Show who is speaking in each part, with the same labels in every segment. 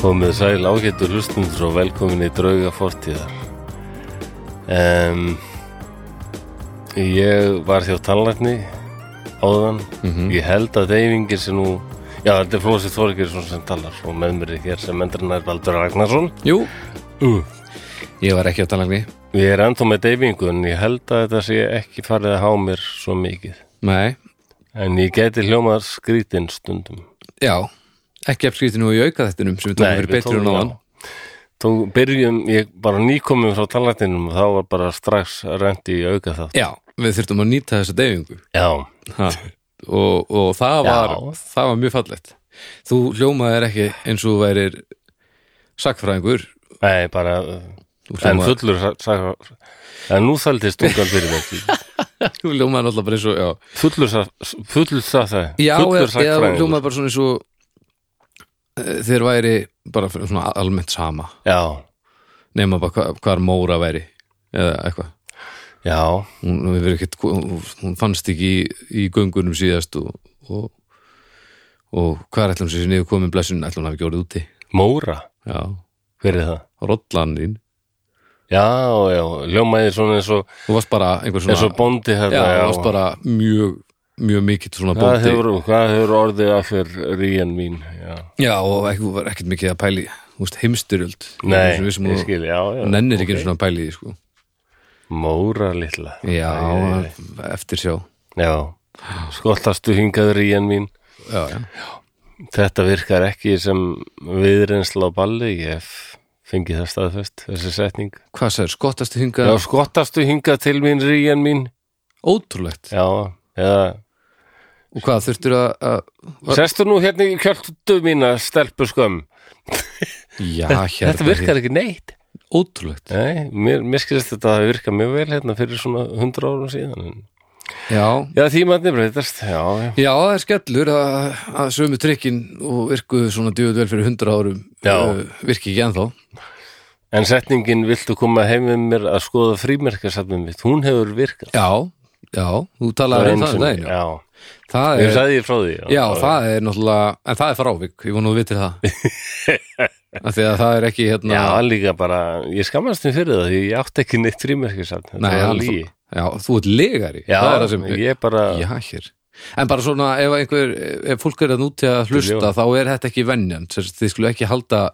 Speaker 1: Komið sæl ágættu hlustundur og velkomin í drauga fortíðar um, Ég var hjá tannlækni áðan Ég held að deyfingir sem nú Já, þetta er Flósi Þorgjursson sem talar og með mér er hér sem endurinn er Baldur Ragnarsson
Speaker 2: Jú,
Speaker 1: uh.
Speaker 2: ég var ekki á talangni
Speaker 1: Ég er ennþá með deyfingu en ég held að þetta sé ekki farið að há mér svo mikið
Speaker 2: Nei,
Speaker 1: En ég geti hljómað skrítinn stundum
Speaker 2: já Ekki að skrýti nú í auka þettinum sem við tókum fyrir betri og náðan
Speaker 1: Tók, byrjum, ég bara nýkomum frá talantinum og þá var bara strax rendi í auka þátt.
Speaker 2: Já, við þurftum að nýta þessa deyfingu
Speaker 1: Já,
Speaker 2: ha. og, og það var
Speaker 1: Já.
Speaker 2: það var mjög fallegt Þú hljómaðir ekki eins og þú værir sakfræðingur
Speaker 1: nei, bara, uh,
Speaker 2: Þú
Speaker 1: en
Speaker 2: hljómaðir,
Speaker 1: fullur sa- sa- en nú þaldist tungan fyrir mig.
Speaker 2: þú hljómaðir alltaf bara eins og Já,
Speaker 1: Fullur, sa- fullur það það,
Speaker 2: já eða, eða
Speaker 1: fullur
Speaker 2: þú
Speaker 1: sakfræðingur.
Speaker 2: hljómaðir bara svona eins og eh, þér væri bara fyrir svona almennt sama
Speaker 1: Já,
Speaker 2: nema bara hva, hvar Móra væri eða eitthvað
Speaker 1: já,
Speaker 2: hún, hún, hefur ekkert, hún, hún fannst ekki í, í göngunum síðast og, og, og hvað er ætlum sem niður komin blessun ætlum hún hafi ekki orðið úti
Speaker 1: Móra,
Speaker 2: já,
Speaker 1: hver er það?
Speaker 2: rollan þín
Speaker 1: Já, já, hljómaði svona eins og,
Speaker 2: þú varst bara einhver svona
Speaker 1: eins og bóndi
Speaker 2: já,
Speaker 1: hérna,
Speaker 2: þú
Speaker 1: já.
Speaker 2: varst bara mjög mjög mikill svona
Speaker 1: Hvað
Speaker 2: bóndi
Speaker 1: hefur, hvað hefur orðið af fyrir ríjan mín, já.
Speaker 2: já, og ekki, þú var ekkert mikið að pæli veist, heimstyrjöld
Speaker 1: Nei,
Speaker 2: Sem við sem
Speaker 1: ég
Speaker 2: hún
Speaker 1: skil, já, já.
Speaker 2: nennir ekki okay. svona pæli í því, sko.
Speaker 1: Móra litla.
Speaker 2: já,
Speaker 1: Æ, æ, æ.
Speaker 2: eftir sjá
Speaker 1: Já, skollastu hingaður í enn mín
Speaker 2: já, já.
Speaker 1: Þetta virkar ekki sem viðreynsla á balli Ég f- fengi það staðfest, þessi setning
Speaker 2: hvað sagði, skottast hingað
Speaker 1: Já, skottastu hingað til mín ríjan mín
Speaker 2: ótrúlegt
Speaker 1: Já, eða
Speaker 2: og hvað þurftur að, að
Speaker 1: Sestu nú hérna í kjöldu mína stelpu skömm
Speaker 2: já,
Speaker 1: Þetta virkar ekki neitt
Speaker 2: ótrúlegt
Speaker 1: Nei, mér, mér skilist þetta að virka mjög vel hérna fyrir svona hundra árum síðan en-
Speaker 2: já,
Speaker 1: Já, tímatni breytast, já, já
Speaker 2: Já, það er skellur að, að sömu trikkin og virkuðu svona djöðu vel fyrir hundra árum
Speaker 1: Já.
Speaker 2: eh, virki ekki ennþá
Speaker 1: En setningin viltu koma heim með mér að skoða frímerkasafnum mitt, hún hefur virkað
Speaker 2: Já, já, þú talaði um það um daginn, já.
Speaker 1: já,
Speaker 2: Það
Speaker 1: ég
Speaker 2: er,
Speaker 1: sagði ég frá því
Speaker 2: já, það er náttúrulega en það er frávik, ég vona að þú vitir það af því að það er ekki hérna
Speaker 1: Já, líka bara, ég skammast mér fyrir það því ég átti ekki neitt frímerkisafn þetta
Speaker 2: Nei,
Speaker 1: var
Speaker 2: hann-
Speaker 1: lygi.
Speaker 2: já, þú ert legari
Speaker 1: Já,
Speaker 2: það er það sem,
Speaker 1: ég bara
Speaker 2: já, hér En bara svona, ef einhver, ef fólk er að núti að hlusta,
Speaker 1: Ljó.
Speaker 2: þá er þetta ekki venjant sem sagt, þið skulle ekki halda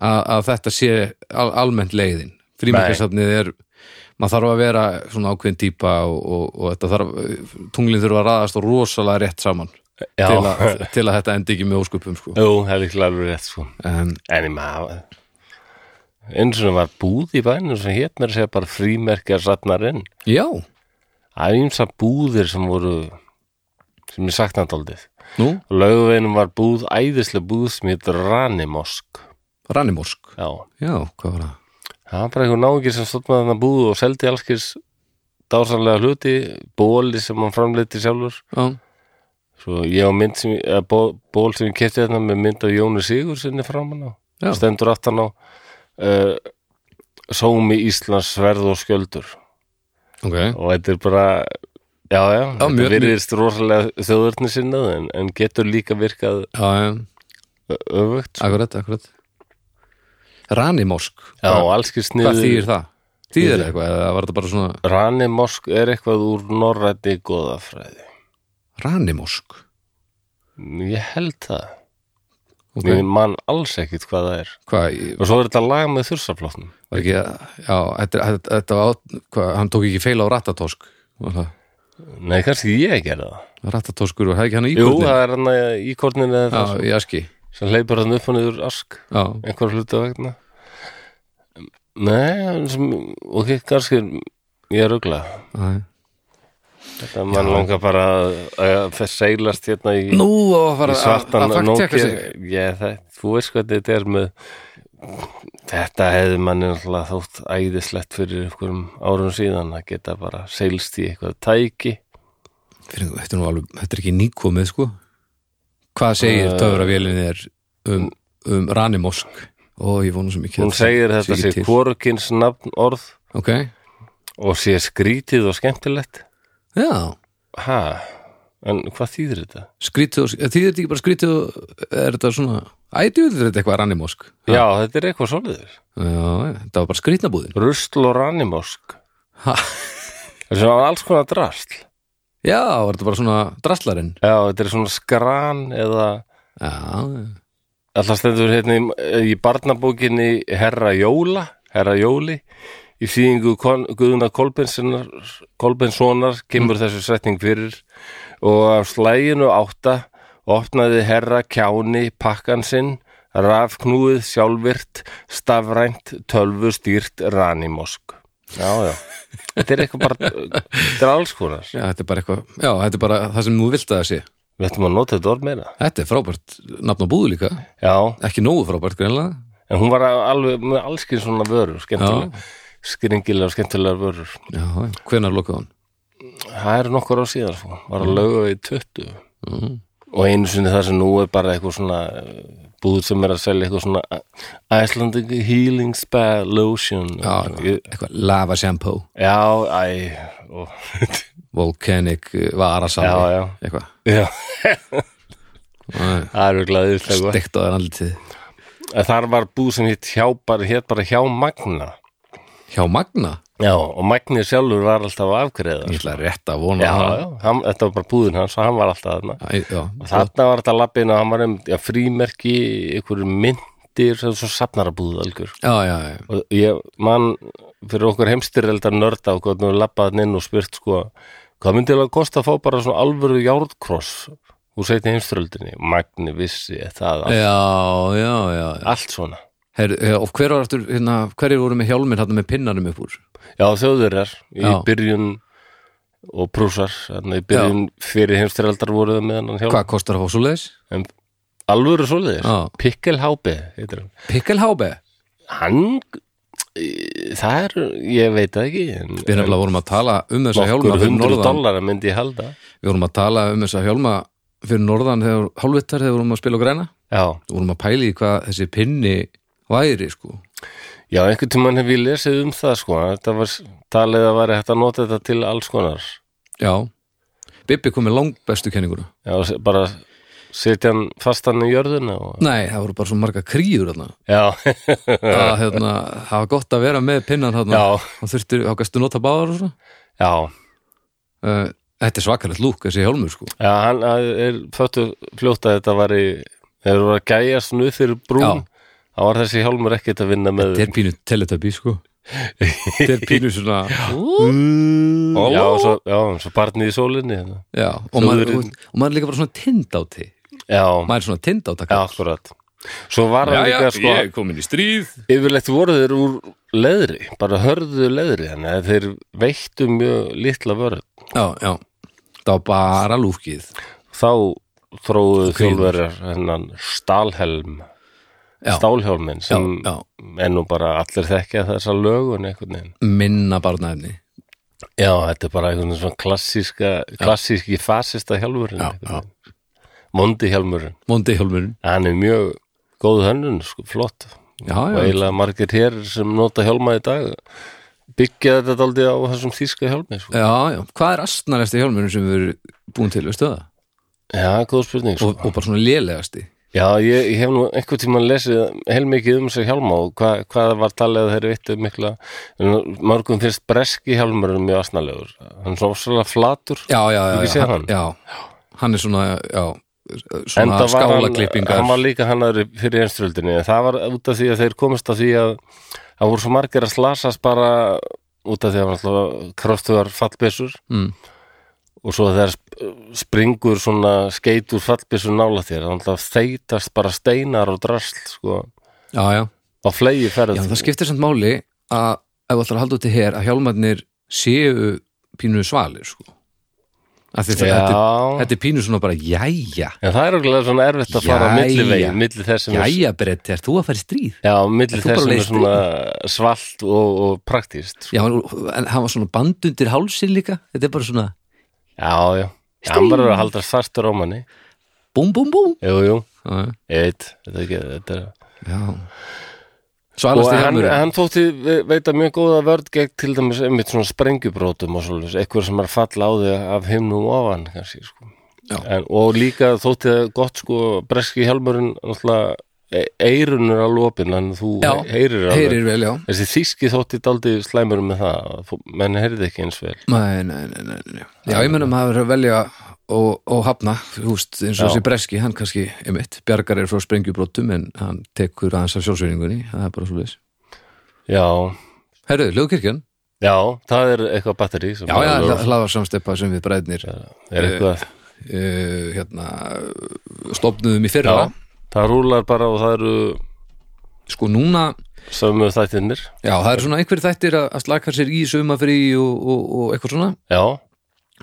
Speaker 2: að, að þetta sé al, almennt leiðin frímerkasafnið er maður þarf að vera svona ákveðin típa og, og, og þetta þarf, tunglin þurfa að raðast og rosalega rétt saman
Speaker 1: Já,
Speaker 2: til að, til að þetta endi ekki með ósköpum sko.
Speaker 1: jú, það er líklega alveg rétt sko
Speaker 2: um,
Speaker 1: En ég maður eins og var búð í bænum sem hétt mér að segja bara frímerkasafnarinn
Speaker 2: Já,
Speaker 1: Það er eins að búðir sem voru sem ég saknaðaldið
Speaker 2: nú,
Speaker 1: Laugaveginum var búð, æðislega búð sem hétt Ranimosk
Speaker 2: Rannimorsk
Speaker 1: Já,
Speaker 2: Já, hvað var það?
Speaker 1: það var bara einhver náungi sem stofnaði þannig búð og seldi allskis dásanlega hluti, bóli sem hann framleiti sjálfur
Speaker 2: Já,
Speaker 1: Svo ég á mynd sem, eða ból, ból sem ég kefti þarna með mynd af Jóni Sigur sinni framan á,
Speaker 2: Já.
Speaker 1: stendur aftan á uh, Sómi Íslands sverð og skjöldur
Speaker 2: ok
Speaker 1: og þetta er bara já, já, þetta
Speaker 2: mjög-
Speaker 1: virðist rosalega þjóðurni sinnað en, en getur líka virkað
Speaker 2: Já, um,
Speaker 1: ö- öfugt
Speaker 2: akkurat, akkurat Rannimorsk
Speaker 1: já, og allski
Speaker 2: Hvað þýðir
Speaker 1: sniður
Speaker 2: það? Þýðir það eitthvað eða var þetta bara svona
Speaker 1: Ranimosk er eitthvað úr norræti goðafræði
Speaker 2: ránimosk?
Speaker 1: ég held það,
Speaker 2: Ok,
Speaker 1: ég man alls ekkit hvað það er
Speaker 2: hvað, ég-
Speaker 1: og svo er þetta lag með þursaflótnum
Speaker 2: var ekki að, já, þetta, þetta, þetta var, á- hvað, hann tók ekki feila á rattatosk, var það?
Speaker 1: nei, kannski ég gerði það
Speaker 2: Rattatoskur og hefði ekki hann í
Speaker 1: Jú,
Speaker 2: íbúrni?
Speaker 1: það er hann í korninu eða það sko.
Speaker 2: Já, í aski,
Speaker 1: sem hleypur hann upp og niður ask
Speaker 2: já,
Speaker 1: einhver hluta vegna Nei, hann sem, ok, kannski ég er ugla
Speaker 2: aðeim.
Speaker 1: Þetta mann langar bara að, að fer- seilast hérna í,
Speaker 2: Nú, og var
Speaker 1: í svartan
Speaker 2: að faktekka
Speaker 1: Nokia.
Speaker 2: sig.
Speaker 1: Ég, það, Þú veist hvað þetta er með Þetta hefði manni náttúrulega þótt æðislegt fyrir einhverjum árum síðan að geta bara seilst í eitthvað tæki
Speaker 2: Fyrir, þetta er nú alveg, þetta er ekki nýkomið, sko. Hvað segir
Speaker 1: Eh.
Speaker 2: töfravélinni er um, um ránimosk? Ó, ég vona svo mikið.
Speaker 1: Hún
Speaker 2: að það
Speaker 1: segir þetta
Speaker 2: ekki
Speaker 1: sé
Speaker 2: til.
Speaker 1: kvorkins nafn orð
Speaker 2: Ok,
Speaker 1: og sé skrítið og skemmtilegt
Speaker 2: já,
Speaker 1: Hæ? En hvað þýðir þetta?
Speaker 2: skrítið og, þýðir þetta ekki bara skrítið og, er þetta svona Ætjú, þetta er eitthvað rannimósk Já,
Speaker 1: Já, þetta er eitthvað soliður.
Speaker 2: já, þetta var bara skrýtnabúðin
Speaker 1: Rusl og rannimósk.
Speaker 2: Ha.
Speaker 1: Þessi var alls konar drasl.
Speaker 2: Já, var þetta bara svona drastlarinn
Speaker 1: Já, þetta er svona skran eða
Speaker 2: Já,
Speaker 1: alltaf stendur hérna í, í barnabókinni Herra Jóla, Herra Jóli í þýðingu Kon- Guðuna Kolbenssonar, Kolbenssonar kemur þessu setning fyrir og af slæginu átta opnaði Herra Kjáni pakkan sinn rafknúið sjálfvirt stafrænt tölvu stýrt ranimosk já já þetta er eitthvað bara, þetta er alls konar
Speaker 2: já, þetta er bara eitthvað Já, þetta er bara það sem þú vilt að það sé
Speaker 1: við ættum að nota þetta orð meira
Speaker 2: Þetta er frábært nafn á búðu líka
Speaker 1: já,
Speaker 2: Ekki nógu frábært greinlega
Speaker 1: En hún var alveg með allskinn svona vörur, skemmtilega, skringilega og skemmtilega vörur.
Speaker 2: Já, já, hvenær lokaði hún?
Speaker 1: Það eru nokkur á síðan, sko. Var að lauga í 20.
Speaker 2: Mm.
Speaker 1: Og einu sinni það sem nú er bara eitthvað svona eh, búð sem er að selja eitthvað svona eh, Icelandic Healing Spa Lotion.
Speaker 2: Já,
Speaker 1: Ég-
Speaker 2: eitthvað lava shampoo
Speaker 1: Já, æ, og,
Speaker 2: Volcanic eh, varasal
Speaker 1: já, já,
Speaker 2: Eitthvað
Speaker 1: já,
Speaker 2: Æ,
Speaker 1: það eru glæðislega.
Speaker 2: Steikt á þér andlitið
Speaker 1: Þar var búð sem hitt hjá bara, hétt bara hjá Magna.
Speaker 2: Hjá Magna
Speaker 1: Já, og Magni sjálfur var alltaf afgreðar.
Speaker 2: Ég ætla rétt að vona
Speaker 1: Já,
Speaker 2: það.
Speaker 1: já, hann, þetta var bara búðin hans og hann var alltaf þarna.
Speaker 2: Æ, já.
Speaker 1: Og Þarna var þetta lappin og hann var um já, frímerki, einhverju myndir sem svo safnarabúð algjör.
Speaker 2: já, já, já
Speaker 1: Og ég man fyrir okkur heimstyrreldar nörda og hvernig við lappaðan inn og spyrt sko, hvað myndi það kosta að fá bara svona alvöru járnkross úr seinni heimstyrreldinni? Magni vissi það,
Speaker 2: Eh.
Speaker 1: allt,
Speaker 2: Já, já, já, já.
Speaker 1: allt svona.
Speaker 2: Her, her, eh, Og hver var aftur, hérna, hverjir voru með hjálminn hérna með pinnanum upp úr?
Speaker 1: Já, þjóðurjar í
Speaker 2: Já.
Speaker 1: byrjun og prúsar, þannig í byrjun fyrir heimstyrreldar voruðu með hann hjálp.
Speaker 2: Hvað kostar að fá svo leiðis?
Speaker 1: En alvöru svoleiðir,
Speaker 2: Já.
Speaker 1: Pikkelhápi, heitir hann.
Speaker 2: Pikkelhábe
Speaker 1: hann e, það er, ég veit það ekki en,
Speaker 2: Við nefnilega vorum að tala um þessa hjálma
Speaker 1: nokkur
Speaker 2: fyrir
Speaker 1: hundru
Speaker 2: norðan
Speaker 1: dollara myndi ég halda
Speaker 2: Við vorum að tala um þessa hjálma fyrir norðan þegar hálfvittar þegar vorum að spila og græna
Speaker 1: já,
Speaker 2: Við vorum að pæli í hvað þessi pinni væri sko
Speaker 1: já einhvern tímann hef ég lesið um það sko, þetta var s- talið að væri hægt að nota þetta til alls konar
Speaker 2: Já Bibbi kom með langbestu kenninguna
Speaker 1: já, s- bara setja hann fastan í jörðuna og,
Speaker 2: Nei, það voru bara svo marga kríur þarna
Speaker 1: já,
Speaker 2: að hérna, það var gott að vera með pinnan þarna
Speaker 1: Já.
Speaker 2: og þurftir, þá gastu nota báðar og svona
Speaker 1: já
Speaker 2: uh, Þetta er svakalegt lúk, þessi hjálmur sko
Speaker 1: já, hann að- er föttu fljótt að þetta væri þegar þú var að gæja snuð fyrir brún
Speaker 2: Já.
Speaker 1: þá var þessi hjálmur ekkert að vinna með
Speaker 2: Þetta er pínu teletöbi sko Þetta er pínu svona
Speaker 1: já, svo, já, svo barnið í sólinni hérna.
Speaker 2: Já, og maður, og, og maður er líka bara svona tindáti
Speaker 1: já,
Speaker 2: maður er svona tindáta
Speaker 1: Já, akkurat. Svo var hann líka, sko,
Speaker 2: er komin í stríð
Speaker 1: yfirleitt voru þeir úr leðri, bara hörðu leðri, þannig að þeir veittu mjög litla vörð.
Speaker 2: Já, já, það var bara lúkið
Speaker 1: Þá þróuðu
Speaker 2: kvíður.
Speaker 1: þjólverjar hennan stálhelm,
Speaker 2: Já.
Speaker 1: stálhjálminn,
Speaker 2: já,
Speaker 1: sem
Speaker 2: já,
Speaker 1: er nú bara allir þekkja þessa lögun einhvern veginn.
Speaker 2: minna barnaefni
Speaker 1: Já, þetta er bara einhvern veginn svona klassíska, klassíski fasista hjálmurinn.
Speaker 2: Já,
Speaker 1: einhvern veginn. Mondi hjálmurinn.
Speaker 2: Mondi hjálmurinn
Speaker 1: Hann er mjög góð hönnun, sko, flott.
Speaker 2: Já,
Speaker 1: og
Speaker 2: já,
Speaker 1: eiginlega margir hér sem nota hjálma í dag byggja þetta daldið á þessum þýska hjálmi sko.
Speaker 2: já, já, hvað er astnalegasti hjálmurinn sem við erum búin til, veistu það?
Speaker 1: já, góð spurning sko.
Speaker 2: Og, og bara svona lélegasti
Speaker 1: já, ég, ég hef nú einhvern tímann lesið heilmikið um þessu hjálma og hva, hvað var talið að þeir vittu mikla en mörgum finnst breski hjálmurinn mjög asnalegur, hann er svo svolítið flatur
Speaker 2: Já, já, já,
Speaker 1: Ekki
Speaker 2: já,
Speaker 1: séð
Speaker 2: hann,
Speaker 1: hann?
Speaker 2: já, hann er svona, já, svona
Speaker 1: Enda var hann,
Speaker 2: skálaklippingar
Speaker 1: hann var líka hann aðri fyrir einströldinni en það var út af því að þeir komist að því að það voru svo margir að slasast bara út af því að hann kröftuðar fallbessur
Speaker 2: mm,
Speaker 1: og svo þegar sp- springur svona skeit úr fallbyssu nála þér þannig að þeitast bara steinar og drasl sko,
Speaker 2: Já, já,
Speaker 1: á flegi ferð
Speaker 2: já, það skiptir samt máli að ef þú ætlar að halda út í her að hjálmarnir séu pínu svalir, sko Af því
Speaker 1: Já.
Speaker 2: þetta- Þetta er- þetta er pínu svona bara, jæja
Speaker 1: en það er okkurlega svona erfitt að fara á
Speaker 2: Jæja.
Speaker 1: milli vegi milli þess sem er,
Speaker 2: Jæja Bretti, er þú að fara í stríð?
Speaker 1: já, milli
Speaker 2: Ert þú bara
Speaker 1: þess sem
Speaker 2: leið
Speaker 1: er svona svalt og, og praktíst sko.
Speaker 2: Já, en en hann var svona band undir hálsin líka Þetta er bara svona
Speaker 1: já, já, já hann bara er að halda svartur á manni
Speaker 2: búm, búm, búm
Speaker 1: jú, jú,
Speaker 2: Já,
Speaker 1: ég veit þetta er ekki, þetta er
Speaker 2: já
Speaker 1: og
Speaker 2: Svalast í
Speaker 1: hann,
Speaker 2: hjálmurinn
Speaker 1: hann þótti ve- veita mjög góða vörð gegn til dæmis einmitt svona sprengjubrótum og svolítið, eitthvað sem er að falla á þig af himnum ofan kannski sko.
Speaker 2: Já.
Speaker 1: en, og líka þótti það gott sko breski hjálmurinn náttúrulega eirun er alveg opinn en þú
Speaker 2: Já,
Speaker 1: heyrir alveg
Speaker 2: heyrir vel, já
Speaker 1: þessi þíski þótti daldi slæmur með það að fó- menn heyrði ekki eins vel
Speaker 2: Nei, nei, nei, nei, nei. Já, ég menna maður er að velja og, og hafna, þú veist, eins og
Speaker 1: Já.
Speaker 2: þessi breski hann kannski, einmitt, bjargar er frá sprengjubrótum en hann tekur aðeins af sjálfsveiningunni það er bara svo leis.
Speaker 1: já,
Speaker 2: Herru, Ljóðkirkjan?
Speaker 1: já, það er eitthvað batteri sem
Speaker 2: Já,
Speaker 1: er,
Speaker 2: já,
Speaker 1: alveg-
Speaker 2: hlaðar samsteppa sem við bræðnir uh,
Speaker 1: er eitthvað
Speaker 2: hérna stofnuðum í fyrra,
Speaker 1: já, það rúlar bara og það eru
Speaker 2: sko núna
Speaker 1: sömu þættirnir
Speaker 2: já, það er svona einhver þættir að, að slaka sér í sumafrí og, og, og eitthvað svona
Speaker 1: já,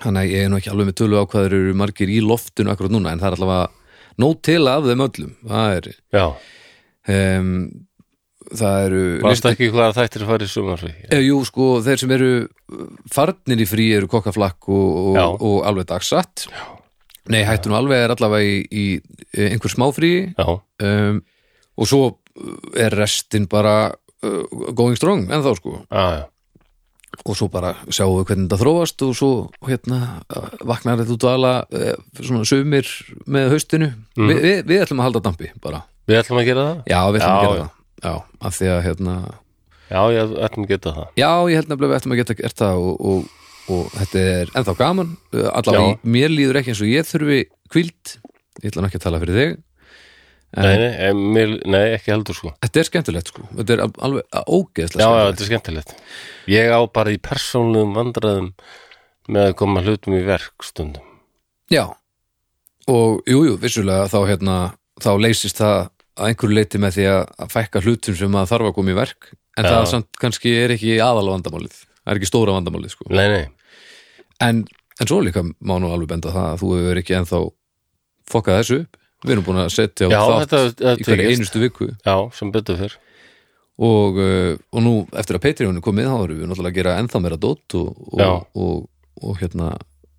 Speaker 2: þannig að ég er nú ekki alveg með tölu á hvað þeir eru margir í loftinu akkurat núna, en það er allavega nót til af þeim öllum, það er
Speaker 1: já,
Speaker 2: um, það eru
Speaker 1: varst ekki hvaða þættir farið sumarfrí
Speaker 2: Eh, Jú, sko, þeir sem eru farnir í frí eru kokkaflakk og,
Speaker 1: Já.
Speaker 2: og, og alveg dagsatt Nei, hættu nú alveg er allavega í, í einhver smáfrí
Speaker 1: já,
Speaker 2: um, og svo eh, er restin bara uh, going strong en þá sko
Speaker 1: já, já,
Speaker 2: og svo bara sjáum við hvernig þetta þróast og svo hérna eh, vaknar þetta út ala eh, svona sumir með haustinu
Speaker 1: Mhm.
Speaker 2: Vi, við, við ætlum að halda dampi bara
Speaker 1: við ætlum að gera það
Speaker 2: Já, við ætlum að
Speaker 1: Já,
Speaker 2: gera
Speaker 1: já.
Speaker 2: það Já, af því að hérna
Speaker 1: já, ég ætlum að geta það
Speaker 2: Já, ég held nefnilega við ættum að geta gert það og, og, og þetta er ennþá gaman Uh, allavega,
Speaker 1: Já.
Speaker 2: í- mér líður ekki eins og ég þurfi kvíld, ég ætla nú ekki að tala fyrir þig
Speaker 1: nei, nei, em, mér, nei, ekki heldur sko
Speaker 2: Þetta er skemmtilegt sko, þetta er al- alveg ógeðslega
Speaker 1: já, já,
Speaker 2: skemmtilegt
Speaker 1: þetta er skemmtilegt ég á bara í persónlegum vandræðum með að koma hlutum í verk stundum
Speaker 2: já. og jú, jú, vissulega þá hérna, þá leysist það að einhverju leiti með því að að fækka hlutum sem að þarf að koma í verk en
Speaker 1: Já.
Speaker 2: það samt kannski er ekki aðal vandamálið það er ekki stóra vandamálið sko
Speaker 1: nei, nei,
Speaker 2: en, en svo líka má nú alveg benda það að þú hefur ekki ennþá fokkað þessu upp við erum búin að setja á
Speaker 1: Já,
Speaker 2: þátt
Speaker 1: þetta- þetta
Speaker 2: í hverju
Speaker 1: tekist.
Speaker 2: einustu viku
Speaker 1: já, sem betur fyrr
Speaker 2: og, uh, og nú eftir að Patreon er komið þá erum við náttúrulega að gera ennþá meira dót og, og,
Speaker 1: Já.
Speaker 2: og, og, hérna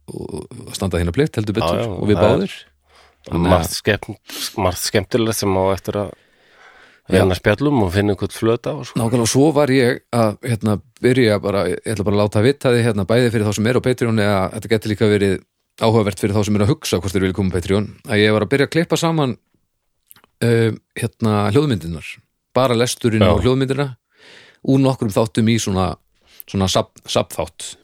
Speaker 2: og standa hérna plikt heldur betur
Speaker 1: Já, já,
Speaker 2: og við
Speaker 1: það er-
Speaker 2: báðir Þannig að-
Speaker 1: margt, skemmt, margt skemmtilegt sem á eftir að reyna spjallum og finna einhvern flöt á sko.
Speaker 2: Nákvæmlega, og svo var ég að hérna, byrja bara, ég ætla bara að láta vita því hérna, bæði fyrir þá sem er á Patreon eða þetta getur líka verið áhugavert fyrir þá sem er að hugsa hvort þeir vilja koma á Patreon að ég var að byrja að klippa saman uh, hérna, hljóðmyndirnar bara lesturinn
Speaker 1: Já.
Speaker 2: og hljóðmyndina úr nokkrum þáttum í svona, svona sab, sabþátt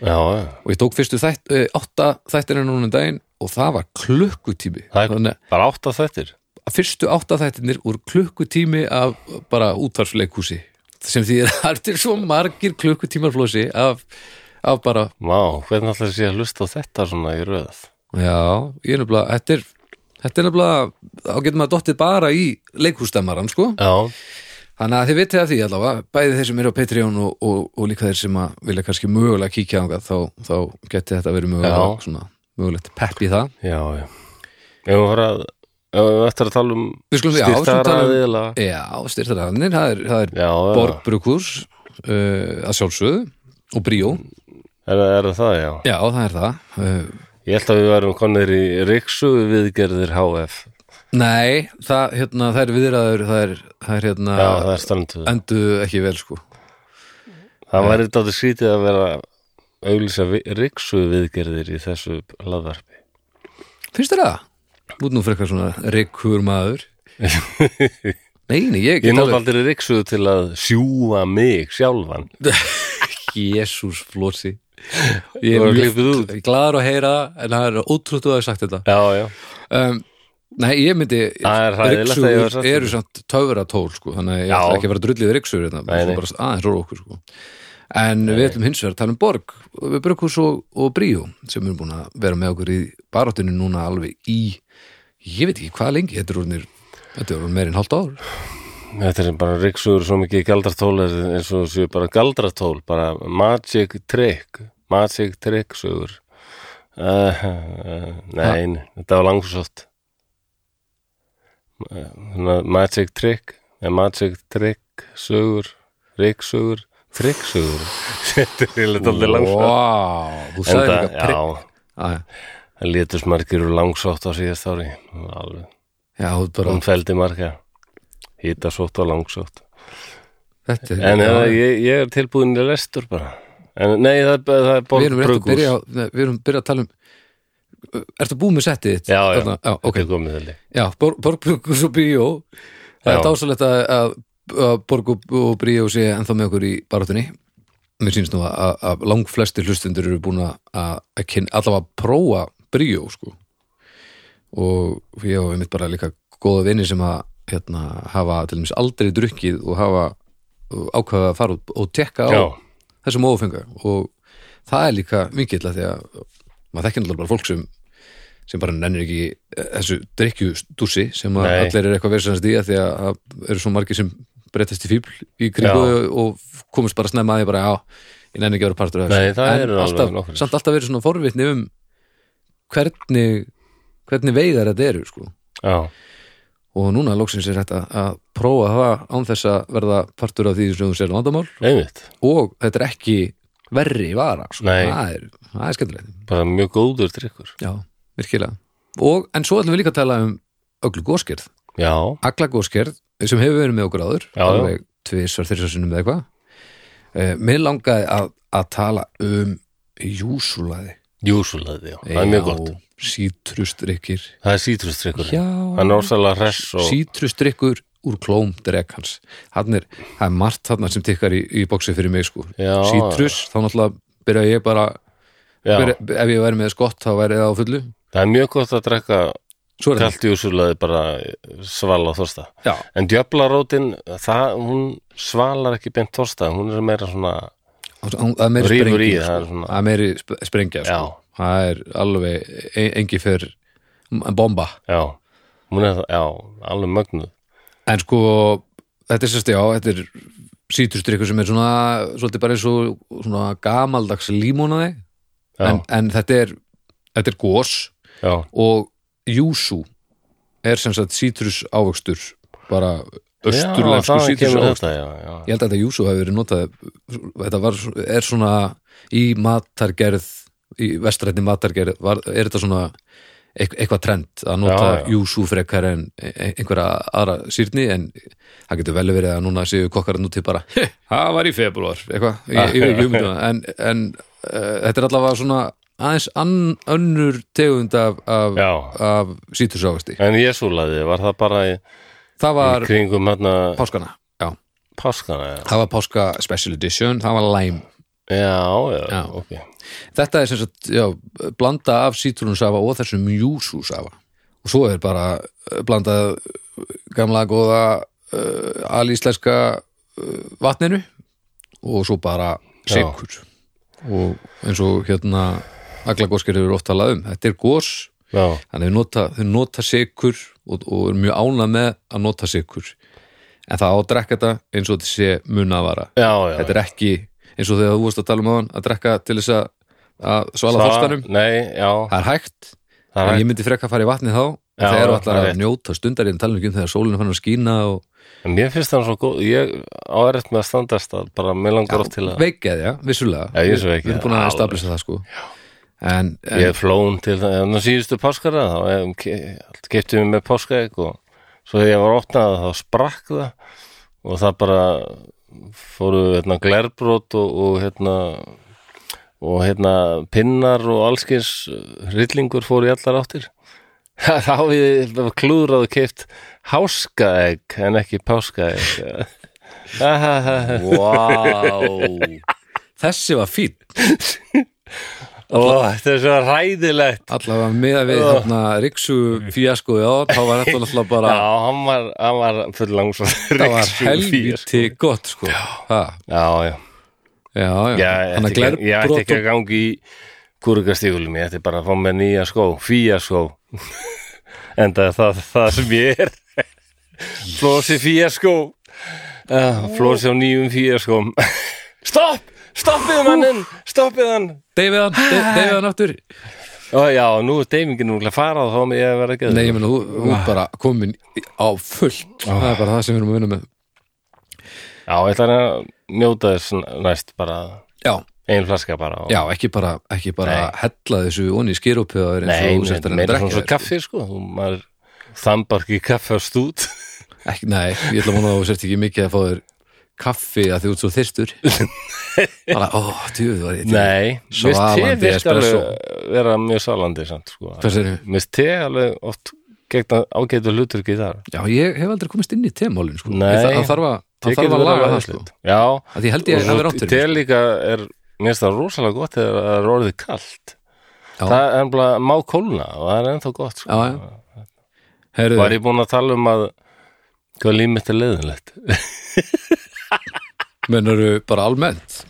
Speaker 1: já, já,
Speaker 2: og ég tók fyrstu þætt, uh, átta þættina núna um daginn og það var klukkutími
Speaker 1: Það er-
Speaker 2: þannig
Speaker 1: bara átt að þettir
Speaker 2: að fyrstu átta þættinir úr klukkutími af bara útvarsleikhúsi sem því að það er svo margir klukkutímar flósi af, af bara
Speaker 1: Vá, hvernig ætlar sé að hlusta á þetta svona í röð
Speaker 2: já, ég er nefnilega þetta er, þetta er nefnilega þá getur maður dottið bara í leikhúsdæmaran sko
Speaker 1: Já,
Speaker 2: þannig að þið vitið að því allavega bæði þeir sem eru á Patreon og, og, og líka þeir sem að vilja kannski mögulega kíkja þangað þá, þá geti þetta verið
Speaker 1: Já.
Speaker 2: mögulega svona, mögulegt pepp í það
Speaker 1: já, já Ef við fara að, ef við eftir að tala um
Speaker 2: við skulum já, við skulum tala um-
Speaker 1: styrtaraðila
Speaker 2: já, styrtaraðanir, það er, það er
Speaker 1: Já, já,
Speaker 2: Borgbrukkurs uh, að sjálfsögðu og Bríó,
Speaker 1: er, er það, já
Speaker 2: já það er það uh,
Speaker 1: Ég held að við varum konir í Riksu viðgerðir HF
Speaker 2: Nei, það, hérna, það er viðraður það er, það er hérna
Speaker 1: Já, það er stranduð
Speaker 2: endu ekki vel sko
Speaker 1: Það væri þetta skrítið að vera auglýsa vi, Riksu viðgerðir í þessu laðvarpi
Speaker 2: Finnst þér það? Út nú frekar svona reykur maður Nei, nei, ég
Speaker 1: Ég
Speaker 2: get
Speaker 1: nátt
Speaker 2: alveg
Speaker 1: aldrei Riksu til að sjúa mig sjálfan
Speaker 2: Jésús flósi Ég
Speaker 1: Það var
Speaker 2: er
Speaker 1: klippið
Speaker 2: mjög gladur að heyra það, en það er ótrútt að hafa sagt þetta
Speaker 1: Já, já,
Speaker 2: um, Nei, ég myndi
Speaker 1: Það er hræðilegt að ég hafi sagt
Speaker 2: Ryksugur eru samt töfratól sko, þannig að ég
Speaker 1: Já.
Speaker 2: ætla ekki að vera drullið ryksugur hérna,
Speaker 1: Nei,
Speaker 2: við
Speaker 1: nei.
Speaker 2: skulum bara aðeins róa okkur sko. en við ætlum hins vegar að tala um Borg og við Brukhus og, og Bríó sem eru búin að vera með okkur í baráttinu núna alveg í ég veit ekki hvað lengi, þetta er orðinir þetta er orðin meir en hálft ár
Speaker 1: þetta er bara Riksuður svo mikið galdrartól er eins og séu bara galdrartól bara magic trick magic trick sugur uh, uh, Nein, þetta var langsótt uh, Magic trick eh, magic trick sugur Riksugur, tricksugur Þetta er eiginlega aldrei langsótt
Speaker 2: wow, þú sagði
Speaker 1: Enda,
Speaker 2: líka prigg
Speaker 1: já,
Speaker 2: Á,
Speaker 1: það létust margir úr langsótt á síðast ári Alveg,
Speaker 2: já, þú bara,
Speaker 1: hún feldi marga Hítasótt og langsótt
Speaker 2: þetta er
Speaker 1: En ja, ég, ég er tilbúin í lestur bara en, Nei, það, er- það er
Speaker 2: við
Speaker 1: borg
Speaker 2: erum rétt að byrja á- nei, við erum byrja að tala um Ertu búið með settið þitt?
Speaker 1: Já, já,
Speaker 2: Þarna- já ok
Speaker 1: þetta er komið þelli
Speaker 2: Já, Borgbrukus og Bíó Það
Speaker 1: Já.
Speaker 2: er dásalegt að, að- að Borg og, og Bríó sé ennþá með okkur í barátunni Mér sýnst nú að, að langflesti hlustundur eru búin að, að kyn, allavega að prófa Bríó sko og ég hef mitt bara líka góða vini sem að hérna, hafa til dæmis aldrei drukkið og hafa ákveða að fara út og tekka á
Speaker 1: Já.
Speaker 2: þessum ófenga og það er líka vingill að því að maður þekkir náttúrulega bara fólk sem sem bara nennir ekki eh, þessu drikkjustúsi sem að
Speaker 1: Nei.
Speaker 2: allir eru eitthvað verðsannast í að því að það eru svo margir sem breytast í fíbl í kringu og komist bara snemma að því bara já, ég nenni ekki að vera partur af
Speaker 1: Nei, það
Speaker 2: en
Speaker 1: eru alveg
Speaker 2: alltaf,
Speaker 1: nokkrir.
Speaker 2: samt alltaf verið svona forvitni um hvernig hvernig veiðar þetta eru sko
Speaker 1: já,
Speaker 2: og núna loksins er þetta að prófa það án þess að verða partur af því sem þú sér vandamál
Speaker 1: einmitt
Speaker 2: og þetta er ekki verri vara sko.
Speaker 1: Nei.
Speaker 2: það er, það er skemmtilegt
Speaker 1: bara mjög góður drikkur
Speaker 2: já, virkilega og, en svo ætlum við líka að tala um öllu góskerð,
Speaker 1: já,
Speaker 2: alla góskerð sem hefur verið með okkur áður
Speaker 1: Já, já.
Speaker 2: alveg tvisvar, þrisvar sinnum eða eitthvað eh, mér langaði að, að tala um júsulaði
Speaker 1: júsulaði, já, það er mjög gott
Speaker 2: sítrustrykkir
Speaker 1: það er sítrusdrykkur
Speaker 2: já,
Speaker 1: hann er orsalega hress og
Speaker 2: sítrustrykkir úr klóm drekans hann er, það er margt þarna sem tikkar í, í bóksi fyrir mig sko
Speaker 1: Já,
Speaker 2: sítrus, þá náttúrulega byrja ég bara
Speaker 1: já,
Speaker 2: byrja, ef ég væri með skott þá væri það á fullu
Speaker 1: það er mjög gott að drekka
Speaker 2: svo er það,
Speaker 1: kalt júsulaði bara svala og þorsta
Speaker 2: já,
Speaker 1: en djöflarótin, það, hún svalar ekki beint þorsta, hún er meira svona
Speaker 2: og svo- það er meiri
Speaker 1: Rífur
Speaker 2: sprengja
Speaker 1: í,
Speaker 2: sko.
Speaker 1: það er svona-
Speaker 2: það er meiri sp- sprengja sko.
Speaker 1: Já.
Speaker 2: það er alveg e- engi fyrr m- bomba
Speaker 1: já, hún er það, já, alveg mögnuð
Speaker 2: en sko, þetta er sérst já þetta er sítrusdrykkur sem er svona svolítið bara eins og svona gamaldags límónaði
Speaker 1: já,
Speaker 2: en, en þetta er þetta er gos
Speaker 1: já,
Speaker 2: og júsú er sem sagt sítrus ávöxtur bara östurlensku
Speaker 1: já, það
Speaker 2: sítrus
Speaker 1: kemur
Speaker 2: ávöxtur
Speaker 1: þetta, já, já,
Speaker 2: ég held að þetta Júsú hefur verið notað þetta var, er svona í matargerð í vestrætni matargerð var, er þetta svona eit- eitthvað trend að nota
Speaker 1: Já, já.
Speaker 2: Júsú frekar en e- e- einhverja aðra sírni en það getur vel verið að núna séu kokkar núti bara, "He, það var í februar eitthvað, ég ég veit ekki um þetta en, en uh, þetta er allavega svona aðeins ann, önnur tegund af, af,
Speaker 1: Já.
Speaker 2: af sítursávasti
Speaker 1: en jésulaði, var það bara í,
Speaker 2: það
Speaker 1: í
Speaker 2: var
Speaker 1: kringum hérna
Speaker 2: páskana já.
Speaker 1: páskana, já,
Speaker 2: það var páska special edition það var lime
Speaker 1: já, já,
Speaker 2: Já.
Speaker 1: ok
Speaker 2: Þetta er sem sagt, já, blanda af sítrunsafa og þessum júsúsafa og svo er bara eh, blandað eh, gamla góða uh, alíslenska uh, vatninu og svo bara sigur og eins og hérna aglagóskir eru oft talað um, þetta er gós
Speaker 1: já,
Speaker 2: þannig þau nota, þau nota sigur og, og er mjög ánað með að nota sigur en það á að drekka þetta eins og þetta sé munavara
Speaker 1: já, já
Speaker 2: þetta er ekki eins og þegar þú vorst að tala um á hann að drekka til þess að, að svala
Speaker 1: Það-
Speaker 2: þorstanum
Speaker 1: nei, já,
Speaker 2: það er hægt,
Speaker 1: það
Speaker 2: en
Speaker 1: er
Speaker 2: ég myndi frekka að fara í vatni þá
Speaker 1: Já,
Speaker 2: þegar
Speaker 1: það
Speaker 2: þú ætlar
Speaker 1: er
Speaker 2: að
Speaker 1: rétt.
Speaker 2: njóta stundarinn tala ekki um þegar sólinu fann að skína og
Speaker 1: En mér finnst það svo góð, ég árætt með að standast að bara mér langar oft til að
Speaker 2: veikið, já, vissulega
Speaker 1: Já, ég er svo
Speaker 2: Við-
Speaker 1: veikgeðja,
Speaker 2: við erum búin að
Speaker 1: alveg.
Speaker 2: stablisa það sko en, en
Speaker 1: ég hef flón til það, en það síðustu páskara þá getum við með páskaegg og svo þegar ég var opnað þá sprakk það og það bara fóru hérna glerbrót og, og hérna og hérna pinnar og allskins rillingur fóru í allar áttir þá hérna, við klúðraðu keift háskaegg en ekki páskaegg
Speaker 2: wow. þessi var fín
Speaker 1: og þetta er svo ræðilegt
Speaker 2: allavega með að við hérna, Riksu fíaskoði á þá var þetta alltaf bara
Speaker 1: Já, hann var, hann var full langsóð
Speaker 2: það var helviti gott sko ha,
Speaker 1: Já, já,
Speaker 2: já, já,
Speaker 1: já
Speaker 2: hann að
Speaker 1: ég ætti ekki- ég ætti
Speaker 2: glerbrót
Speaker 1: ekki að gangi í kúrukastígulum, ég ætti bara að fá með nýja skó fía skó enda það, það sem ég er flósi fía skó flósi á nýjum fía skóm Stopp, stoppið mannin stoppið hann
Speaker 2: deyfið hann, dey- deyfið hann aftur
Speaker 1: Ó, Já, nú er deymingin núna að fara og þá með ég að vera ekki
Speaker 2: Nei, ég meina, þú, þú
Speaker 1: Ah.
Speaker 2: er bara komin í- á fullt Það er bara það sem við erum að vinna með
Speaker 1: Já, ég ætla að njóta þess næst bara
Speaker 2: Já,
Speaker 1: ein flaska bara og
Speaker 2: já ekki bara, ekki bara hella þessu onni í skýrópið og er eins
Speaker 1: Nei,
Speaker 2: og þú sért að reyna að
Speaker 1: meira svona
Speaker 2: drekka
Speaker 1: svo kaffi sko þú maður þambar ekki kaffi á stút
Speaker 2: þér. ekki, Nei, ég ætla að vona að þú sért ekki mikið að fá þér kaffi að því út svo þyrstur Bara, ó, djúð var ég
Speaker 1: Nei,
Speaker 2: Svalandi
Speaker 1: mist te virka
Speaker 2: espresso.
Speaker 1: alveg vera mjög salandi samt sko
Speaker 2: Hvað segirðu?
Speaker 1: mist te alveg oft gegna ágætu hluturki þar
Speaker 2: Já, ég hef aldrei komist inn í temálinu sko.
Speaker 1: Nei.
Speaker 2: Ég þa- það þarf að, það
Speaker 1: Tekið
Speaker 2: þarf að
Speaker 1: verið
Speaker 2: laga það sko.
Speaker 1: aðeinslegt. Já,
Speaker 2: að því held ég að það vera
Speaker 1: og
Speaker 2: átt
Speaker 1: svo
Speaker 2: fyrir
Speaker 1: til líka er mér finnst það rosalega gott þegar það er orðið kalt
Speaker 2: Já.
Speaker 1: það er ennbla má kólna og það er ennþá gott sko.
Speaker 2: Já, já. Herðu,
Speaker 1: var ég búin að tala um að hvað líf mitt er leiðinlegt
Speaker 2: mennur bara almennt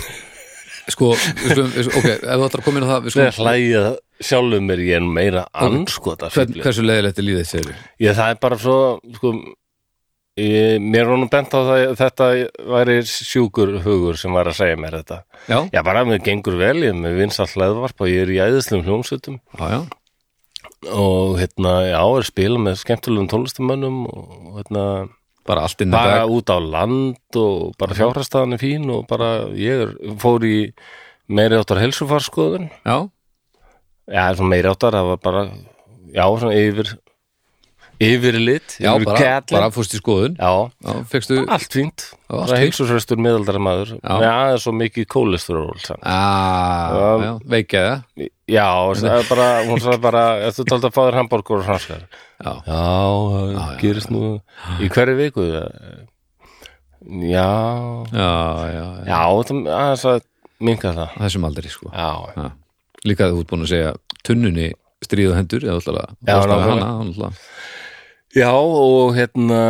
Speaker 2: sko, við skulum, við skulum- ok, ef þú ætlar að koma inn á það við
Speaker 1: þegar
Speaker 2: skulum,
Speaker 1: hlæja sjálfum mér ég er meira anskota
Speaker 2: hvern,
Speaker 1: okay.
Speaker 2: hversu leiðilegt er líðið segir
Speaker 1: ég það er bara svo sko, ég, mér er honum bent á það þetta væri sjúkur hugur sem var að segja mér þetta
Speaker 2: já,
Speaker 1: já bara mér gengur vel, ég er með vinsall leðvarp og ég er í æðislum hljómsveitum
Speaker 2: já, já,
Speaker 1: og hérna, já, er að spila með skemmtulegum tónlistamönnum og hérna,
Speaker 2: bara allt inn í
Speaker 1: bara
Speaker 2: dag
Speaker 1: út á land og bara fjárhastaðan er fín og bara ég er, fór í meiri áttar helsufarskoðun
Speaker 2: já,
Speaker 1: já, svona meiri áttar, það var bara já, svona yfir yfirlit,
Speaker 2: já,
Speaker 1: yfir
Speaker 2: bara,
Speaker 1: kætlin.
Speaker 2: bara fórst í skoðun
Speaker 1: já,
Speaker 2: já, fegstu,
Speaker 1: allt fínt
Speaker 2: Já, allt
Speaker 1: bara
Speaker 2: fínt.
Speaker 1: heilsuhraustur miðaldara maður já, það er svo mikið kólesturról samt.
Speaker 2: aaa, Ah, já, veikja það
Speaker 1: já, það er bara, hún sagði bara "Ert þú taldi að fá þér hambúrgur og hanskar
Speaker 2: já,
Speaker 1: Já, það gerist nú í hverju viku eh, Já
Speaker 2: já, já, já,
Speaker 1: Já, það aðeins að minka það
Speaker 2: þessum aldrei sko
Speaker 1: Já,
Speaker 2: já. líka þú ert búin að segja tunnunni stríðu hendur, eða ætlar að
Speaker 1: Já,
Speaker 2: ráðstafa
Speaker 1: nákvæmlega.
Speaker 2: hana, hann ætlar
Speaker 1: já og hérna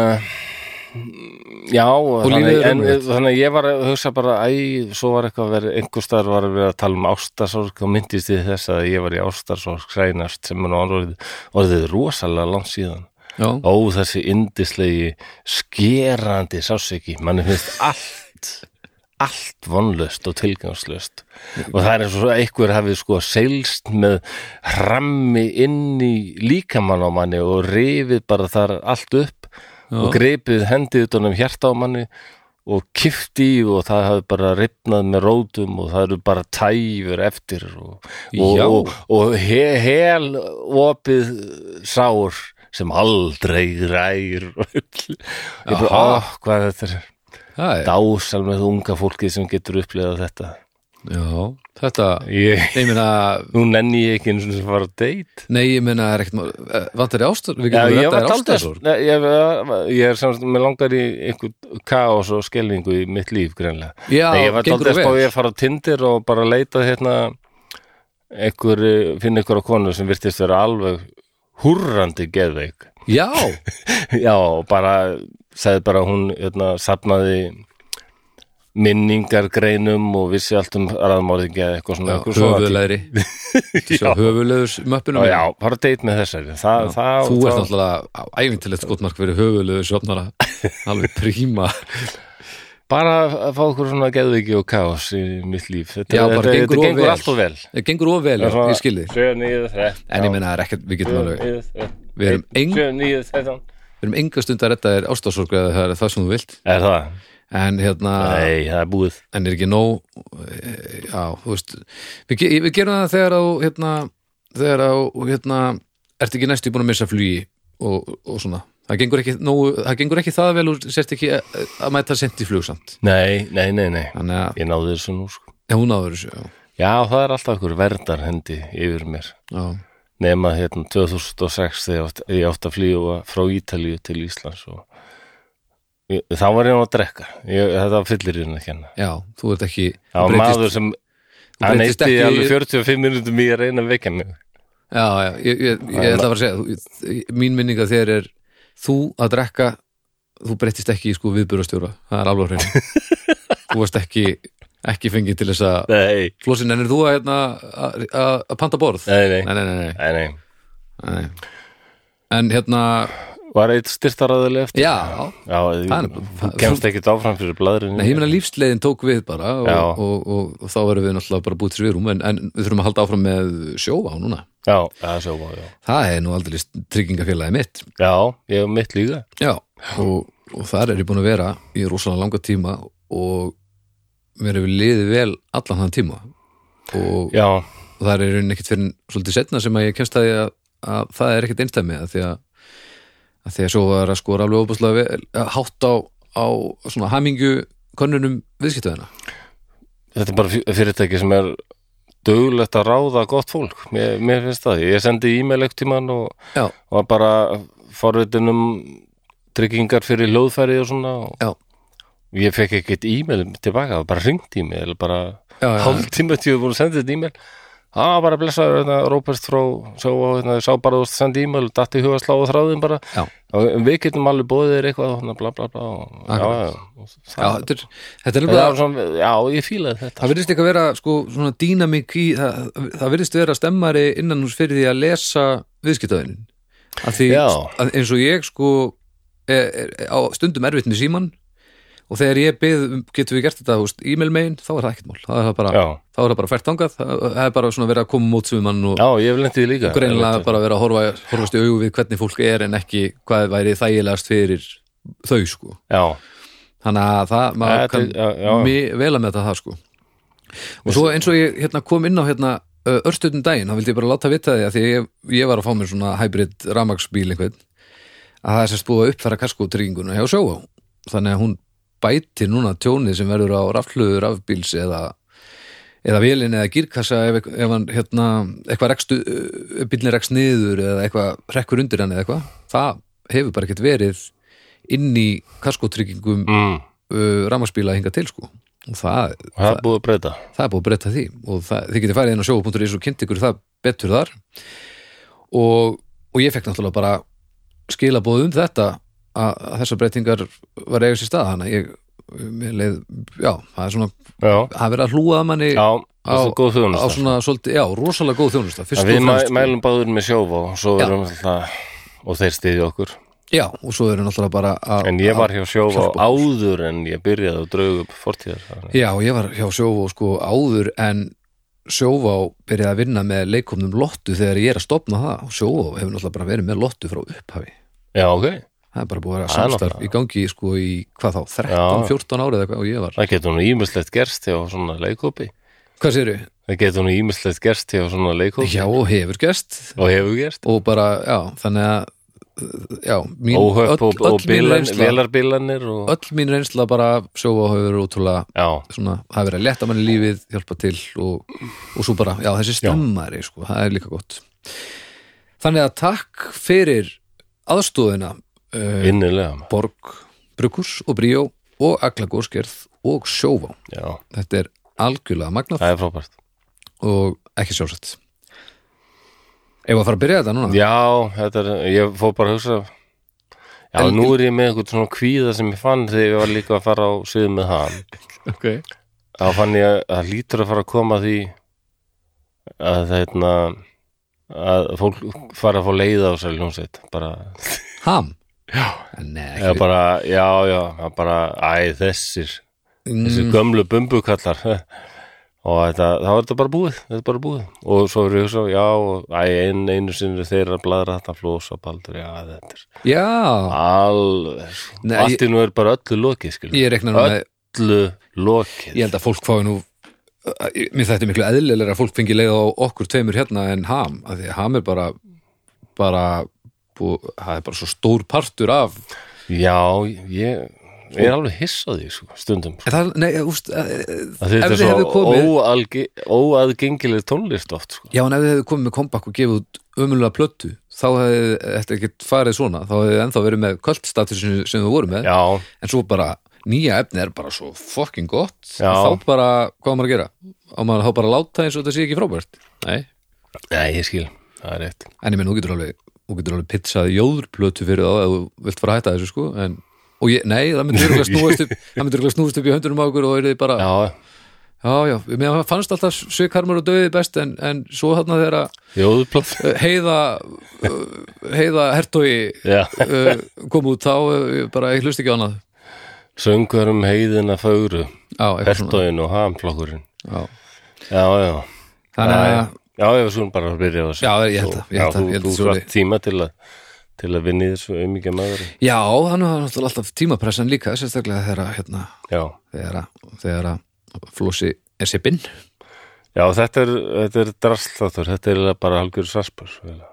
Speaker 1: Já, og
Speaker 2: lífið
Speaker 1: þannig,
Speaker 2: er
Speaker 1: en,
Speaker 2: ömurlegt.
Speaker 1: þannig að ég var að hugsa bara Æ, svo var eitthvað að vera einhver staðar var að vera að tala um ástarsorg og myndist þið þess að ég var í ástarsorg sænast sem er nú orðið, orðið rosalega langt síðan
Speaker 2: já,
Speaker 1: Ó, þessi indislegi skerandi sásiki, manni finnst allt allt vonlöst og tilgangslöst og það er eins og einhver hafið sko seilst með rammi inn í líkamann á manni og rifið bara þar allt upp og greipið hendið utanum hjarta á manni og kifti í og það hafi bara ripnað með rótum og það eru bara tæfur eftir og, og,
Speaker 2: Já.
Speaker 1: og, og he, hel opið sár sem aldrei rær ég bara,
Speaker 2: Aha.
Speaker 1: áh, hvað þetta er
Speaker 2: það er,
Speaker 1: dásal með unga fólkið sem getur upplegað þetta
Speaker 2: já, þetta
Speaker 1: ég,
Speaker 2: ég meina,
Speaker 1: nú nenni ég ekki eins og fara að date
Speaker 2: Nei, ég meina, er ekkert mál eh, Vantar þér ástar? Við
Speaker 1: Já,
Speaker 2: getum
Speaker 1: ég
Speaker 2: reddað
Speaker 1: var
Speaker 2: þér
Speaker 1: taldið
Speaker 2: ástarsorg.
Speaker 1: Nei, ég, ég er samst, mér langar í einhver kaos og skelvingu í mitt líf greinlega
Speaker 2: Já,
Speaker 1: Nei, ég var
Speaker 2: gengur
Speaker 1: taldið að
Speaker 2: þú
Speaker 1: spá
Speaker 2: vel?
Speaker 1: ég að fara á Tinder og bara leita hérna einhver, finna einhverja konu sem virtist vera alveg húrrandi geðveik
Speaker 2: Já,
Speaker 1: Já, og bara sagði bara að hún hérna, safnaði minningargreinum og vissi allt um raðmálðingja eða eitthvað svona, eitthvað svona
Speaker 2: höfulegri Sjá höfulegur möppunum
Speaker 1: Já, já, bara deit með þessari Þa, það,
Speaker 2: Þú ert
Speaker 1: það,
Speaker 2: náttúrulega æfintilegt skotmark fyrir höfulegur svefnara Alveg príma
Speaker 1: bara að fá okkur svona geðviki og kaos í mitt líf Þetta,
Speaker 2: Já, bara
Speaker 1: þetta,
Speaker 2: gengur
Speaker 1: þetta
Speaker 2: of
Speaker 1: gengur
Speaker 2: vel.
Speaker 1: allt og vel
Speaker 2: Það gengur of vel, já, ég skilði
Speaker 1: Sjö, nýðu, þrett
Speaker 2: En ég meina, það er ekkert, við getum alveg Við erum eng-
Speaker 1: Sjö, nýðu, þrettan
Speaker 2: Við erum enga stund að redda þér ástarsorg eða það er það sem þú vilt
Speaker 1: Er það?
Speaker 2: En hérna,
Speaker 1: Nei, það er búið
Speaker 2: en er ekki nóg eh, Já, þú veist Við, ge- við gerum það þegar á hérna, þegar á, hérna ertu ekki næstu búin að missa flugi og, og svona, það gengur ekki nógu, það gengur ekki það vel úr, sérst ekki að, að mæta sent í flug samt
Speaker 1: Nei, nei, nei, nei
Speaker 2: þannig að,
Speaker 1: Ég náði þessu nú sko
Speaker 2: já, hún áður þessu já,
Speaker 1: Já, það er alltaf okkur verdarhendi yfir mér
Speaker 2: já,
Speaker 1: nema hérna 2006 þegar ég átt- ég átti að flýja frá Ítalíu til Íslands og ég, þá var ég nú að drekka ég, þetta fyllir hérna ekki hérna
Speaker 2: já þú ert ekki
Speaker 1: það var
Speaker 2: breytist-
Speaker 1: maður sem
Speaker 2: þú
Speaker 1: hann
Speaker 2: breytist
Speaker 1: eitti
Speaker 2: ekki-
Speaker 1: alveg 45 minútum í að reyna að vekja mig
Speaker 2: já, já, ég, ég, ég ætla bara að segja þú, mín minninga þér er þú að drekka, þú breyttist ekki í sko viðbjörastjóra, það er alveg hrein þú varst ekki ekki fengið til þess að
Speaker 1: nei,
Speaker 2: Flósin, en er þú að, hérna, að, að að panta borð?
Speaker 1: nei, nei,
Speaker 2: Nei, nei, nei, nei.
Speaker 1: nei, nei.
Speaker 2: nei. En hérna,
Speaker 1: var eitt styrtaraðileg eftir
Speaker 2: já,
Speaker 1: já,
Speaker 2: Það er-
Speaker 1: ég- þú kemst ekkit áfram fyrir blæðurinn
Speaker 2: nei, ég meina lífsleiðin tók við bara og,
Speaker 1: Já.
Speaker 2: og, og, og, þá verðum við náttúrulega bara búið sviðrúm en, en við þurfum að halda áfram með sjóvá núna.
Speaker 1: já, það er sjóma, já.
Speaker 2: Það er nú aldrei tryggingafélagi mitt.
Speaker 1: já, ég er mitt líka
Speaker 2: Já, og, og þar er ég búin að vera í rosalega langa tíma og mér hefur liðið vel allan þann tíma og
Speaker 1: já,
Speaker 2: og það er í rauninni ekkert fyrir svolítið setna sem að ég kemst að, ég, að það er ekkert einstæmi að því að, að því að svo var að skora alveg óbúslega vel, eh, hátt á, á svona hamingju könnunum viðskiptöðina
Speaker 1: þetta er bara fyrirtæki sem er duglegt að ráða gott fólk mér, mér finnst það, ég sendi e-mail ekkert tíman og
Speaker 2: Já.
Speaker 1: var bara forritin um tryggingar fyrir hljóðfæri og svona og
Speaker 2: Já.
Speaker 1: ég fekk ekkert e-mail tilbaka, það var bara ringt e-mail bara
Speaker 2: Já, já.
Speaker 1: hálftíma til ég voru sendið þetta e-mail það var bara blessaður, hérna, Róbert frá sá, hérna, ég sá bara þú varst að senda e-mail datt í huga að slá á þráðin bara
Speaker 2: Já.
Speaker 1: og, við getum alveg bóðið þér eitthvað hérna, bla bla bla og, já,
Speaker 2: Akkurat.
Speaker 1: já, og,
Speaker 2: Já,
Speaker 1: það,
Speaker 2: þetta er, þetta er
Speaker 1: það,
Speaker 2: nefnilega
Speaker 1: var svona, já, ég fílaði þetta
Speaker 2: Það virðist ekki að vera sko, svona dýnamík í það, það virðist vera stemmari innan hús fyrir því að lesa viðskiptaðinin að því
Speaker 1: Já.
Speaker 2: að eins og ég sko er, er, á stundum erfitt með síman og þegar ég byð um, getum við gert þetta húst e-mail megin þá er það ekkert mál, þá er það bara,
Speaker 1: já,
Speaker 2: þá er það bara fært þangað það það er bara svona verið að koma mót sem mann og
Speaker 1: já, ég hef lendið líka
Speaker 2: greinlega bara verið að horfa, horfast í augu við hvernig fólk er en ekki hvað væri þægilegast fyrir þau sko
Speaker 1: já,
Speaker 2: þannig að það, maður
Speaker 1: Þetta-
Speaker 2: kann
Speaker 1: já, já.
Speaker 2: mjög vel að með það sko og svo eins og ég hérna, kom inn á hérna örstuðum daginn, þá vildi ég bara láta vita því að því að ég, ég var að fá mér svona hybrid ramagsbíl einhvern að það er sérst búið að uppfæra kaskotrygginguna hjá sjóa þannig að hún bætir núna tjónið sem verður á rafluður rafbíls eða eða vélin eða gírkassa ef, ef hann hérna, eitthvað rekstu bílnir rekst niður eða eitthvað rekkur undir hann eða eitthvað, það hefur bara ekkert verið inn í kaskotryggingum
Speaker 1: mm,
Speaker 2: uh, rafmagsbíla hinga til sko og það,
Speaker 1: og það er búið að breyta
Speaker 2: það er búið að breyta því og það, þið getið farið inn á sjóa.is og kynnt ykkur það betur þar og, og ég fekk náttúrulega bara skilaboð um þetta að, að þessar breytingar var eiga sér stað þannig að ég, mér leið já, það er svona,
Speaker 1: já,
Speaker 2: það er verið að hlúa að manni
Speaker 1: já, það er góð
Speaker 2: á
Speaker 1: þjónust
Speaker 2: svona svolítið, já, rosalega góð þjónusta fyrst
Speaker 1: En
Speaker 2: og
Speaker 1: við mæ,
Speaker 2: fremst, sko.
Speaker 1: mælum báður með sjófa og svo
Speaker 2: Já.
Speaker 1: erum alltaf og þeir stiði okkur
Speaker 2: já, og svo erum náttúrulega bara að
Speaker 1: en ég var hjá sjófa áður en ég byrjaði að drauga upp fortíðar þannig.
Speaker 2: Já, ég var hjá Sjóvá sko áður en Sjóvá byrjaði að vinna með leikumnum Lottu þegar ég er að stopna það og Sjóvá hefur náttúrulega bara verið með Lottu frá upphafi
Speaker 1: já, ok,
Speaker 2: það er bara búið að vera
Speaker 1: Það er
Speaker 2: samstarf
Speaker 1: náttúrulega-
Speaker 2: í gangi sko í hvað þá,
Speaker 1: Já.
Speaker 2: 13-14 árið eitthvað og ég var,
Speaker 1: það getur nú ímislegt gerst hjá svona leikópi
Speaker 2: hvað séru?
Speaker 1: það getur nú ímislegt gerst hjá svona leikópi
Speaker 2: Já, hefur gest
Speaker 1: og hefur gerst
Speaker 2: og bara, já, þannig að já, mín,
Speaker 1: óhöpp og, og
Speaker 2: mín
Speaker 1: bílan,
Speaker 2: reynsla
Speaker 1: velarbilanir og,
Speaker 2: öll mín reynsla bara Sjóvá hefur ótrúlega
Speaker 1: já,
Speaker 2: svona, það er verið að leta manni lífið hjálpa til og, og svo bara, já þessi stemmari sko, það er líka gott þannig að takk fyrir aðstóðina uh,
Speaker 1: innilega
Speaker 2: Borg, Brukurs og Bríó og Agla Góskerð og Sjóvá
Speaker 1: já,
Speaker 2: þetta er algjörlega magnað
Speaker 1: það er frábært
Speaker 2: og ekki sjálfsett ef að fara að byrja þetta núna
Speaker 1: Já, þetta er, ég fór bara að hugsa Já,
Speaker 2: En-
Speaker 1: nú er ég með einhvern svona kvíða sem ég fann þegar ég var líka að fara á suðum með hann
Speaker 2: okay.
Speaker 1: þá fann ég að það lítur að fara að koma að því að þetta að fólk fara að fá leiða á sér hljómsveit bara,
Speaker 2: ham Nei, ekki,
Speaker 1: eða bara, já, já að bara, æ, þessir
Speaker 2: Mm.
Speaker 1: þessir gömlu bumbukallar og þetta, þá er þetta bara búið þetta er bara búið og svo er ég svo, já, og, æ, ein, einu sinni þeirra bladra þetta flósa baldur, já, þetta er
Speaker 2: já,
Speaker 1: Alveg,
Speaker 2: Nei,
Speaker 1: allt í nú er bara öllu lokið skilur.
Speaker 2: ég reikna nú með
Speaker 1: Öllu lokið
Speaker 2: ég held að fólk fái nú mér þetta er miklu eðlilega að fólk fengi leið á okkur tveimur hérna en ham af því að ham er bara bara bú, það er bara svo stór partur af en
Speaker 1: Já, ég, ég er alveg hissaði sko, stundum
Speaker 2: það, nei, úst, eh,
Speaker 1: Að Þetta
Speaker 2: ef
Speaker 1: er
Speaker 2: þið hefðu
Speaker 1: svo
Speaker 2: komið
Speaker 1: óalgi, óaðgengileg tónlist oft sko.
Speaker 2: já, en ef þið hefðu komið með kompakk og gefið út ömulega plöttu þá hefði þetta ekkert farið svona þá hefði ennþá verið með kvöldstatusinu sem þau voru með
Speaker 1: Já,
Speaker 2: en svo bara nýja efni er bara svo fucking gott
Speaker 1: Já.
Speaker 2: þá bara, hvað á maður að gera? á maður þá bara að láta eins og þetta sé ekki frábært nei
Speaker 1: nei, ég skil Það er rétt
Speaker 2: En ég menn, þú getur alveg, þú getur alveg pizzað jóðurplötu fyrir þá eða þú vilt fara að hætta þessu sko en, og ég, nei, það myndir örugglega snúast upp það myndir örugglega snúast upp í höndunum á okkur og eruði bara, já,
Speaker 1: Já,
Speaker 2: já, já mér fannst alltaf sögkarmar og döðið best en, en svo þarna þegar að
Speaker 1: jóðuplöf
Speaker 2: uh, heiða uh, heiða hertói
Speaker 1: Já,
Speaker 2: uh, kom út þá uh, ég bara, ég hlust ekki á annað
Speaker 1: söngur um heiðina fögru
Speaker 2: Já, eitthvað svona
Speaker 1: Hertóin og hamflokkurinn
Speaker 2: já.
Speaker 1: Já, já
Speaker 2: Þannig að,
Speaker 1: Já, ég var svona bara að byrja á þessu
Speaker 2: Já, ég held að- ég held að-
Speaker 1: Þú,
Speaker 2: ég held að
Speaker 1: þú,
Speaker 2: svo
Speaker 1: þú
Speaker 2: við-
Speaker 1: rætt tíma til að til að vinni þessu umíkja maður
Speaker 2: já, þannig að það er náttúrulega alltaf tímapressan líka sérstaklega þegar að, hérna,
Speaker 1: Já
Speaker 2: þegar að, þegar að flósi er sippinn
Speaker 1: Já, þetta er, þetta er drastlátur, þetta er eiginlega bara halgjör sarspur. eiginlega.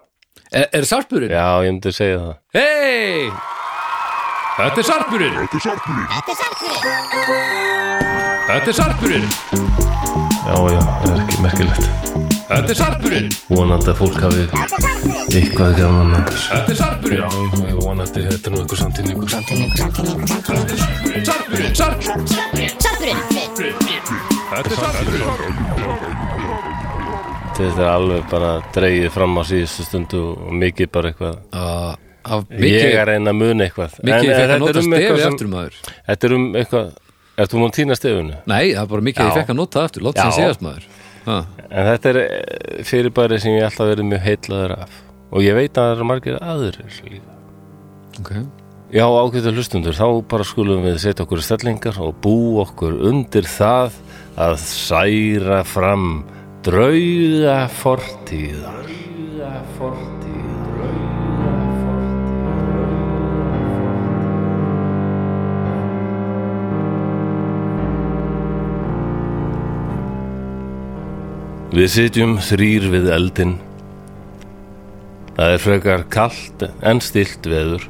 Speaker 2: Er, er sarpurinn?
Speaker 1: Já, ég myndi segja það.
Speaker 2: Hei! Þetta er sarpurinn! Þetta er sarpurinn,
Speaker 1: Já, já, það er ekki merkilegt
Speaker 2: þetta er sarpurinn
Speaker 1: Vonandi að fólk hafi eitthvað gaman að þessu.
Speaker 2: Þetta er sarpurinn,
Speaker 1: Já, ég vonandi þetta er nú eitthvað samtíningur
Speaker 2: sarpurinn, sarpurinn Þetta er sarpurinn
Speaker 1: Þetta er alveg bara dreigið fram á síðustu stundu og mikið bara eitthvað
Speaker 2: Ah, Af
Speaker 1: Ég
Speaker 2: mikið,
Speaker 1: er að reyna að muna eitthvað
Speaker 2: mikið ég fekk að
Speaker 1: þetta er
Speaker 2: nota
Speaker 1: um eitthvað
Speaker 2: stefi
Speaker 1: sem-
Speaker 2: aftur maður
Speaker 1: Þetta er um eitthvað Ertu múin að týna stefunu?
Speaker 2: Nei, það er bara mikið
Speaker 1: Já.
Speaker 2: ég fekk að nota aftur, látt sem
Speaker 1: Já.
Speaker 2: séðast maður Ha.
Speaker 1: En þetta er eh, fyrirbæri sem ég alltaf verið mjög heitlaður af og ég veit að það eru margir aðrir líka.
Speaker 2: Ok,
Speaker 1: Já, ágæta hlustundur, þá bara skulum við setja okkur í stellingar og bú okkur undir það að særa fram drauga fortíðar. Drauga fortíðar. Drauga fortíðar. Við sitjum þrýr við eldin. Það er frekar kalt en stilt veður.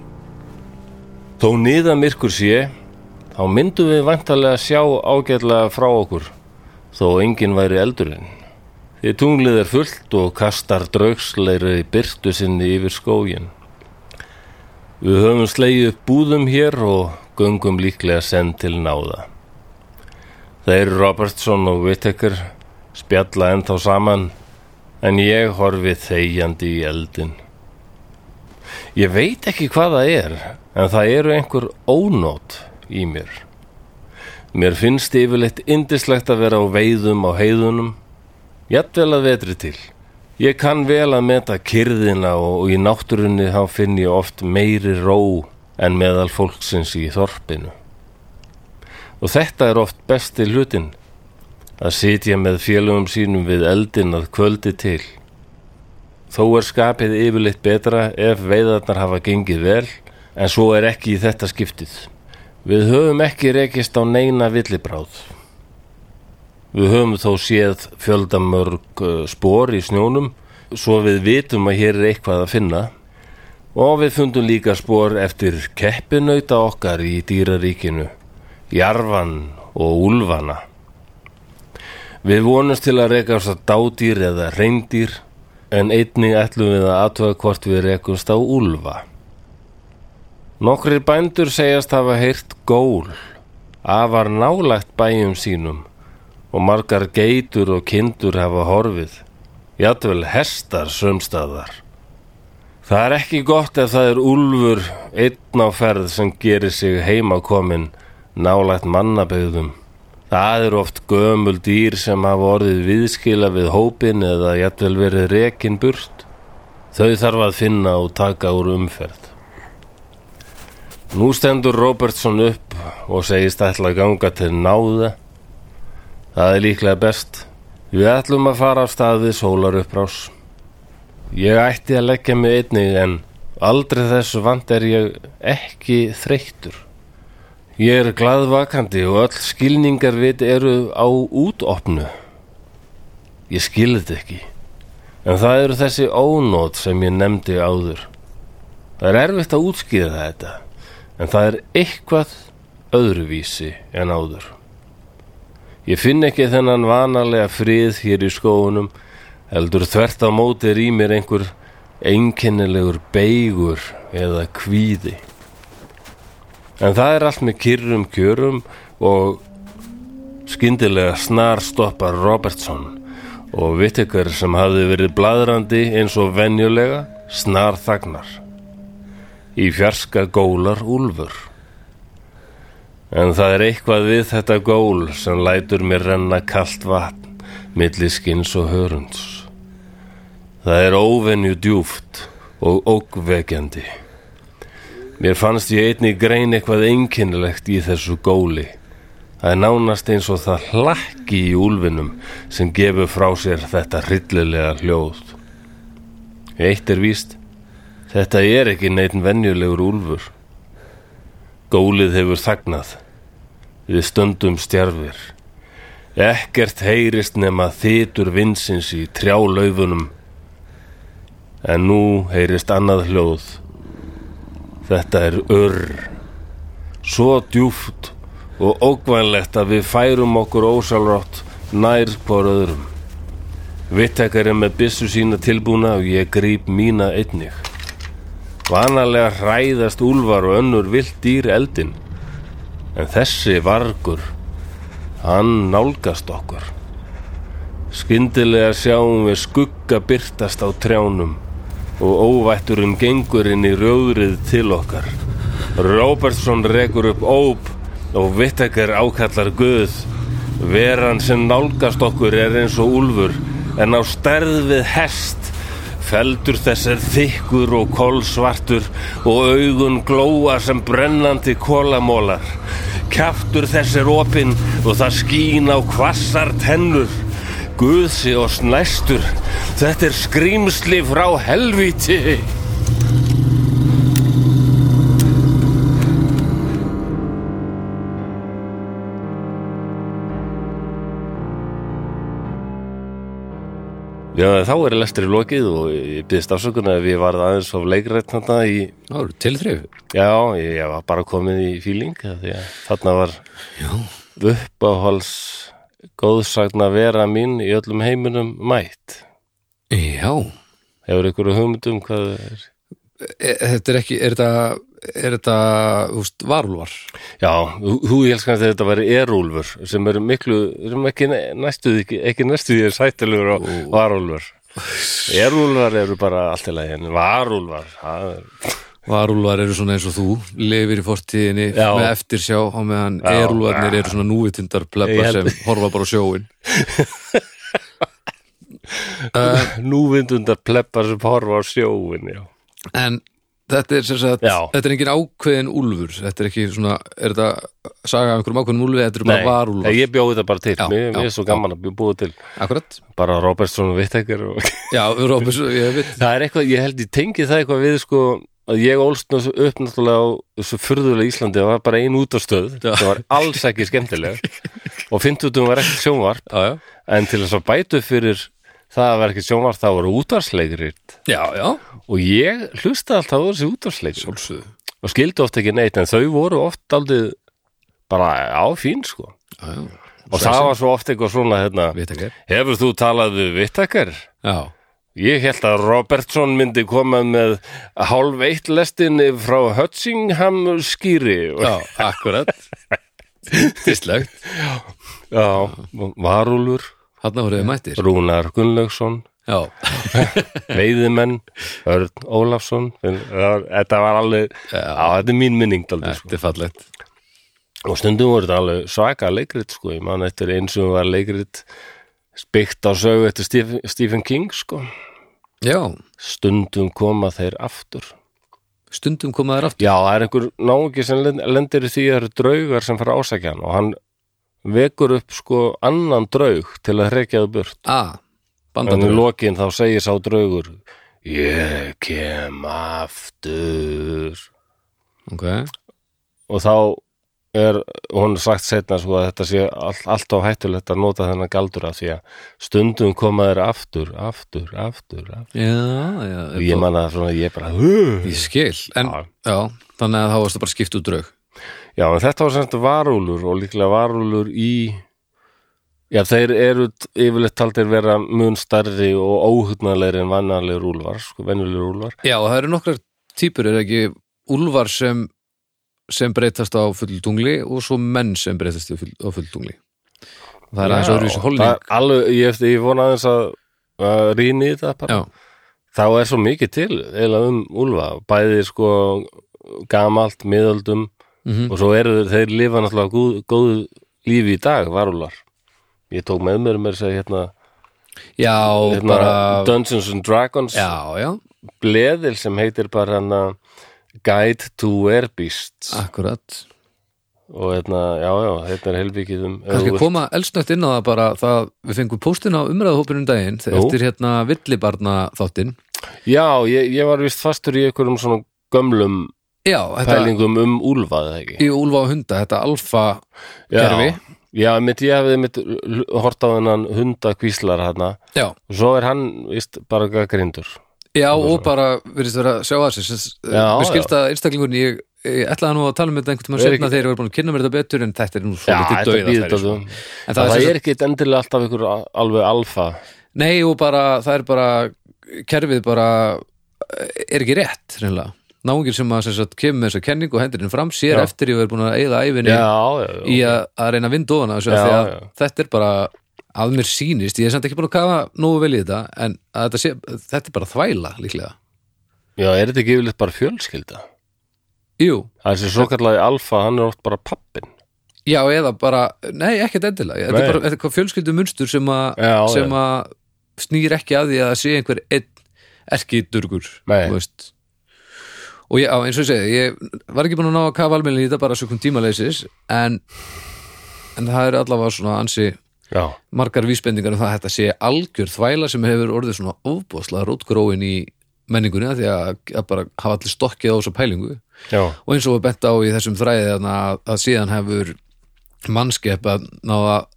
Speaker 1: Þó niða myrkur sé, þá myndum við vantarlega sjá ágætlega frá okkur, þó enginn væri eldurinn. Því tunglið er fullt og kastar draugsleiri byrtu sinni yfir skógin. Við höfum slegið upp búðum hér og göngum líklega send til náða. Þeir Robertson og Whittaker spjalla ennþá saman en ég horfi þegjandi í eldin. Ég veit ekki hvað það er en það eru einhver ónót í mér. Mér finnst yfirleitt indislegt að vera á veiðum á heiðunum jafnvel að vetri til. Ég kann vel að meta kyrðina og, og í náttúrunni þá finn ég oft meiri ró en meðal fólksins í þorpinu. Og þetta er oft besti hlutin að sitja með félögum sínum við eldin að kvöldi til. Þó er skapið yfirleitt betra ef veiðarnar hafa gengið vel en svo er ekki í þetta skiptið. Við höfum ekki rekist á neina villibráð. Við höfum þó séð fjöldamörg eh, spor í snjónum svo við vitum að hér er eitthvað að finna og við fundum líka spor eftir keppinauta okkar í dýraríkinu, jarfan og úlfana. Við vonumst til að rekast á dádýr eða reyndýr en einnig ætlum við að athuga hvort við rekumst á úlfa. Nokkrir bændur segjast hafa heyrt gól, afar nálægt bæjum sínum og margar geitur og kindur hafa horfið, játvel hestar sömstaðar. Það er ekki gott ef það er úlfur einn á ferð sem gerir sig heimakomin nálægt mannabauðum. Það eru oft gömul dýr sem hafa orðið viðskila við hópin eða jættvel verið rekin burt. Þau þarf að finna og taka úr umferð. Nú stendur Robertson upp og segist ætla að ganga til náða. Það er líklega best. Við ætlum að fara af stað við sólarupprás. Ég ætti að leggja mig einnig en aldrei þessu vant er ég ekki þreyttur. Ég er glaðvakandi og öll skilningar vit eru á útopnu. Ég skil þetta ekki. En það eru þessi ónót sem ég nefndi áður. Það er erfitt að útskýra þetta, en það er eitthvað öðruvísi en áður. Ég finn ekki þennan vanalega frið hér í skóunum, heldur þvert á móti er í mér einhver einkennilegur beigur eða kvíði. En það er allt með kyrrum kjörum og skyndilega snar stoppar Robertson og vittekar sem hafði verið bladrandi eins og venjulega snar þagnar. Í fjarska gólar úlfur. En það er eitthvað við þetta gól sem lætur mér renna kalt vatn milli skins og hörunds. Það er óvenju djúft og ógvekjandi. Mér fannst ég einni grein eitthvað einkennilegt í þessu góli. Það er nánast eins og það hlakki í úlfinum sem gefur frá sér þetta hryllilega hljóð. Eitt er víst, þetta er ekki neitt venjulegur úlfur. Gólið hefur þagnað. Við stöndum stjarfir. Ekkert heyrist nema þitur vinsins í trjálaufunum. En nú heyrist annað hljóð Þetta er ör Svo djúft og ógvænlegt að við færum okkur ósálrátt nær hvor öðrum. Vittekar er með byssu sína tilbúna og ég gríp mína einnig. Vanalega hræðast úlfar og önnur vilt dýr eldin, en þessi vargur, hann nálgast okkur. Skyndilega sjáum við skugga byrtast á trjánum og óvætturinn gengur inn í rjóðrið til okkar. Róbertsson rekur upp óp og Vittekar ákallar Guð. Veran sem nálgast okkur er eins og úlfur en á stærð við hest. Feldur þess er þykkur og kolsvartur og augun glóa sem brennandi kólamólar. Kjaftur þess er opinn og það skín á hvassar tennur. Guðsi og snæstur, þetta er skrýmsli frá helvíti. Já, þá er lestri lokið og ég byrðist afsökun að við varð aðeins of leikrætt þarna í,
Speaker 2: Það eru tilþrif
Speaker 1: já, ég, ég var bara komin í fíling af því að þarna var
Speaker 2: Já,
Speaker 1: uppáhals góðsagna vera mín í öllum heiminum mætt.
Speaker 2: já
Speaker 1: Hefur ykkur hugmyndum hvað það er?
Speaker 2: E- Þetta er ekki, er þetta er þetta, þú veist, varulvar
Speaker 1: Já, þú elskan þegar þetta væri erúlfur sem eru miklu, sem ekki næstuði, ekki, ekki næstuði er sættilegur og varúlfur. Erúlfar eru bara allt í lagi, en varúlfar, það er...
Speaker 2: Varúlvar eru svona eins og þú lifir í fortíðinni
Speaker 1: Já.
Speaker 2: með eftirsjá og meðan erúlvarnir eru svona núvitundar
Speaker 1: Ég
Speaker 2: plebba
Speaker 1: held-
Speaker 2: sem horfa bara á sjóin
Speaker 1: núvindundar pleppar sem horfa á sjóin já.
Speaker 2: en þetta er sem sagt
Speaker 1: Já.
Speaker 2: þetta er engin ákveðin úlfur þetta er ekki svona, er þetta saga af einhverjum ákveðin úlfi, þetta eru bara varúlvar
Speaker 1: ég bjóði þetta bara til,
Speaker 2: Já,
Speaker 1: mér mér
Speaker 2: já,
Speaker 1: er svo gaman að bjóða til
Speaker 2: akkurat,
Speaker 1: bara Robertson og Vittekar og...
Speaker 2: já, Róbus ég veit,
Speaker 1: það er eitthvað, ég held ég tengi það eitthvað við sko að ég ólst nú svo upp náttúrulega á þessu furðulega Íslandi, það var bara ein útastöð það var alls ekki skemmtilega og fimmtutum var ekkert sjónvarp
Speaker 2: já, já
Speaker 1: en til þess að bætu fyrir það að vera ekki sjónvarp þá voru útvarsleikrit
Speaker 2: já, já,
Speaker 1: og ég hlusta alltaf á þessi útvarsleikrit
Speaker 2: sjálfsögðu
Speaker 1: og skildi oft ekki neitt en þau voru oft aldrei bara á fín sko
Speaker 2: Já, já.
Speaker 1: og það var svo oft eitthvað svona hérna,
Speaker 2: veit ekki
Speaker 1: hefur þú talað við vittakar?
Speaker 2: já,
Speaker 1: Ég held að Robertson myndi koma með hálf eitt lestinni frá Hutchingham skýri
Speaker 2: já, akkurat fyrstlegt,
Speaker 1: já, Varúlur,
Speaker 2: hann voruð þið mættir
Speaker 1: Rúnar Gunnlaugsson
Speaker 2: já,
Speaker 1: Veiðimenn, Örn Ólafsson það var- þetta var alveg já. þetta er mín minning aldrei, sko.
Speaker 2: þetta er fallegt
Speaker 1: og stundum voru þetta alveg svaka leikrit sko, ég man eftir eins og var leikrit byggt á sögu eftir Stephen, Stephen King sko
Speaker 2: já,
Speaker 1: stundum koma þeir aftur
Speaker 2: stundum koma þær aftur
Speaker 1: já, það er einhver náungi sem lend- lendir í því að það eru draugar sem fara að ásækja hann og hann vekur upp sko annan draug til að hrekjaðu burt
Speaker 2: a,
Speaker 1: en í
Speaker 2: bandandur
Speaker 1: lokin þá segir sá draugur ég kem aftur
Speaker 2: ok,
Speaker 1: og þá er hún er sagt setna sko að þetta sé all, alltaf hættulegt að nota þennan galdur af því að stundum koma þér aftur, aftur, aftur, aftur.
Speaker 2: já, já
Speaker 1: og ég man að svona ég bara "Huh."
Speaker 2: ég skil, en
Speaker 1: Já.
Speaker 2: já, þannig að þá varstu bara skipt út draug
Speaker 1: já en þetta var semst varúlur og líklega varúlur í já þeir eru t- yfirleitt taldir vera mun stærri og óhugnarlegri en vannarlegur úlvar sko venjulegur úlvar
Speaker 2: Já, það eru nokkrar típur, er það ekki úlfar sem, sem breytast á fulltungli og svo menn sem breytast á full- á fulltungli. Það er aðeins
Speaker 1: Já,
Speaker 2: öðruvísi
Speaker 1: það
Speaker 2: holning.
Speaker 1: er alveg, ég, ég vona aðeins að uh, rýni í þetta bara
Speaker 2: Já,
Speaker 1: þá er svo mikið til eiginlega um Úlfa, bæði sko gamalt, miðöldum
Speaker 2: mhm,
Speaker 1: og svo eru þeir, þeir lifa náttúrulega góð, góðu lífi í dag, varúlar ég tók með mér mér að segja hérna,
Speaker 2: já
Speaker 1: hérna
Speaker 2: bara,
Speaker 1: Dungeons and Dragons
Speaker 2: já, já,
Speaker 1: bleðil sem heitir bara hérna Guide to Werbeasts
Speaker 2: akkurat.
Speaker 1: og hérna, já, já, þetta er helvikið um ef þú
Speaker 2: Kannski
Speaker 1: vilt-
Speaker 2: koma elsnögt inn á það bara, það, við fengum póstinn á umræðahópinum daginn,
Speaker 1: Jú.
Speaker 2: eftir hérna villibarna þáttinn.
Speaker 1: Já, ég, ég var vist fastur í einhverjum svona gömlum
Speaker 2: Já, þetta,
Speaker 1: pælingum um Úlfa, eða ekki
Speaker 2: í úlfa og hunda, þetta alfa gerfi.
Speaker 1: Já, mitt, ég hefði mitt hort á hennan hundakvíslar hana
Speaker 2: Já,
Speaker 1: hérna. og svo er hann víst bara gaggrindur
Speaker 2: já og bara verðist vera að sjá að sér, eh,
Speaker 1: Já,
Speaker 2: við skilst að einstaklingurinn ég ég ætlaði nú að tala um þetta einhvern tímann
Speaker 1: Er
Speaker 2: setna þegar ég var búin að kynna mér þetta betur en þetta er nú svo
Speaker 1: Já,
Speaker 2: litið
Speaker 1: þetta
Speaker 2: dauðafæri,
Speaker 1: býður þetta
Speaker 2: sko.
Speaker 1: um.
Speaker 2: En
Speaker 1: það,
Speaker 2: það er sem
Speaker 1: er ekki endilega alltaf ykkur alveg alfa
Speaker 2: Nei og bara, það er bara kerfið bara eh, er ekki rétt, reynilega náungir sem að sem sagt, kemur með þessa kenning og hendur henni fram sér
Speaker 1: Já.
Speaker 2: eftir ég verið búin að eigða æfinni
Speaker 1: Já, já,
Speaker 2: í
Speaker 1: já,
Speaker 2: að, að reyna að vinda ofan að þessu
Speaker 1: Já,
Speaker 2: af því að
Speaker 1: já.
Speaker 2: þetta er bara að mér sýnist, ég er samt ekki búin að kafa nógu vel í þetta en að þetta, sé, þetta er bara þvæla líklega,
Speaker 1: já, er þetta ekki yfirleitt bara fjölskylda?
Speaker 2: jú
Speaker 1: Það er sem svo kallaði alfa, hann er oft bara pappin
Speaker 2: Já, eða bara, nei, ekkert endilega Þetta
Speaker 1: Nei.
Speaker 2: er bara þetta er hvað fjölskyldu munstur sem að
Speaker 1: Já,
Speaker 2: sem
Speaker 1: já.
Speaker 2: að snýr ekki að því að sé einhver einn erki durgur
Speaker 1: Nei.
Speaker 2: og ég, á, eins og ég segi ég var ekki búin að ná að kafa almenni í þetta bara sökum tímaleysis en, en það er allavega svona ansi
Speaker 1: Já,
Speaker 2: margar vísbendingar um það að þetta sé algjör þvæla sem hefur orðið svona ofbóðslega rótgróin í menningunni af því að, að bara hafa allir stokkið á þessa pælingu
Speaker 1: já,
Speaker 2: og eins og við bent á í þessum þræði þarna að, að síðan hefur mannskep að ná að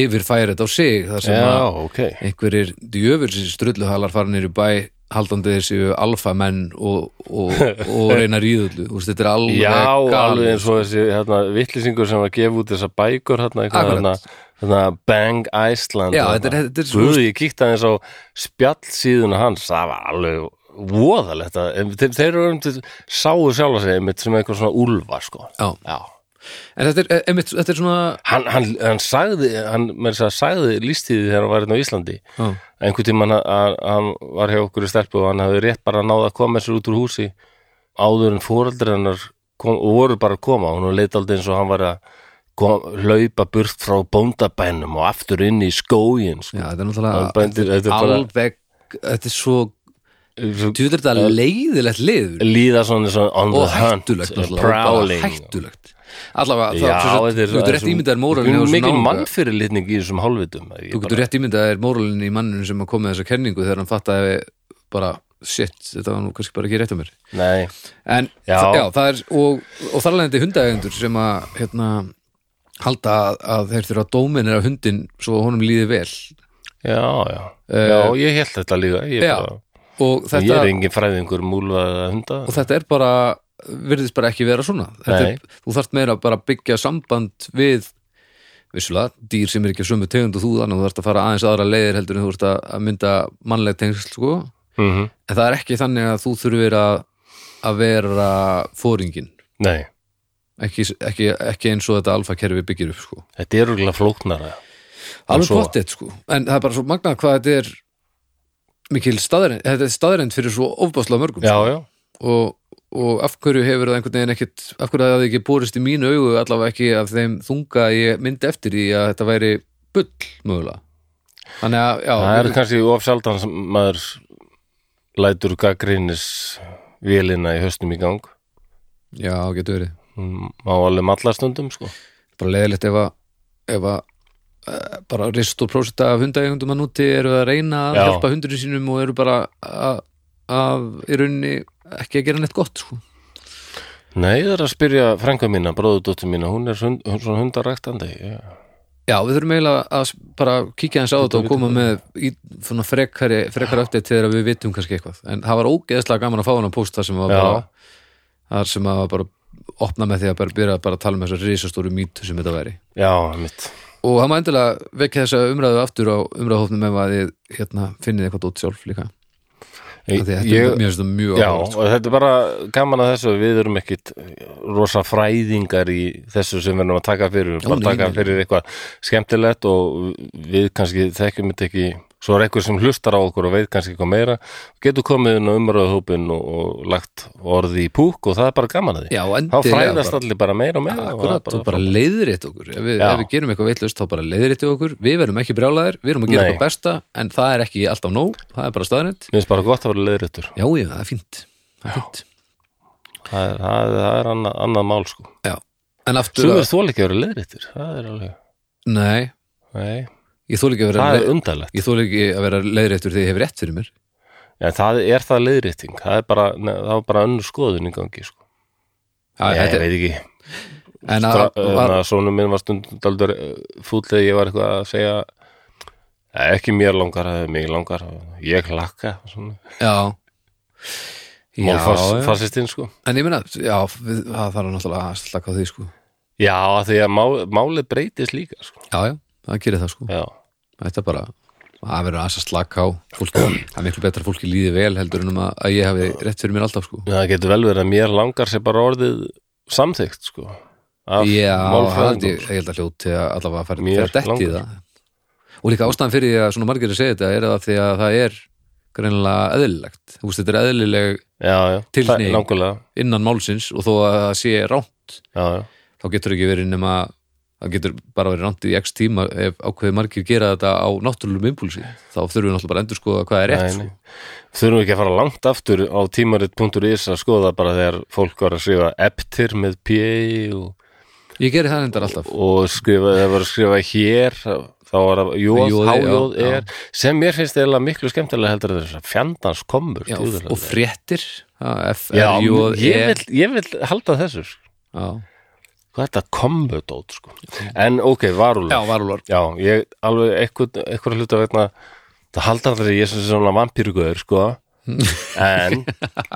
Speaker 2: yfirfæra þetta á sig þar sem
Speaker 1: já,
Speaker 2: að
Speaker 1: ok
Speaker 2: einhverjir djöfur sem strulluhalar farinir í bæ haldandi þessi alfamenn og, og, og reyna ríðullu Úst, þetta er alveg
Speaker 1: Já,
Speaker 2: galið.
Speaker 1: alveg eins og þessi hérna, vittlisingur sem var að gefa út þessa bækur hérna, eitthvað, hérna,
Speaker 2: Akkurat.
Speaker 1: hérna, Bang Iceland
Speaker 2: Já,
Speaker 1: hérna.
Speaker 2: þetta er- þetta er svo-
Speaker 1: Guð, ég kíkti aðeins á spjallsíðuna hans það var alveg voðalegt að- en þeir, þeir eru um til sáu sjálfa sig einmitt sem eitthvað svona úlfa sko.
Speaker 2: Já.
Speaker 1: Já.
Speaker 2: en þetta er, eh, einmitt, þetta er svona
Speaker 1: Hann, hann, hann sagði hann með þess að segja sagði lístíði þegar hann var hérna á Íslandi
Speaker 2: Já.
Speaker 1: einhvern tímann að- að hann var hjá okkur í stelpu og hann hafði rétt bara náð að koma sér út úr húsi áður en fóreldri hennar kom, og voru bara að koma hún leit aldrei eins og hann var að kom, hlaupa burt frá bóndabænum og aftur inn í skógin sko.
Speaker 2: já, þetta er
Speaker 1: Hann
Speaker 2: náttúrulega
Speaker 1: bændir, þetta er bara
Speaker 2: alveg þetta er svo
Speaker 1: svo-
Speaker 2: djúður þetta leiðilegt liður
Speaker 1: líða svona, svona on the
Speaker 2: og
Speaker 1: Eh, hunt
Speaker 2: hættulegt
Speaker 1: and
Speaker 2: náttúrulega, og bara
Speaker 1: prowling
Speaker 2: hættulegt allavega, það
Speaker 1: Já,
Speaker 2: sem sagt,
Speaker 1: þetta er,
Speaker 2: þú getur rétt ímyndaðir móralin
Speaker 1: mjög mikil mannfyrirlitning í þessum hálfvitum
Speaker 2: Þú getur rétt ímyndað er móralin í manninu sem að koma með þessa kenningu þegar hann fattaði bara shit, þetta var nú kannski bara ekki rétt að mér
Speaker 1: Nei,
Speaker 2: en
Speaker 1: Já.
Speaker 2: það, já, það er og, og þar alveg hundaegendur sem að hérna, halda að, að þeir þurfa að dómin er að hundin svo honum líði vel
Speaker 1: já, já Já, ég held þetta líka Ég,
Speaker 2: Já,
Speaker 1: bara,
Speaker 2: og
Speaker 1: ég
Speaker 2: þetta,
Speaker 1: er engin fræðingur múlvaða hunda
Speaker 2: og þetta er bara virðist bara ekki vera svona Þetta
Speaker 1: Nei.
Speaker 2: er, þú þarft meira bara að byggja samband við vissulega, dýr sem er ekki af sömu tegund og þú þannig að þú þarft að fara aðeins aðra leiðir heldur en þú þarft að- að mynda mannleg tengsl sko.
Speaker 1: mm
Speaker 2: en það er ekki þannig að þú þurfir að, að vera fóringin
Speaker 1: Nei,
Speaker 2: ekki, ekki, ekki eins og þetta alfakerfi byggir upp sko.
Speaker 1: þetta er úrlega flóknara
Speaker 2: alveg
Speaker 1: svo.
Speaker 2: pottet sko. en það er bara svo magnað hvað þetta er mikil staðarind þetta er staðarind fyrir svo ofbáslega mörgum
Speaker 1: Já, já,
Speaker 2: og, og af hverju hefur það einhvern veginn ekkit af hverju það hefði ekki borist í mínu augu allavega ekki af þeim þunga að ég myndi eftir í að þetta væri bull mögulega þannig að já,
Speaker 1: það er kannski of sjaldan sem maður lætur gaggrinis vélina í höstum í gang
Speaker 2: já getur verið
Speaker 1: Mm, á alveg mallastundum sko
Speaker 2: bara leðilegt ef að, ef að eh, bara rist og prósita af hundaegundum að núti eru að reyna að
Speaker 1: Já.
Speaker 2: hjálpa hundurinn sínum og eru bara að, að í rauninni ekki að gera neitt gott sko.
Speaker 1: Nei, það er að spyrja frænka mína, bróðudóttir mína hún er hund, hún, svona hundaræktandi já.
Speaker 2: já, við þurfum eiginlega að s- bara kíkja eins á þetta og koma með í, svona frekari, frekari update þegar við vitum kannski eitthvað, en það var ógeðslega gaman að fá hann að posta sem var
Speaker 1: Já.
Speaker 2: bara þar sem að var bara opna með því að bara byrja bara að tala með þessar risastóru mýtu sem þetta væri
Speaker 1: já, mitt
Speaker 2: og það má endilega vekja þessa umræðu aftur á umræðuhófnum ef að þið hérna, finnið eitthvað út sjálf líka Af því að þetta er
Speaker 1: Ég-
Speaker 2: mjög, mjög, mjög
Speaker 1: Já,
Speaker 2: áhugavert,
Speaker 1: og
Speaker 2: sko.
Speaker 1: þetta er bara gaman að þessu við erum ekkit rosa fræðingar í þessu sem við erum að taka fyrir Við erum bara
Speaker 2: nei,
Speaker 1: að taka
Speaker 2: nei.
Speaker 1: fyrir eitthvað skemmtilegt og við kannski þekkjum þetta ekki svo er eitthvað sem hlustar á okkur og veit kannski eitthvað meira getur komið inn á umræðuhópin og, og lagt orði í púk og það er bara gaman að því
Speaker 2: Já,
Speaker 1: þá
Speaker 2: endilega
Speaker 1: fræðast
Speaker 2: bara.
Speaker 1: allir bara meira og meira og það er
Speaker 2: Akkurat, þú bara leiðrétt okkur ef við,
Speaker 1: Já.
Speaker 2: ef við gerum eitthvað veitlust þá bara leiðrétt okkur við verðum ekki brjálæðir, við erum að gera
Speaker 1: Nei.
Speaker 2: eitthvað besta en það er ekki alltaf nóg, það er bara staðrænt
Speaker 1: mér finnst bara gott að vera leiðréttur
Speaker 2: Já, já, það er fínt, það er fínt.
Speaker 1: það er, það er, það er annað, annað mál sko
Speaker 2: Já. En aftur
Speaker 1: sumir
Speaker 2: að,
Speaker 1: þól ekki að vera leiðréttur það er alveg
Speaker 2: nei,
Speaker 1: Nei,
Speaker 2: ég þóla ekki að vera
Speaker 1: það er
Speaker 2: leið-
Speaker 1: undalegt
Speaker 2: ég þóla ekki að vera leiðréttur þegar ég hef rétt fyrir mér
Speaker 1: En það er það leiðrétting, það er bara, ne, það er bara önnur skoðun í gangi, sko.
Speaker 2: Já,
Speaker 1: Ég,
Speaker 2: þetta er-
Speaker 1: ég veit ekki,
Speaker 2: En að,
Speaker 1: Stra- hérna-
Speaker 2: var,
Speaker 1: að svona minn var stundum daldur fúll eða ég var eitthvað að segja "Eh, "Ja, ekki mér langar, eða mig langar, ég hlakka, svona.
Speaker 2: Já já.
Speaker 1: málfarsistinn sko
Speaker 2: En ég meina, já, við, það þarf náttúrulega að slaka á því sko
Speaker 1: já, af því að má, málið breytist líka sko.
Speaker 2: Já, já, það gerir það sko
Speaker 1: já,
Speaker 2: Þetta er bara, að verður aðeins að slaka á fólki, það er miklu betra að fólki líði vel heldur en um að, að ég hafi rétt fyrir mér alltaf sko
Speaker 1: það getur vel verið að mér langar sér bara orðið samþykkt sko
Speaker 2: Já, það
Speaker 1: af
Speaker 2: held
Speaker 1: málfræðingum
Speaker 2: ég, ég held að hljóti að allavega fara
Speaker 1: Mér
Speaker 2: fyrir detti í
Speaker 1: langar.
Speaker 2: það Og líka ástæðan fyrir því að svona margir er að segja þetta er það því að það er greinilega eðlilegt Þú veist, þetta er eðlileg
Speaker 1: já, já,
Speaker 2: Tilhneiging.
Speaker 1: Það- nákvæmlega
Speaker 2: innan málsins og þó að það sé rámt
Speaker 1: já, já,
Speaker 2: þá getur ekki verið nema það getur bara verið rámt í x tíma ef ákveði margir gera þetta á náttúrulegum impulsi þá þurfum við náttúrulega bara að endur skoða hvað er rétt
Speaker 1: nei,
Speaker 2: sko.
Speaker 1: nei. þurfum ekki að fara langt aftur á tímarit.is að skoða bara þegar fólk var að skrifa eptir með PA og
Speaker 2: ég gerir það endar alltaf
Speaker 1: og skrifa, það var að skrifa hér þá var það jóð,
Speaker 2: Jóð,
Speaker 1: hájóð,
Speaker 2: já,
Speaker 1: er sem mér finnst eiginlega miklu skemmtilega heldur en þessar fjandans komur
Speaker 2: já,
Speaker 1: djúðurlega.
Speaker 2: og fréttir Já, F,
Speaker 1: já,
Speaker 2: R, U, E
Speaker 1: ég, vil, ég vil halda þessu sko.
Speaker 2: já,
Speaker 1: hvað er þetta kombudót sko. en ok,
Speaker 2: já
Speaker 1: varúlega
Speaker 2: varúlar
Speaker 1: já, ég alveg eitthvað, eitthvað hluta vegna það halda allir að ég er sem svona vampýrugur sko. en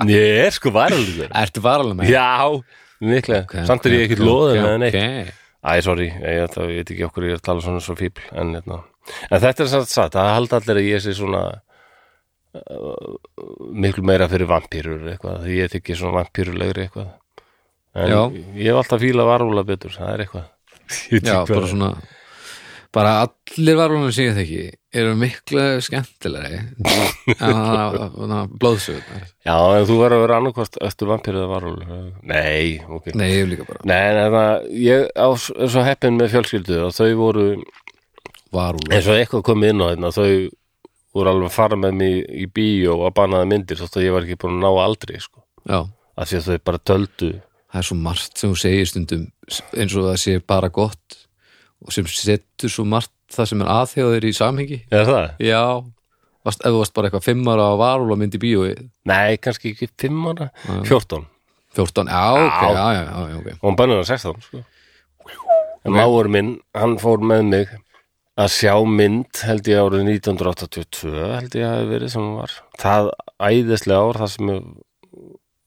Speaker 1: ég er sko varúlegur
Speaker 2: ertu varúlar með
Speaker 1: já, mikla, samt er ég ekkert loðin okay, neitt
Speaker 2: okay.
Speaker 1: Æ, sorry, ég, það, ég veit ekki okkur ég er að tala svona svo fíbl en, hérna. en þetta er satt satt, það halda allir að ég sé svona uh, miklu meira fyrir vampýrur eitthvað, því ég þykki svona vampýrulegri eitthvað en
Speaker 2: Já.
Speaker 1: ég hef alltaf fíla varúla betur, það er eitthvað Ég veit
Speaker 2: já,
Speaker 1: ekki hvað
Speaker 2: bara
Speaker 1: það er.
Speaker 2: svona bara allir varúlar sem ég þekki eru miklu skemmtilegri en blóðsögurnar
Speaker 1: Já, en þú verður að vera annarkvast eftir vampýru eða varúla Nei, ok
Speaker 2: nei, ég hef líka bara
Speaker 1: Nei, en það, ég á s- er svo heppin með fjölskyldu og þau voru
Speaker 2: varúlar
Speaker 1: eins og eitthvað komið inn á þetta þau voru alveg að fara með mig í bíó að banaða myndir þótt að ég var ekki búin að ná aldrei sko.
Speaker 2: já
Speaker 1: af því að þau bara töldu
Speaker 2: það er svo margt sem þú segir stundum eins og það sé bara gott og sem setur svo margt það sem er aðhjóðir í samhengi
Speaker 1: er það?
Speaker 2: já, varst, ef þú varst bara eitthvað fimm ára á varúla mynd í bíói
Speaker 1: Nei, kannski ekki 5 ára, 14
Speaker 2: 14, já, ok,
Speaker 1: Já.
Speaker 2: já, já, já, já okay.
Speaker 1: og hann bannaði 16 sko. en máur minn, hann fór með mig að sjá mynd held ég árið 1982 held ég hafi verið sem hún var það æðislega ár það sem ég,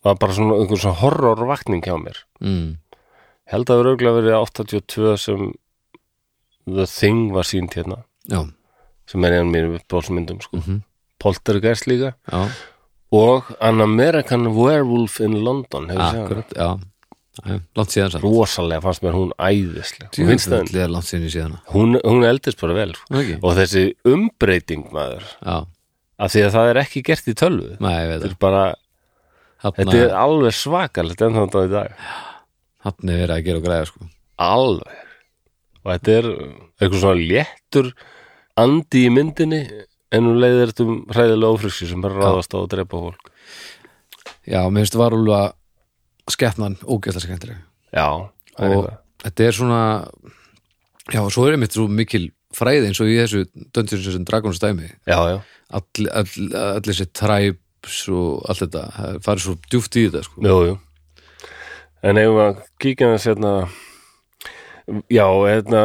Speaker 1: var bara svona einhver svona horrorvakning hjá mér
Speaker 2: Mm.
Speaker 1: held að það rauglega verið 82 sem The Thing var sínt hérna
Speaker 2: já,
Speaker 1: sem er einu mínum uppbólsmyndum sko. Poltergeist líka
Speaker 2: já,
Speaker 1: og An American Werewolf in London hefur séð
Speaker 2: Ah,
Speaker 1: hana
Speaker 2: akkurat já, já, já, langt síðan sann
Speaker 1: rosalega fannst mér hún æðislega Hún finnst það-
Speaker 2: djúðlega langt síðan í síðan
Speaker 1: hún, hún eldist bara vel sko.
Speaker 2: okay.
Speaker 1: og þessi umbreyting maður
Speaker 2: já,
Speaker 1: af því að það er ekki gert í tölvu
Speaker 2: næ, ég veit
Speaker 1: þetta
Speaker 2: það
Speaker 1: er bara, þetta er
Speaker 2: hann
Speaker 1: alveg svakalegt en þannig að í dag
Speaker 2: er verið að gera og græða sko
Speaker 1: alveg og þetta er eitthvað svona léttur andi í myndinni en hún leiðir þetta um hræðilega ófriksi sem bara ráðast á að drepa fólk
Speaker 2: já, mér finnst varúla skepnan ógæsla skemmtilega
Speaker 1: já, það er
Speaker 2: og
Speaker 1: eitthvað.
Speaker 2: þetta er svona já, og svo er einmitt svo mikil fræði eins og í þessu Dungeons and Dragons dæmi
Speaker 1: já, já,
Speaker 2: allir all, all þessi tribes og allt þetta, það farið svo djúft í þetta sko.
Speaker 1: jú, jú en ef að kíkja hans hérna já, hérna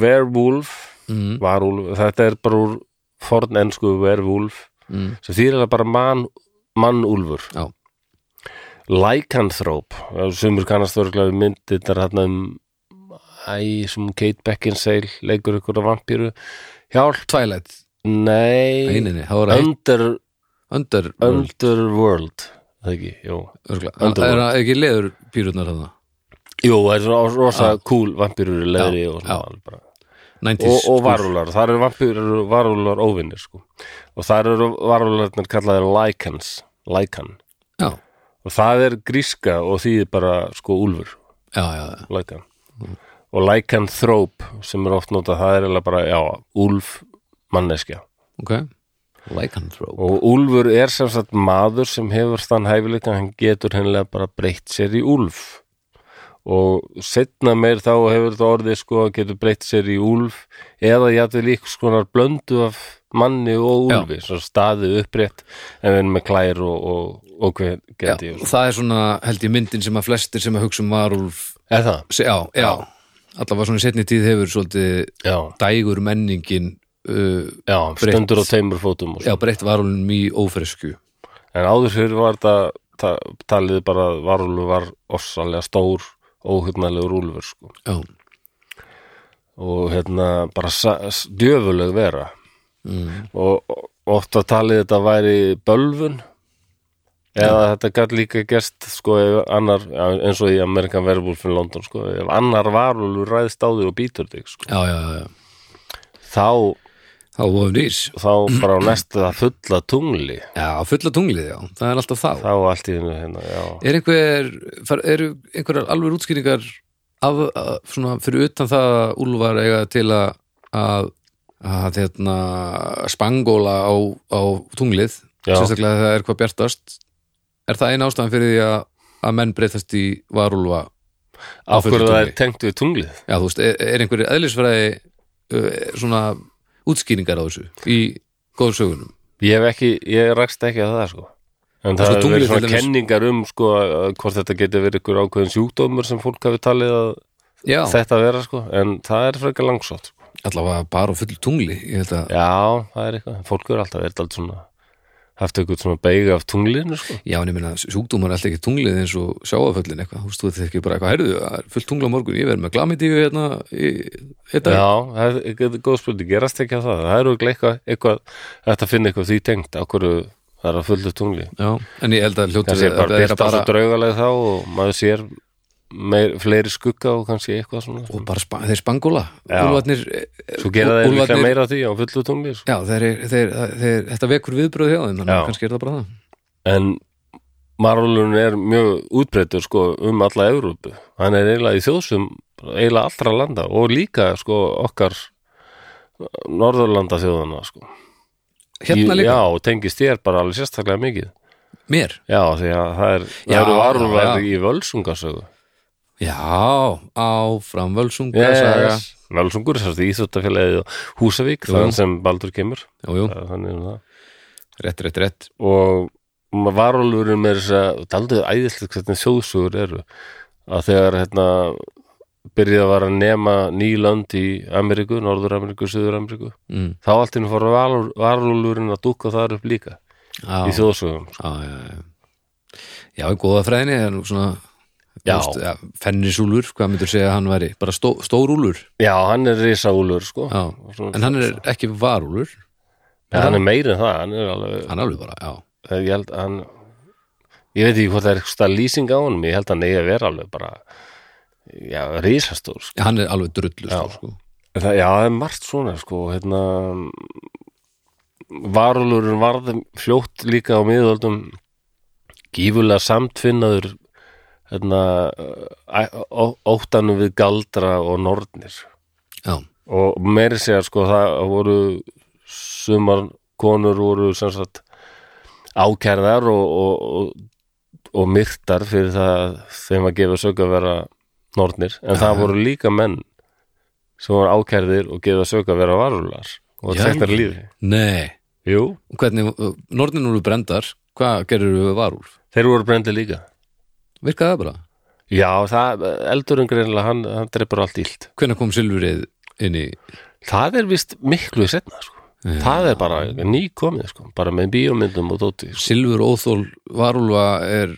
Speaker 1: werewolf,
Speaker 2: mm,
Speaker 1: varúlf þetta er bara úr forn ensku werewolf,
Speaker 2: mm,
Speaker 1: sem þýr er bara mann, mannúlfur
Speaker 2: já,
Speaker 1: Lycanthrope sumur kannast örglega við myndið þetta er hérna um æ, sem Kate Beckinsale leikur ykkur af vampíru hjálp,
Speaker 2: Twilight
Speaker 1: nei
Speaker 2: eininni, það var eitt
Speaker 1: under,
Speaker 2: under, under,
Speaker 1: Underworld það ekki, jú
Speaker 2: það
Speaker 1: Underworld.
Speaker 2: er það ekki leður pýrurnar þarna
Speaker 1: jú, það er svona rosa cool vampírur í leðri og
Speaker 2: já.
Speaker 1: svona alveg bara
Speaker 2: 90s,
Speaker 1: og, og
Speaker 2: sko.
Speaker 1: varúlar, þar eru vampýrur varúlar óvinnir sko og þar eru varúlarnir kallaðir Lycans Lycan,
Speaker 2: já,
Speaker 1: og það er gríska og þýðir bara sko úlfur
Speaker 2: já, já, já,
Speaker 1: Lycan og Lycanthrope sem er oft notað, það er eiginlega bara, já, úlf manneskja
Speaker 2: ok Lycanthrope,
Speaker 1: og úlfur er sem sagt maður sem hefur þann hæfileika að hann getur hennilega bara breytt sér í úlf og setna meir þá hefur þetta orðið sko að getur breytt sér í úlf eða jafnvel líks konar blöndu af manni og
Speaker 2: Já.
Speaker 1: úlfi svo staðið upprétt en við erum með klær og, og, og hver
Speaker 2: já,
Speaker 1: geti og-
Speaker 2: það er svona held ég myndin sem að flestir sem að hugsa um varúlf
Speaker 1: Er það?
Speaker 2: já, já, allavega svona í setni tíð hefur svolítið
Speaker 1: Já,
Speaker 2: dægur menningin uh,
Speaker 1: já
Speaker 2: Breytt.
Speaker 1: stendur á tveimur fótum og, svo.
Speaker 2: já, breytt varulunum í ófresku
Speaker 1: en áður fyrir var þetta ta talið bara að varúlu var ossalega stór, óhugnalegur úlfur sko.
Speaker 2: já,
Speaker 1: og hérna bara sa- s- djöfuleg vera og og oft að talið þetta væri bölvun eða þetta gætt líka gest sko ef annar, ja, eins og í Amerikan verðbúlfin London sko, ef annar varúlu ræðst á þig og býtur þig sko
Speaker 2: já, já, já.
Speaker 1: þá,
Speaker 2: þá vorum nýs
Speaker 1: þá bara á næsta fulla tungli
Speaker 2: já, fulla tunglið, já, það er alltaf þá
Speaker 1: þá allt í hennu hérna, já
Speaker 2: er einhver, far, eru einhverjar alveg útskýringar af, að, svona, fyrir utan það að Úlfar eiga til að að, að hérna, spangóla á, á tunglið
Speaker 1: Já.
Speaker 2: sérstaklega þegar það er hvað bjartast er það eina ástæðan fyrir því að, að menn breytast í varúlfa á
Speaker 1: af
Speaker 2: fullu
Speaker 1: hverju það er
Speaker 2: tungli.
Speaker 1: tengt við tunglið
Speaker 2: Já, þú veist, er, er einhverju eðlisfræði uh, svona útskýringar á þessu í góður sögunum?
Speaker 1: ég hef ekki, ég rakst ekki að það sko en
Speaker 2: Það er
Speaker 1: það
Speaker 2: svo
Speaker 1: hefur verið
Speaker 2: tunglið
Speaker 1: svona
Speaker 2: til dæmis.
Speaker 1: kenningar um sko að hvort þetta getur verið ykkur ákveðin sjúkdómur sem fólk hafi talið að
Speaker 2: Já,
Speaker 1: þetta vera sko, en það er frekar langsótt sko.
Speaker 2: allavega bara á fullu tungli, ég held að
Speaker 1: já, það er eitthvað, fólk er alltaf verið alltaf svona, haft eitthvað svona beiga af tunglinu sko,
Speaker 2: Já, en ég meina, sjúkdómar er alltaf ekki tunglið eins og sjáaföllin eitthvað, þú veist, þú þetta ekki bara eitthvað, heyrðu, það er fullt tungla á morgun, ég verð með glamitíu hérna, í, þetta,
Speaker 1: já, það er- það er góð spurning, gerast ekki að það, það eru eitthvað, eitthvað þetta finna eitthvað því tengt, á hverju það er að fullu tungli
Speaker 2: já, en ég held að hljóttur
Speaker 1: kannski er bara
Speaker 2: vera
Speaker 1: byrta bara... svo draugaleg þá og maður sér meir, fleiri skugga og kannski eitthvað svona
Speaker 2: og bara spa, þeir spangóla,
Speaker 1: Já.
Speaker 2: úlfarnir,
Speaker 1: svo gera það líka meira af því á fullu tungli sko.
Speaker 2: já, þeir, þeir, þeir, þetta vekur viðbröð hjá þeim, þannig
Speaker 1: Já.
Speaker 2: að kannski er það bara það.
Speaker 1: en marvölun er mjög útbreytur sko um alla Evrópu hann er eiginlega í þjóðsum eiginlega allra landa og líka sko okkar norðurlanda þjóðana sko
Speaker 2: Hérna
Speaker 1: Í-
Speaker 2: líka,
Speaker 1: já, tengist ég bara alveg sérstaklega mikið
Speaker 2: mér,
Speaker 1: já, því að það, er,
Speaker 2: Já,
Speaker 1: það eru varúlar
Speaker 2: já.
Speaker 1: í völsungasögu
Speaker 2: Já, áfram Völsunga saga
Speaker 1: yes. völsungur, sérst í Íþjóttafélagið og Húsavík,
Speaker 2: Jú.
Speaker 1: þannig sem Baldur kemur
Speaker 2: Jú, jú,
Speaker 1: þannig um það
Speaker 2: rétt, rétt, rétt
Speaker 1: og varúlurum er þess að það er aldrei æðislega hvernig þjóðsugur eru að þegar hérna byrjaði að vara að nema ný lönd í Ameríku, Norður-Ameríku, Suður-Ameríku
Speaker 2: mm.
Speaker 1: þá allt inn fór varúlurinn að dúkka þar upp líka
Speaker 2: á,
Speaker 1: í þjóðsugum
Speaker 2: á, já, já. já, í góða fræðinni er nú svona
Speaker 1: Já.
Speaker 2: þú ja, Fennisúlur, hvað myndur segja að hann væri bara stó, stórúlur
Speaker 1: Já, hann er risaúlur sko
Speaker 2: já.
Speaker 1: Svona-
Speaker 2: En hann er ekki varúlur
Speaker 1: Nei, hann er meiri en það hann er alveg,
Speaker 2: Hann er alveg bara, já
Speaker 1: ég held að hann ég veit ekki hvort það er eitthvað lýsing á honum ég held að hann eigi að vera alveg bara já, risastór sko.
Speaker 2: Hann er alveg drullu
Speaker 1: Já.
Speaker 2: stór, sko
Speaker 1: Það, já, það er margt svona sko, hérna varulurinn varð fljótt líka á miðöldum gífulega samtfinnaður hérna æ- ó- óttanum við galdra og nornir
Speaker 2: Já,
Speaker 1: og meiri segja sko það voru sumar konur voru sem sagt ákærðar og, og, og, og myrtar fyrir það þeim að gefa sök að vera nornir en það voru líka menn sem voru ákærðir og gefa sök að vera varular og
Speaker 2: Já.
Speaker 1: þekktar lífi
Speaker 2: nei
Speaker 1: Jú,
Speaker 2: Og Hvernig, uh, nornin úr brendar Hvað gerir við varúlf?
Speaker 1: þeir voru brendi líka
Speaker 2: Virkaði það bara?
Speaker 1: Já, það, eldurinn greinlega hann, hann dreipur allt ílt
Speaker 2: Hvenær kom silfrið inn í
Speaker 1: Það er vist miklu setna sko. það er bara nýkomið sko. bara með bíómyndum og dóti sko.
Speaker 2: Silfur óþól varúlfa er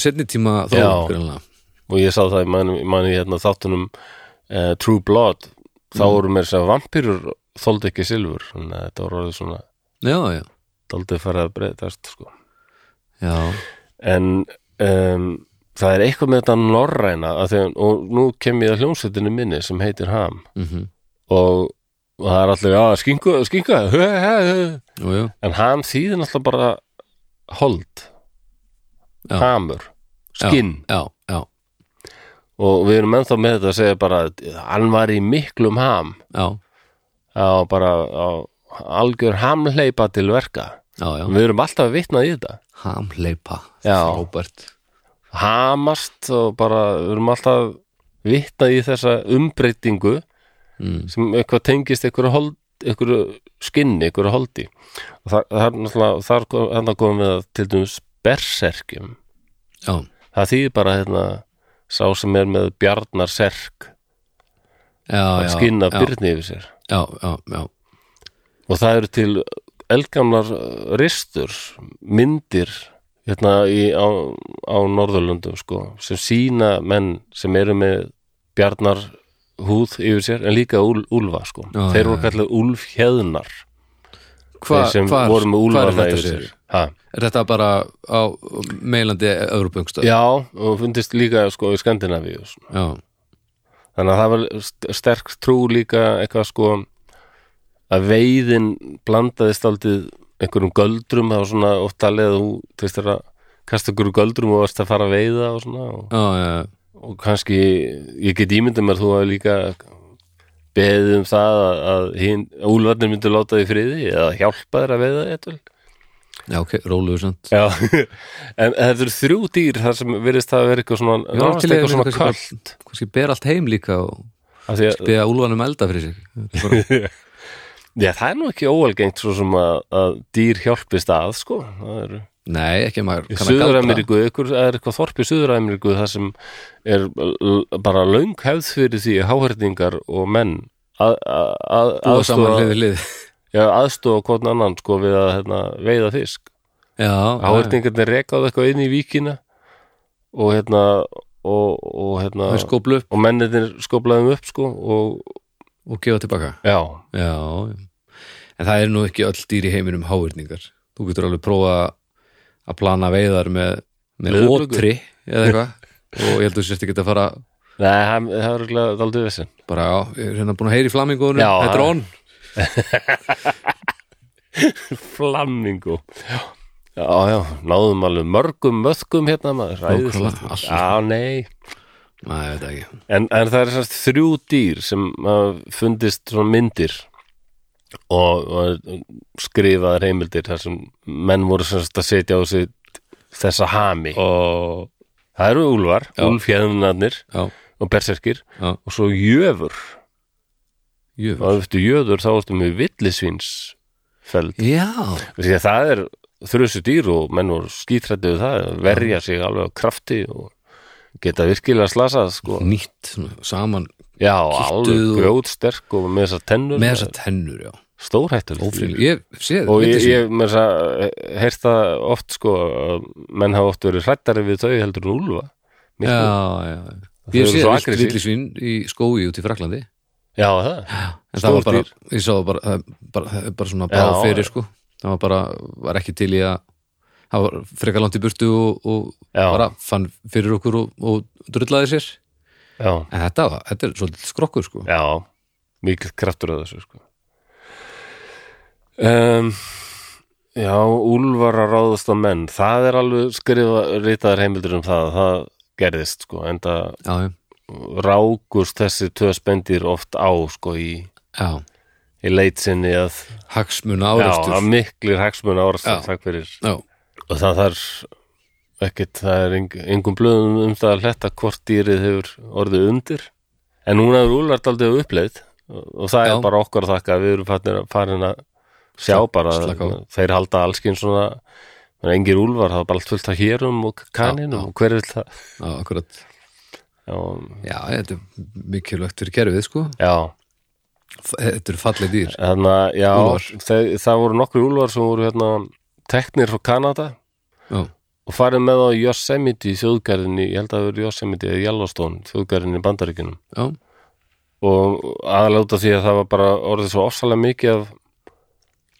Speaker 2: setni tíma
Speaker 1: Já.
Speaker 2: þó greinlega.
Speaker 1: og ég sá það í manni, manni hérna þáttunum uh, True Blood þá
Speaker 2: Mm.
Speaker 1: voru mér sem vampýrur þóldi ekki silfur, þannig að þetta voru orðið svona
Speaker 2: Já, já,
Speaker 1: þóldi farið að breytast sko.
Speaker 2: já
Speaker 1: en um, það er eitthvað með þetta norræna að þegar, og nú kem ég að hljómsveitinu minni sem heitir Ham
Speaker 2: mm -hmm.
Speaker 1: og, og það er allir, já, skinka, skinka hö, hö, hö.
Speaker 2: Jú, jú,
Speaker 1: en Ham þýðir náttúrulega bara hold
Speaker 2: Já.
Speaker 1: hamur,
Speaker 2: Já.
Speaker 1: skinn
Speaker 2: já, já,
Speaker 1: og við erum ennþá með þetta að segja bara hann var í miklum ham
Speaker 2: já,
Speaker 1: á bara á algjör hamleipa til verka
Speaker 2: já, já.
Speaker 1: við erum alltaf að vitna í þetta
Speaker 2: Hamleipa,
Speaker 1: Já.
Speaker 2: frábært
Speaker 1: hamast og bara við erum alltaf að vitna í þessa umbreytingu
Speaker 2: mm.
Speaker 1: sem eitthvað tengist einhverju hold, einhverju skinni, einhverju holdi og þar, þar, náttúrulega- þar kom, þarna komum við að til dæmis berserkjum
Speaker 2: Já,
Speaker 1: það þýðir bara hérna sá sem er með bjarnar serk
Speaker 2: já,
Speaker 1: að
Speaker 2: já
Speaker 1: skinna
Speaker 2: já,
Speaker 1: byrni yfir sér
Speaker 2: Já, já, já,
Speaker 1: og það eru til eldgamlar ristur, eh, myndir hérna í, á, á Norðurlundum sko, sem sína menn sem eru með bjarnar húð yfir sér, en líka úl, úlfa sko.
Speaker 2: Já,
Speaker 1: þeir
Speaker 2: já,
Speaker 1: voru kallið úlfhjöðnar
Speaker 2: Hva,
Speaker 1: þeir sem
Speaker 2: hvar,
Speaker 1: voru með
Speaker 2: hvar er
Speaker 1: úlfana
Speaker 2: þetta
Speaker 1: yfir
Speaker 2: sér?
Speaker 1: sér ha.
Speaker 2: Er þetta bara á meilandi Evropungstöð?
Speaker 1: já, og fundist líka sko í Skandinavíu sko.
Speaker 2: já,
Speaker 1: þannig að það var st- sterk trú líka eitthvað sko að veiðin blandaðist aldrei einhverjum göldrum það var svona oft talið að þú þeist þér að kasta einhverjum göldrum og varst að fara að veiða og svona og,
Speaker 2: já, já,
Speaker 1: og kannski ég get ímyndað mér þú að líka beðið um það að, að hinn, úlfarnir myndu láta því friði eða hjálpa þér að veiða eitthvað
Speaker 2: já, ok, róluðu samt
Speaker 1: Já, en þetta eru þrjú dýr þar sem virðist það að vera eitthvað svona,
Speaker 2: Ég var
Speaker 1: nánast
Speaker 2: til í að vera
Speaker 1: eitthvað svona
Speaker 2: eitthvað
Speaker 1: köll
Speaker 2: sem bara- Kannski ber allt heim líka og
Speaker 1: af því að
Speaker 2: beða úlfanum elda fyrir sig Bara-
Speaker 1: Já, það er nú ekki óalgengt svo sem að, að dýr hjálpist að, sko. Það eru
Speaker 2: Nei, ekki að maður
Speaker 1: í
Speaker 2: kann að galdra
Speaker 1: Suður-Ameríku, ykkur það er eitthvað þorp í Suður-Ameríku það sem er l- bara löng hefð fyrir því að háhörningar og menn að, að, að,
Speaker 2: Búa saman
Speaker 1: aðstofa,
Speaker 2: hlið við hlið
Speaker 1: já, aðstofa hvort annan, sko, við að hérna, veiða fisk.
Speaker 2: Já, já,
Speaker 1: Háhörningarnir rekaðu eitthvað inn í víkina og hérna og, og hérna
Speaker 2: það er sko- skóplu upp
Speaker 1: og mennirnir skóplaðum upp, sko, og
Speaker 2: og gefa tilbaka
Speaker 1: já,
Speaker 2: Já, já. en það er nú ekki öll dýr í heiminum hávirningar Þú getur alveg prófa að plana veiðar með, með
Speaker 1: Leðurblöku.
Speaker 2: ótri eða eitthvað og ég held að þú sérst ekki að fara
Speaker 1: nei, það það er alveg daldið vissin.
Speaker 2: bara, já, ég er hérna búin að heyra í flamingunum
Speaker 1: Já,
Speaker 2: þetta er
Speaker 1: það-
Speaker 2: on
Speaker 1: Flamingo Já, já, náðum alveg mörgum möðkum hérna maður
Speaker 2: Nákvæmlega,
Speaker 1: æðislegt.
Speaker 2: allt.
Speaker 1: Já, nei
Speaker 2: Nei, ég veit það ekki
Speaker 1: En, en það er sérst þrjú dýr sem hafa fundist svona myndir og, og skrifaðar heimildir þar sem menn voru sérst að setja á sig þessa hami og það eru úlfar,
Speaker 2: Já.
Speaker 1: úlfjæðunarnir
Speaker 2: Já,
Speaker 1: og berserkir
Speaker 2: já,
Speaker 1: og svo jöfur
Speaker 2: jöfn
Speaker 1: og eftir jöður þá ertu með villisvínsfeld
Speaker 2: Já,
Speaker 1: því að það er þrjusu dýr og menn voru skítrættið það, verja sig alveg á krafti og geta virkilega slasað sko.
Speaker 2: nýtt svona, saman
Speaker 1: já,
Speaker 2: Kittuð
Speaker 1: alveg
Speaker 2: og-
Speaker 1: grjótsterk og með þessar tennur
Speaker 2: með þessar tennur, já
Speaker 1: stórhættur
Speaker 2: Ófrýn, ég sé
Speaker 1: og ég,
Speaker 2: vildi sé.
Speaker 1: ég með þess að heyrt það oft sko, að menn hafa oft verið hrættari við þau heldur en úlfa
Speaker 2: Já,
Speaker 1: Miklu-
Speaker 2: já, já
Speaker 1: eru
Speaker 2: Ég sé
Speaker 1: svo
Speaker 2: villt
Speaker 1: aggressív.
Speaker 2: villisvín í skói út í Fraklandi
Speaker 1: já, það
Speaker 2: En það var bara,
Speaker 1: Stórdýr.
Speaker 2: ég sá það bara, það bara, það er bara svona bara
Speaker 1: Já,
Speaker 2: fyrir sko Það var bara, var ekki til í að það var frekar langt í burtu og, og
Speaker 1: Já.
Speaker 2: bara fann fyrir okkur og, og drullaði sér
Speaker 1: já,
Speaker 2: En þetta, var, þetta er svolítið skrokkur sko
Speaker 1: já, mikil kraftur að þessu sko. um, Já, úlfar að ráðast á menn það er alveg skrifa ritaðar heimildur um það, það gerðist sko, enda
Speaker 2: Já, já,
Speaker 1: rákust þessi tvö spendir oft á sko í,
Speaker 2: já,
Speaker 1: í leit sinni að,
Speaker 2: hagsmuna
Speaker 1: já,
Speaker 2: árekstur
Speaker 1: að miklir hagsmun
Speaker 2: Já.
Speaker 1: árastur, takk fyrir
Speaker 2: Já,
Speaker 1: og það þarf ekkit, það er eng, engum blöðum um það að hletta hvort dýrið hefur orðið undir en núna er úlvart aldrei á uppleið og, og það
Speaker 2: Já.
Speaker 1: er bara okkar að þakka að við erum farin að, farin að sjá bara að,
Speaker 2: slaka á.
Speaker 1: þeir halda allskinn svona en engir úlvar, það er bara allt fullt af hérum og
Speaker 2: Já, já.
Speaker 1: kaninum og hver vil það
Speaker 2: já, akkurat
Speaker 1: já,
Speaker 2: Já, þetta er mikilvægt fyrir kerfið sko
Speaker 1: já
Speaker 2: Þetta eru fallið dýr
Speaker 1: þannig að já,
Speaker 2: Úlfar.
Speaker 1: þeir, það voru nokkri úlvar sem voru hérna teknir frá Kanada
Speaker 2: Já,
Speaker 1: og farið með þá í Yosemite í þjóðgarðinni, ég held að það verið Yosemite eða Yellowstone, þjóðgarðinni í bandaríkjunum
Speaker 2: já,
Speaker 1: og aðláta því að það var bara orðið svo ofsalega mikið af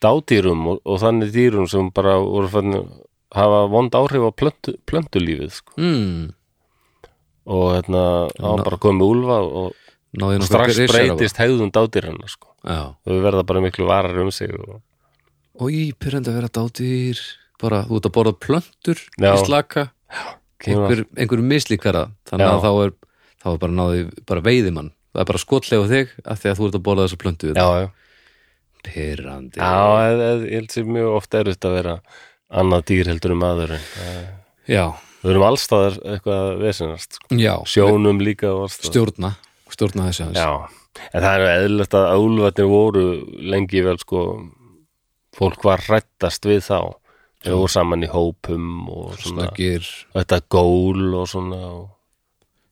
Speaker 1: dádýrum og, og þannig dýrum sem bara voru fann hafa vond áhrif á plöntu, plöntulífið sko.
Speaker 2: mm,
Speaker 1: og hérna, það var bara komið úlfa og
Speaker 2: náði nokkuð
Speaker 1: strax
Speaker 2: risar á það.
Speaker 1: breytist hegðun dádýrana sko.
Speaker 2: Já,
Speaker 1: þau verða bara miklu varar um sig og...
Speaker 2: og í pyrrandi að vera dátýr bara, þú ert að borða plöntur
Speaker 1: Já.
Speaker 2: í slaka einhver, einhver mislíkara þannig að
Speaker 1: Já.
Speaker 2: þá er, þá er bara náði bara veiðimann, það er bara skotlega á þig af því að þú ert að borða þessa plöntu
Speaker 1: já, já,
Speaker 2: pyrrandi
Speaker 1: já eð, eð, ég held sér mjög oft erut að vera annað dýr heldur um aður við
Speaker 2: já,
Speaker 1: erum allstaðar eitthvað að vesinast sko.
Speaker 2: já,
Speaker 1: sjónum líka og allstaðar
Speaker 2: stjórna stjórna þessi aðeins
Speaker 1: Já, en það er eðlilegt að álfarnir voru lengi vel sko fólk var hrættast við þá þau voru saman í hópum og svona,
Speaker 2: snöggir,
Speaker 1: þetta gól og svona og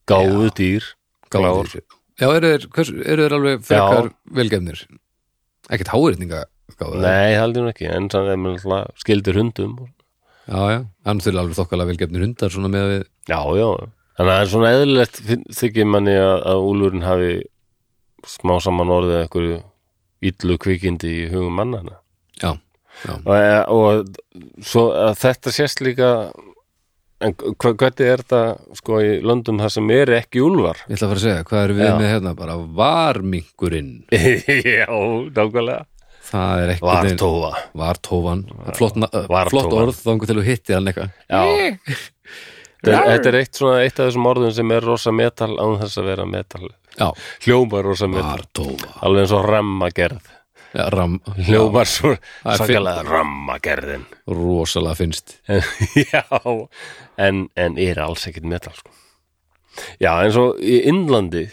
Speaker 1: gáðu dýr
Speaker 2: gáður já, eru þeir, hvers, eru þeir alveg frekar velgefnir ekkert háirninga gáður
Speaker 1: Nei, haldið nú ekki, en þannig að mér náttúrulega skildir hundum og-
Speaker 2: já, já, hann þurfi alveg þokkalega velgefnir hundar svona með við,
Speaker 1: Já, já, þannig að það er svona eðlilegt finn- þykir manni að, að úlurinn hafi smá saman orðið einhverju illu kvikindi í hugum mannana
Speaker 2: já,
Speaker 1: og, eh, og svo að þetta sést líka en hva- hvernig er þetta sko í löndum það sem er ekki úlvar
Speaker 2: ég ætla að fara að segja, hvað er við
Speaker 1: Já.
Speaker 2: með hérna bara varminkurinn,
Speaker 1: Já, nákvæmlega
Speaker 2: það er ekkert neinn-
Speaker 1: Vartófa
Speaker 2: Vartófan, flott, na- uh,
Speaker 1: Vartófan.
Speaker 2: flott orð þangu til þú hitti hann eitthvað
Speaker 1: Já. Þetta er- þetta er eitt svona eitt af þessum orðum sem er rosa metal án þess að vera metal
Speaker 2: Já,
Speaker 1: hljómar rosa metal,
Speaker 2: Vartófa
Speaker 1: alveg eins og rammagerð
Speaker 2: Já, ram,
Speaker 1: hljómar svo
Speaker 2: er
Speaker 1: sakalega rammagerðin
Speaker 2: rosalega finnst
Speaker 1: En- já, en, en er alls ekkit metal sko. já, en svo í Indlandi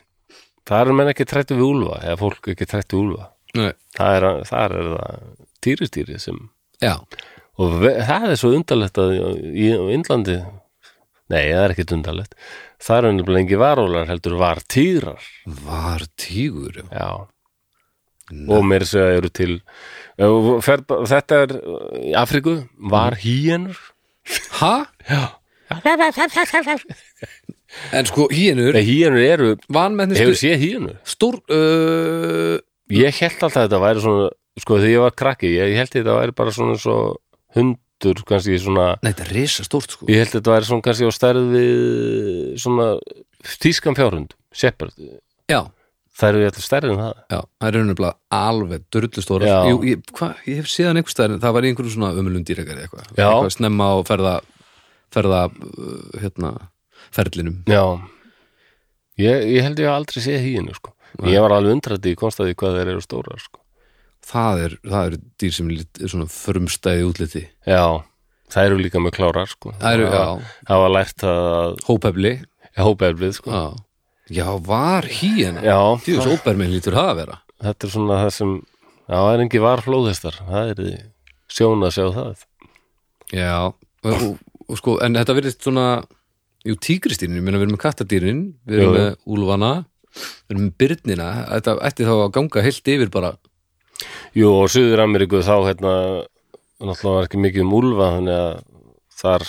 Speaker 1: það eru menn ekki trættu við úlfa eða fólk ekki trættu við úlfa
Speaker 2: Nei.
Speaker 1: það er, þar er það týristýri sem
Speaker 2: Já,
Speaker 1: og ve- það er svo undarlegt að í í Indlandi nei, það er ekkit undarlegt það eru nefnilega engi varólar heldur vartýrar
Speaker 2: vartígur já.
Speaker 1: já og mér segja eru til ef þú ferð bara- þetta er uh, í Afríku, var hýjenur
Speaker 2: Ha?
Speaker 1: já,
Speaker 2: En sko, hínur,
Speaker 1: hýjenur eru Hefur
Speaker 2: vanmennistu
Speaker 1: séð hýjunu?
Speaker 2: stór uh,
Speaker 1: Ég held alltaf að þetta væri svona sko þegar ég var krakki, ég, ég held að þetta væri bara svona svo hundur kannski svona,
Speaker 2: Nei, þetta er risa stórt sko
Speaker 1: ég held að þetta væri svona kannski á stærð við svona tískan fjárhund, shepherd
Speaker 2: Já,
Speaker 1: það eru alltaf stærri en það
Speaker 2: já, það er raunumlega alveg drullu stóra
Speaker 1: Já.
Speaker 2: Jú, ég, hva, ég hef séðan einhvers staðar en það var í einhverju svona umlum dýrakari eitthvað
Speaker 1: Já.
Speaker 2: eitthvað snemma á ferða ferða, uh, hérna ferlinum
Speaker 1: Já Ég, ég held ég hafi aldrei séð hýjunu sko Ég var alveg undrandi í konstaði hvað þeir eru stórar sko
Speaker 2: það er, það er dýr sem er lit- svona frumstæði útliti
Speaker 1: Já, það eru líka með klárar sko
Speaker 2: Það eru, já,
Speaker 1: Það var lært að
Speaker 2: hópefli
Speaker 1: hópeflið sko
Speaker 2: Já, já var hýjana
Speaker 1: Já,
Speaker 2: Því þessu óberminn lítur það að vera
Speaker 1: þetta er svona það sem já, það er engi varflóðistar það er sjón að sjá það
Speaker 2: Já, og, og, og sko, en þetta verðist svona Jú, tígristýrin, ég meina við erum með kattadýrin Við erum
Speaker 1: Jú, jú.
Speaker 2: með úlfana Við erum með byrnina, þetta ætti þá að ganga heilt yfir bara
Speaker 1: Jú, og Suður Ameríku þá hérna náttúrulega var ekki mikið um úlfa þannig að þar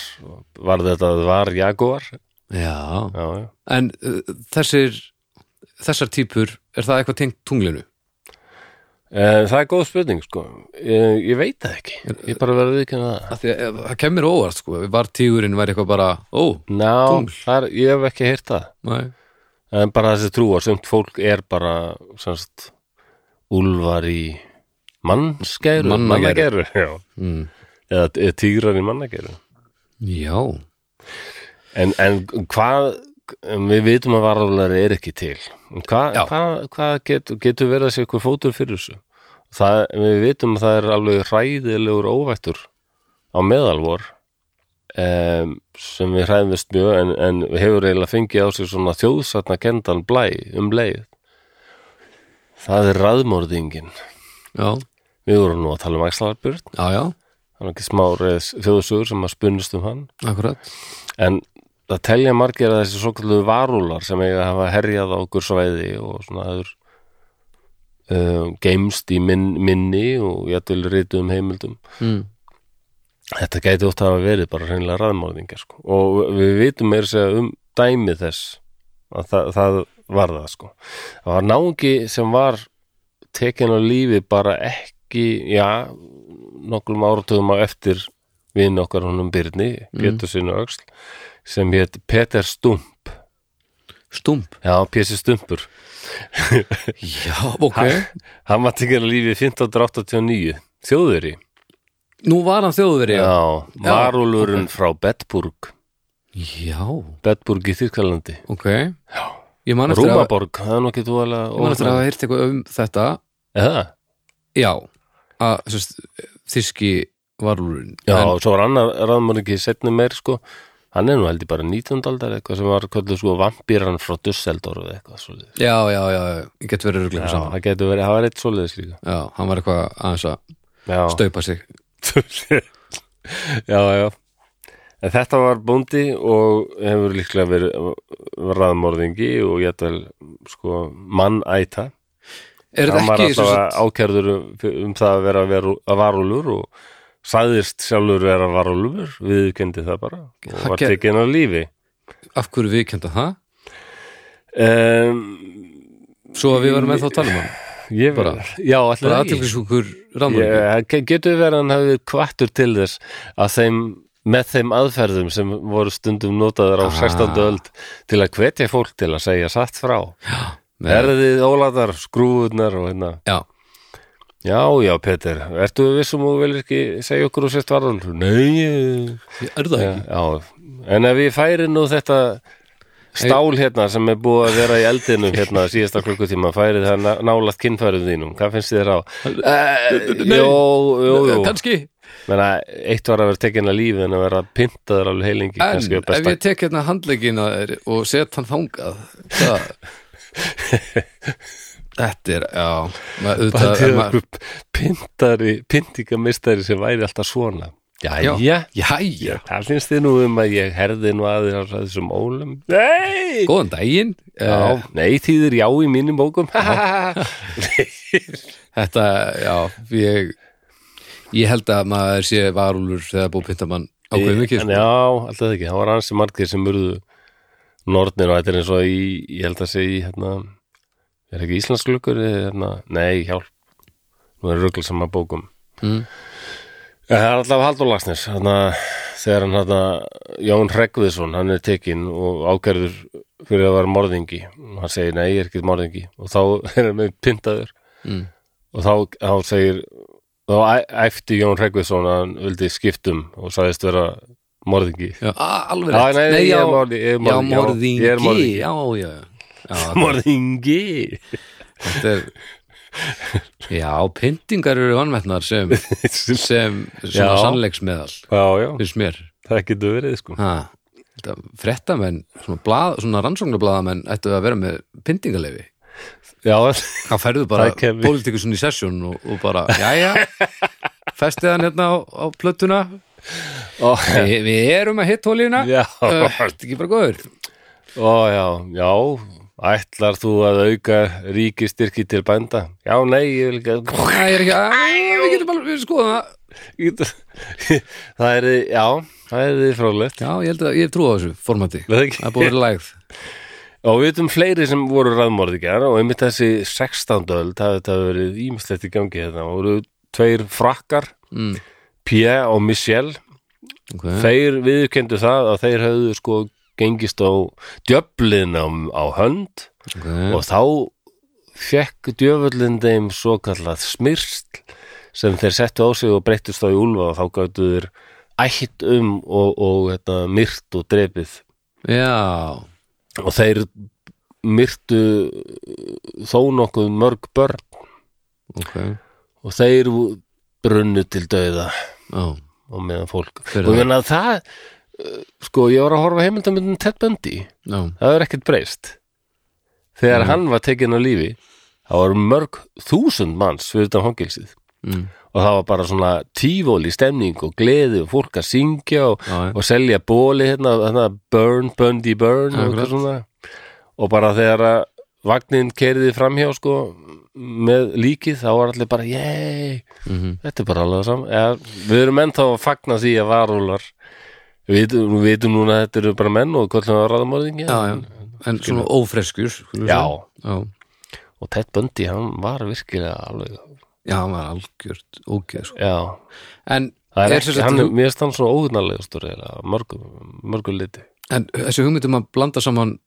Speaker 1: var þetta að var jaguar já,
Speaker 2: Já,
Speaker 1: já.
Speaker 2: en uh, þessir Þessar típur, er það eitthvað tengt tunglinu?
Speaker 1: E, það er góð spurning sko e, ég veit það ekki, ég bara verið að viðkynna það
Speaker 2: Af Því að, eh, það kemur óvart, sko, var tígurinn væri eitthvað bara, ó,
Speaker 1: Ná,
Speaker 2: Tungl.
Speaker 1: þar, ég hef ekki heyrt það
Speaker 2: nei,
Speaker 1: en bara þessi trú að sumt fólk er bara semst úlfar í mannsgæru
Speaker 2: Mannagæru.
Speaker 1: já
Speaker 2: mm,
Speaker 1: eða, eða tígrar í mannagæru
Speaker 2: já,
Speaker 1: En, en hvað, en við vitum að varðulegri er ekki til. En Hvað,
Speaker 2: Já.
Speaker 1: hvað, hvað getur, getur verið að sé ykkur fótur fyrir þessu? Það, við vitum að það er alveg hræðilegur óvættur á meðalvor um, sem við hræðumist mjög en, en hefur eiginlega fengið á sig svona þjóðsatna kendan blæ um leið. Það er raðmörðingin.
Speaker 2: já,
Speaker 1: Við vorum nú að tala um Axlarburð,
Speaker 2: já, já,
Speaker 1: það er ekki smárið þjóðsugur sem að spunnist um hann
Speaker 2: akkurat
Speaker 1: en það telja margir að þessi svo kallu varúlar sem eiga að hafa herjað á okkur svæði og svona aður uh, geimst í minn, minni og jættul rítum heimildum
Speaker 2: mm.
Speaker 1: þetta gæti ótt að hafa verið bara hreinlega raðmálðingar sko. og við vitum meira að segja um dæmi þess að það, það var það sko. það var náungi sem var tekin á lífi bara ekki já, nokkrum áratugum á eftir vinn okkar honum Byrni Pétur sinu öxl sem hétt Peter Stump
Speaker 2: Stump
Speaker 1: já, Pési Stumpur
Speaker 2: Já, ok
Speaker 1: hann var tekin á lífi 1589 þjóðveri
Speaker 2: Nú var hann þjóðveri
Speaker 1: já, varúlurinn frá Bedburg
Speaker 2: Já,
Speaker 1: Bedburg í Þýrkalandi
Speaker 2: ok Ég man eftir að
Speaker 1: Rúmaborg, það er nú ekki
Speaker 2: Ég man eftir
Speaker 1: dúalega
Speaker 2: að hafa heyrt eitthvað um þetta
Speaker 1: Eða?
Speaker 2: Já, að sérst, þíski varlurinn
Speaker 1: Já,
Speaker 2: en,
Speaker 1: og svo var annar ráðmörningi setni meir sko, hann er nú heldur bara 19. aldar eitthvað sem var kvöldu sko vampýran frá Dusseldorf eða eitthvað svoleiðis.
Speaker 2: já, já, já, já, ég get verið
Speaker 1: Já,
Speaker 2: ruglega saman
Speaker 1: það getur verið, það var eitt svoleiðis líka.
Speaker 2: Já, hann var eitthvað aðeins að
Speaker 1: Já.
Speaker 2: staupa sig
Speaker 1: já, já. En þetta var bóndi og hefur líklega verið ráðmörningi og ég ætla sko mannæta.
Speaker 2: Er
Speaker 1: hann
Speaker 2: þetta
Speaker 1: var
Speaker 2: ekki svo
Speaker 1: alltaf ákærður um um það að vera að vera varulur og sagðist sjálfur vera varulfur viðkendi það bara og
Speaker 2: Það
Speaker 1: var
Speaker 2: ger-
Speaker 1: tekinn á lífi
Speaker 2: af hverju við kenda það?
Speaker 1: um,
Speaker 2: Svo að við varum ennþá að tala um hann
Speaker 1: ég
Speaker 2: Bara-
Speaker 1: verð já,
Speaker 2: bara
Speaker 1: allir
Speaker 2: aðtökulsjúkur ráðmörgur
Speaker 1: ekki getur verið að hann hafi kvartur til þess að þeim með þeim aðferðum sem voru stundum notaður á
Speaker 2: Ah.
Speaker 1: 16. öld til að hvetja fólk til að segja satt frá
Speaker 2: Nei.
Speaker 1: Erðið ólaðar, skrúðunar og hérna
Speaker 2: já,
Speaker 1: Já, já, Peter, ertu um vissum og vil ekki segja okkur og sérst varðan? Nei, ég-
Speaker 2: er það
Speaker 1: já,
Speaker 2: ekki?
Speaker 1: já, en ef ég færi nú þetta stál hérna sem er búið að vera í eldinum hérna síðasta klukkutíma, færi það ná- nálægt kinnfærum þínum, hvað finnst þér á? Eh,
Speaker 2: Nei.
Speaker 1: Jó, jó, jó,
Speaker 2: Eh, kannski,
Speaker 1: menna, eitt var að vera tekin að lífi en að vera pyntaður alveg heilingi,
Speaker 2: en
Speaker 1: kannski er
Speaker 2: ef
Speaker 1: besta.
Speaker 2: ég tek hérna handleggina þér og set hann þangað það þetta er, já maður
Speaker 1: Bara
Speaker 2: auðvitað
Speaker 1: til
Speaker 2: er maður-
Speaker 1: einhver pyntari, pyntingamistari sem væri alltaf svona.
Speaker 2: Já.
Speaker 1: Jæja,
Speaker 2: jæja,
Speaker 1: það finnst þið nú um að ég herði nú aðeins af þessum ólum. Nei!
Speaker 2: góðan daginn
Speaker 1: Já,
Speaker 2: Eh,
Speaker 1: nei, þýðir já í mínum bókum.
Speaker 2: þetta, já, ég ég held að maður sé varúlur þegar búið pintamann ákveðum ekki
Speaker 1: En Já, alltaf ekki, það var ansi margir sem urðu nornir og þetta er eins og í, ég held að segja í, hérna, er ekki Íslandsgluggur, eða, hérna, nei, hjálp, nú er ruggl saman bókum.
Speaker 2: Mm.
Speaker 1: En Það er alltaf Haldur Lagsnes, hérna, þegar hann, hérna, Jón Hreggviðsson, hann er tekinn og ákærður fyrir að vera morðingi og hann segir, nei, ég er ekki morðingi og þá er hann með pyntaður
Speaker 2: Mm.
Speaker 1: og þá, þá segir þá æ- æpti Jón Hreggviðsson að hann vildi skiptum og sagðist vera morðingi
Speaker 2: Já, á, alveg
Speaker 1: Já,
Speaker 2: rétt.
Speaker 1: nei, ég
Speaker 2: já,
Speaker 1: er morði- ég er
Speaker 2: já,
Speaker 1: morðingi, já,
Speaker 2: morðingi,
Speaker 1: ég er morðingi.
Speaker 2: já, já, já, já
Speaker 1: Morðingi
Speaker 2: þetta er já, pyntingar eru vannmetnar sem, sem svona
Speaker 1: Já.
Speaker 2: sannleiksmeðal
Speaker 1: Já, já,
Speaker 2: finnst mér
Speaker 1: það getur verið sko
Speaker 2: ha, þetta, frettamenn svona, blað, svona rannsóknarblaðamenn ættu að vera með pyntingarleifi
Speaker 1: Já,
Speaker 2: hvað færðu bara
Speaker 1: Það kemur.
Speaker 2: pólitíkusun í sessjón og, og bara, jæja festið hann hérna á, á plötuna
Speaker 1: ó,
Speaker 2: Vi, við erum að hitt hólina
Speaker 1: já,
Speaker 2: þetta er ekki bara góður
Speaker 1: ó, já, já Ætlar þú að auka ríkistyrki til bænda? Já, nei, ég vil ekki
Speaker 2: Æ, ég er ekki, að, við getum alveg við skoðum það
Speaker 1: Það er, já, það er því fróðlegt
Speaker 2: já, ég held að ég trú á þessu formati
Speaker 1: Það er
Speaker 2: það er búið að vera lægð
Speaker 1: Og við veitum fleiri sem voru raðmorðingar og einmitt þessi 16. öld það þetta hafi verið ímislegt í gangi þetta voru tveir frakkar
Speaker 2: mm,
Speaker 1: Pierre og Michel
Speaker 2: okay.
Speaker 1: Hm. þeir viðurkendu það að þeir höfðu sko gengist á djöflin á, á hönd
Speaker 2: okay.
Speaker 1: og þá fekk djöflin þeim svo kallað smyrsl sem þeir settu á sig og breyttust þá í úlfa og þá gætu þeir ætt um og, og þetta, myrt og drepið
Speaker 2: já,
Speaker 1: og þeir myrtu uh, þó nokkuð mörg börn
Speaker 2: ok
Speaker 1: og þeir brunnu til dauða
Speaker 2: já,
Speaker 1: og meðan fólk
Speaker 2: Hver er
Speaker 1: og
Speaker 2: það?
Speaker 1: meðan að það uh, sko ég var að horfa heimildamöndin Ted Bundy
Speaker 2: já,
Speaker 1: það er ekkert breyst
Speaker 2: Mhm.
Speaker 1: þegar hann var tekinn á lífi það var mörg þúsund manns fyrir utan hangilsið
Speaker 2: mm,
Speaker 1: og það var bara svona tífóli stemning og gleði og fólk að syngja og,
Speaker 2: já, já.
Speaker 1: og selja bóli hérna, hérna burn, bundy burn og,
Speaker 2: Akkurat.
Speaker 1: eitthvað svona. og bara þegar að vagnin keiriði framhjá sko með líkið þá var allir bara yey,
Speaker 2: Mhm.
Speaker 1: þetta er bara alveg saman ja, við erum ennþá að fagna því að varúlar við vitum- við vitum núna að þetta eru bara menn og kvöldum að
Speaker 2: já,
Speaker 1: ráðamorðingi
Speaker 2: já. en svona ófreskur skulum við
Speaker 1: Já.
Speaker 2: segja. já,
Speaker 1: og Ted Bundy hann var virkilega alveg
Speaker 2: já, hann var algjört ógeð sko.
Speaker 1: já,
Speaker 2: en,
Speaker 1: það er
Speaker 2: er um-
Speaker 1: ekki,
Speaker 2: sem sagt
Speaker 1: hann, er-
Speaker 2: hug-
Speaker 1: mér finnst hann svo óhugnarlegastur eiginlega, á mörgum, mörgum liti
Speaker 2: en þessi hugmyndum að blanda saman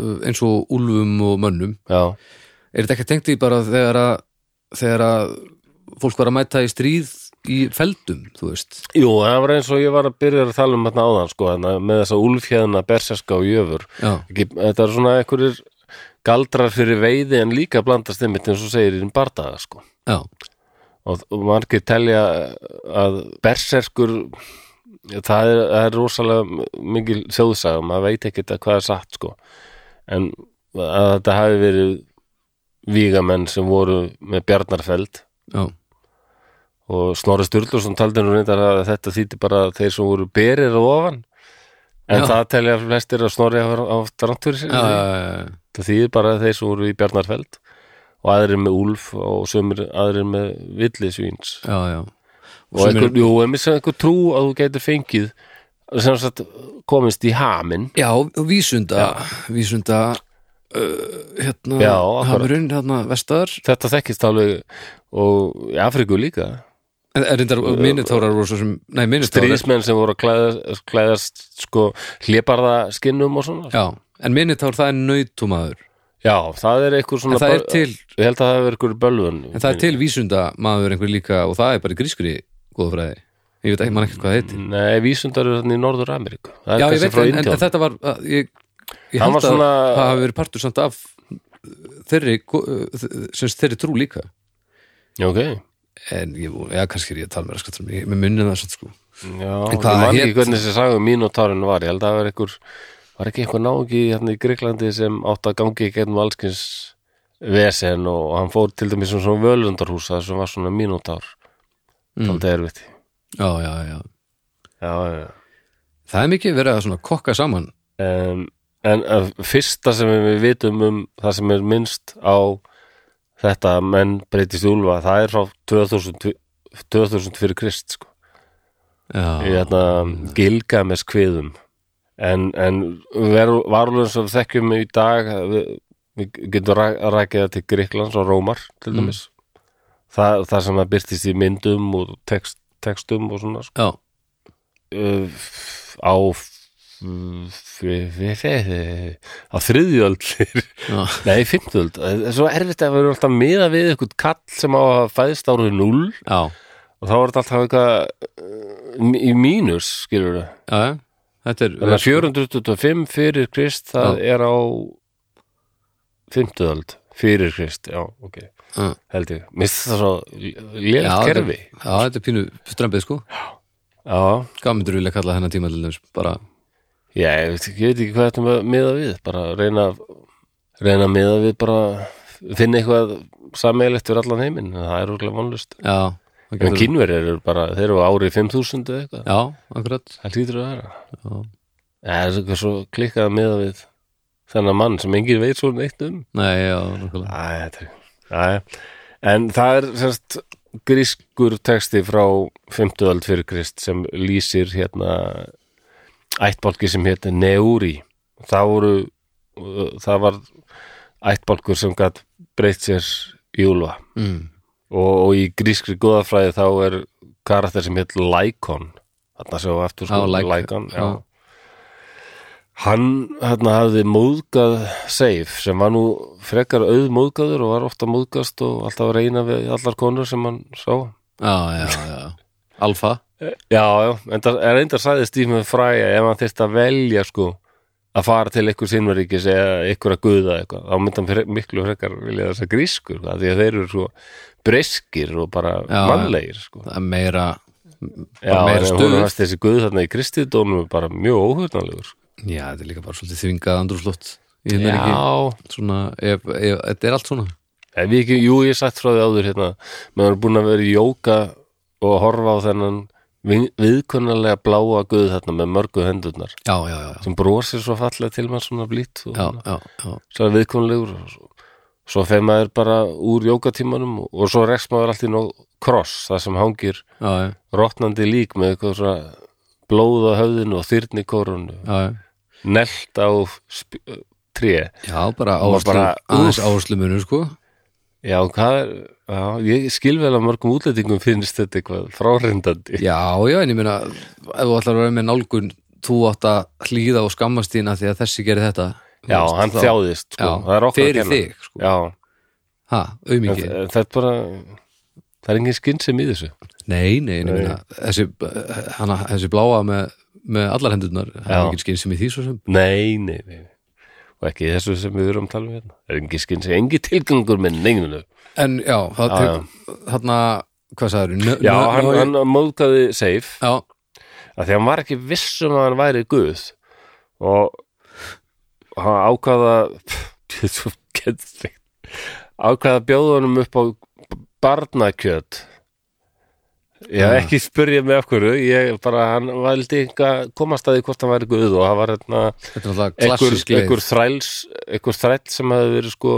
Speaker 2: uh, eins og úlfum og mönnum
Speaker 1: já,
Speaker 2: er þetta ekki tengt í bara þegar að þegar að fólk var að mæta í stríð í feldum, þú veist
Speaker 1: Jú, það var eins og ég var að byrja að tala um hérna áðan sko, hérna, með þessa úlfjæðna berserska og jöfur
Speaker 2: já,
Speaker 1: Ekki, þetta er svona einhverjir galdrar fyrir veiði en líka blandast einmitt eins og segir í bardaga sko.
Speaker 2: já,
Speaker 1: og, og margir telja eh, að berserkur það er, það er rosalega mikil þjóðsaga, maður veit ekkert að hvað er satt sko. en að þetta hafi verið vígamenn sem voru með Bjarnarfeld
Speaker 2: já,
Speaker 1: og Snorri Sturluson taldi nú reyndar að þetta þýtti bara þeir sem voru berir og ofan en
Speaker 2: Já.
Speaker 1: það telja flestir að Snorri hafa haft rangt fyrir sig
Speaker 2: já, já,
Speaker 1: það þýði bara þeir sem voru í Bjarnarfeld og aðrir með Úlf og sömur aðrir með villisvíns
Speaker 2: já, já.
Speaker 1: og
Speaker 2: sumir-
Speaker 1: einhver, jú, einmitt sem einhver trú að þú getur fengið sem sagt komist í haminn
Speaker 2: Já, og vísunda vísunda uh, hérna,
Speaker 1: Já, akkurat.
Speaker 2: hamurinn, hérna, vestar
Speaker 1: þetta þekkist alveg og í Afriku líka
Speaker 2: en er reyndar minnitórar voru svo sem, nei, minnitórar
Speaker 1: stríðismenn sem voru að klæðast, klæðast sko hlébarða skinnum og svona
Speaker 2: Já, en minnitár það er nautumaður
Speaker 1: já, það er einhver svona
Speaker 2: En það er
Speaker 1: böl-
Speaker 2: til-
Speaker 1: ég held að það er einhver bölvun
Speaker 2: en það er til vísundamaður einhver líka og það er bara í grískri góðfræði ég veit ekki, man ekki hvað það heiti
Speaker 1: nei, vísundar eru þannig í Norður Ameríku það
Speaker 2: Já,
Speaker 1: er
Speaker 2: ég
Speaker 1: kannski
Speaker 2: veit,
Speaker 1: frá
Speaker 2: en, en
Speaker 1: Indíánum.
Speaker 2: þetta var að- ég, ég
Speaker 1: Hann
Speaker 2: held
Speaker 1: var
Speaker 2: að
Speaker 1: svona-
Speaker 2: það hafi verið partur samt af uh, þeirri, gó- sem sagt, þeirri trú líka
Speaker 1: Já, ok
Speaker 2: en ég, já, kannski er ég að tala með raskat ég, með munni það samt sko
Speaker 1: já,
Speaker 2: En
Speaker 1: ég
Speaker 2: hvað
Speaker 1: man ekki
Speaker 2: hét-
Speaker 1: hvernig þessi sagði mínutárun var ég held að það var einhver var ekki einhver náungi hérna í Greiklandi sem átt að gangi í gegnum allskins vesen og hann fór til dæmis um svona völundarhús það sem var svona mínutár mm. þá er við
Speaker 2: já, já, já,
Speaker 1: já, já, já
Speaker 2: það er mikið verið að svona kokka saman
Speaker 1: um, en að fyrsta sem við vitum um það sem er minnst á þetta að menn breytist í úlfa það er frá 2000, 2000 fyrir krist sko. í
Speaker 2: já,
Speaker 1: þetta hérna, gilga með skviðum en, en varulun sem við þekkjum í dag við, við getum rak- rakið það til Gríklands og Rómar til dæmis það, það sem það byrtist í myndum og text, textum og svona sko
Speaker 2: já,
Speaker 1: uh, á á þriðjöld
Speaker 2: já.
Speaker 1: nei, fimmtöld það er svo erfitt að vera alltaf miða við eitthvað kall sem á að fæðist árið 0
Speaker 2: já,
Speaker 1: og þá er þetta alltaf eitthvað uh, í mínus, skilur það
Speaker 2: já, já. þetta er
Speaker 1: þannig að 425 fyrir krist það er á fimmtöld fyrir krist, já, ok
Speaker 2: Já.
Speaker 1: held ég, misti það svo létt
Speaker 2: Já, þetta-
Speaker 1: kerfi
Speaker 2: já, þetta er pínu strömbið sko
Speaker 1: já,
Speaker 2: gamindur vilja kalla hennar tíma til þess bara,
Speaker 1: Já, ég veit, ég veit ekki hvað þetta með- miða við, bara reyna reyna að miða við bara finna eitthvað sammeilegt fyrir allan heiminn, en það er úrlega vonlust
Speaker 2: já það
Speaker 1: En
Speaker 2: getur-
Speaker 1: kínverjir eru bara, þeir eru á ári 5000 eða eitthvað,
Speaker 2: já, akkurat
Speaker 1: það hlýtur að vera
Speaker 2: já.
Speaker 1: Já, það er eitthvað svo klikkað að miða við þennan mann sem enginn veit svo neitt um
Speaker 2: nei, já, nákvæmlega
Speaker 1: Æ, þetta er Æ, En það er semst grískur texti frá 50. öld fyrir Krist sem lýsir hérna ættbálki sem hétt Neuri það voru uh, það var ættbálkur sem gætt breytt sér í úlfa
Speaker 2: mm.
Speaker 1: og, og í grískri góðafræði þá er karakter sem hétt Lycon þarna sem var aftur sko
Speaker 2: Já, Lyc-
Speaker 1: Lycon, já.
Speaker 2: já.
Speaker 1: hann hérna hafði móðgað Seif sem var nú frekar auðmóðgaður og var ofta móðgast og alltaf að reyna við allar konur sem hann sá
Speaker 2: já, já, já, alfa
Speaker 1: já, já, en það er reyndar sæði Stephen Fry að ef hann þyrst að velja sko að fara til einhver sinnveríkis eða einhver að guða eitthvað, þá myndi hann fre- miklu frekar vilja þess að grískur, það, því að þeir eru svo breskir og bara
Speaker 2: Já, já.
Speaker 1: mannlegir sko.
Speaker 2: það er meira
Speaker 1: Já,
Speaker 2: bara meira
Speaker 1: en
Speaker 2: stuð.
Speaker 1: hún varst þessi guð þarna í kristidónum er bara mjög sko. óhugnanlegur
Speaker 2: Já, þetta er líka bara svolítið þvingað andrúslott í
Speaker 1: Já,
Speaker 2: hennar ekki svona, ef, ef, þetta er allt svona
Speaker 1: ef ég ekki, jú ég er sagt frá því áður hérna maður er búin að vera í jóka og horfa á þennan vin- viðkunnarlega bláa guð þarna með mörgu hendurnar
Speaker 2: Já, já, já, já,
Speaker 1: sem brosir svo fallega til maður svona blít og
Speaker 2: já,
Speaker 1: svona,
Speaker 2: já, já.
Speaker 1: svo er viðkunnlegur og svo, svo fer maður bara úr jókatímanum og, og svo rekst maður allt í nóg kross, það sem hangir
Speaker 2: Já, já,
Speaker 1: rotnandi lík með eitthvað svona blóð á höfðinu og þyrni korunu
Speaker 2: já, já.
Speaker 1: nelt á sp- tré
Speaker 2: já bara
Speaker 1: Og
Speaker 2: áherslu,
Speaker 1: bara,
Speaker 2: aðeins
Speaker 1: úff.
Speaker 2: áherslu munur sko
Speaker 1: já, hvað er já, ég skil vel að mörgum útlendingum finnst þetta eitthvað frárindandi
Speaker 2: Já, já, en ég meina ef þú ætlar að vera með nálgun þú átt að hlýða og skammast þín af því að þessi gerir þetta Þú
Speaker 1: já,
Speaker 2: veist,
Speaker 1: hann
Speaker 2: þá-
Speaker 1: þjáðist sko.
Speaker 2: já,
Speaker 1: það er okkur
Speaker 2: Fyrir
Speaker 1: að kenna
Speaker 2: þig, sko,
Speaker 1: já,
Speaker 2: ha,
Speaker 1: en,
Speaker 2: auðmikið
Speaker 1: en það er bara það er engin skynsem í þessu
Speaker 2: Nei, nei, en ég
Speaker 1: Nei.
Speaker 2: meina þessi, hana, þessi bláa með, með allar hendurnar, það er
Speaker 1: Já.
Speaker 2: ekki skinn sem í því svo sem
Speaker 1: nei, nei, nei og ekki í þessu sem við erum að tala um hérna það er engin skynsem, engin tilgangur með neyninu
Speaker 2: En já, það,
Speaker 1: Já, já.
Speaker 2: þarna, hvað sagður?
Speaker 1: já, hann, hann móðgaði safe
Speaker 2: já,
Speaker 1: að því hann var ekki viss um að hann væri guð og og hann ákvaða svo geðsveikt ákvaða að bjóða honum upp á barnakjöt ég hef
Speaker 2: Já.
Speaker 1: ekki spurja mig af hverju ég bara, hann valdi ekki að komast að því hvort hann væri guð og það var hérna
Speaker 2: þetta er alltaf
Speaker 1: einhver,
Speaker 2: klassisk leið
Speaker 1: einhver þræls einhver þræll sem hefði verið sko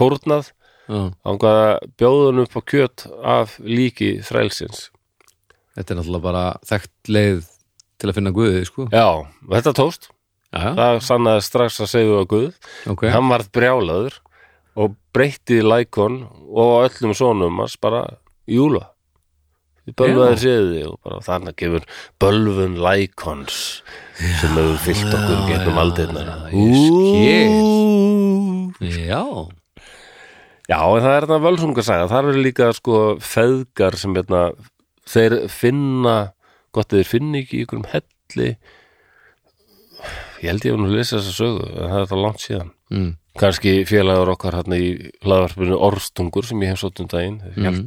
Speaker 1: fórnað
Speaker 2: Já,
Speaker 1: hann ákvað að bjóða honum upp á kjöt af líki þrælsins
Speaker 2: þetta er náttúrulega bara þekkt leið til að finna guðið sko.
Speaker 1: Já, og þetta tóst
Speaker 2: já,
Speaker 1: það sannaði strax að segja á Guð
Speaker 2: ok,
Speaker 1: hann varð brjálaður og breytti lækon og öllum sonum hans bara í júla við bölvaðir séðu því og bara þannig gefur bölvun lækons sem hefur fyllt okkur gegnum aldirnar
Speaker 2: ég skil.
Speaker 1: Ú.
Speaker 2: já
Speaker 1: Já, en það er þarna völsungasaga þar eru líka sko feðgar sem hérna, þeir finna gott að þeir finna ekki í einhverjum helli ég held ég að nú lesa þessa sögu en það er það langt síðan
Speaker 2: mm.
Speaker 1: kannski félagur okkar hérna í hlaðvarpinu Orfstungur sem ég hef sótt um daginn mm.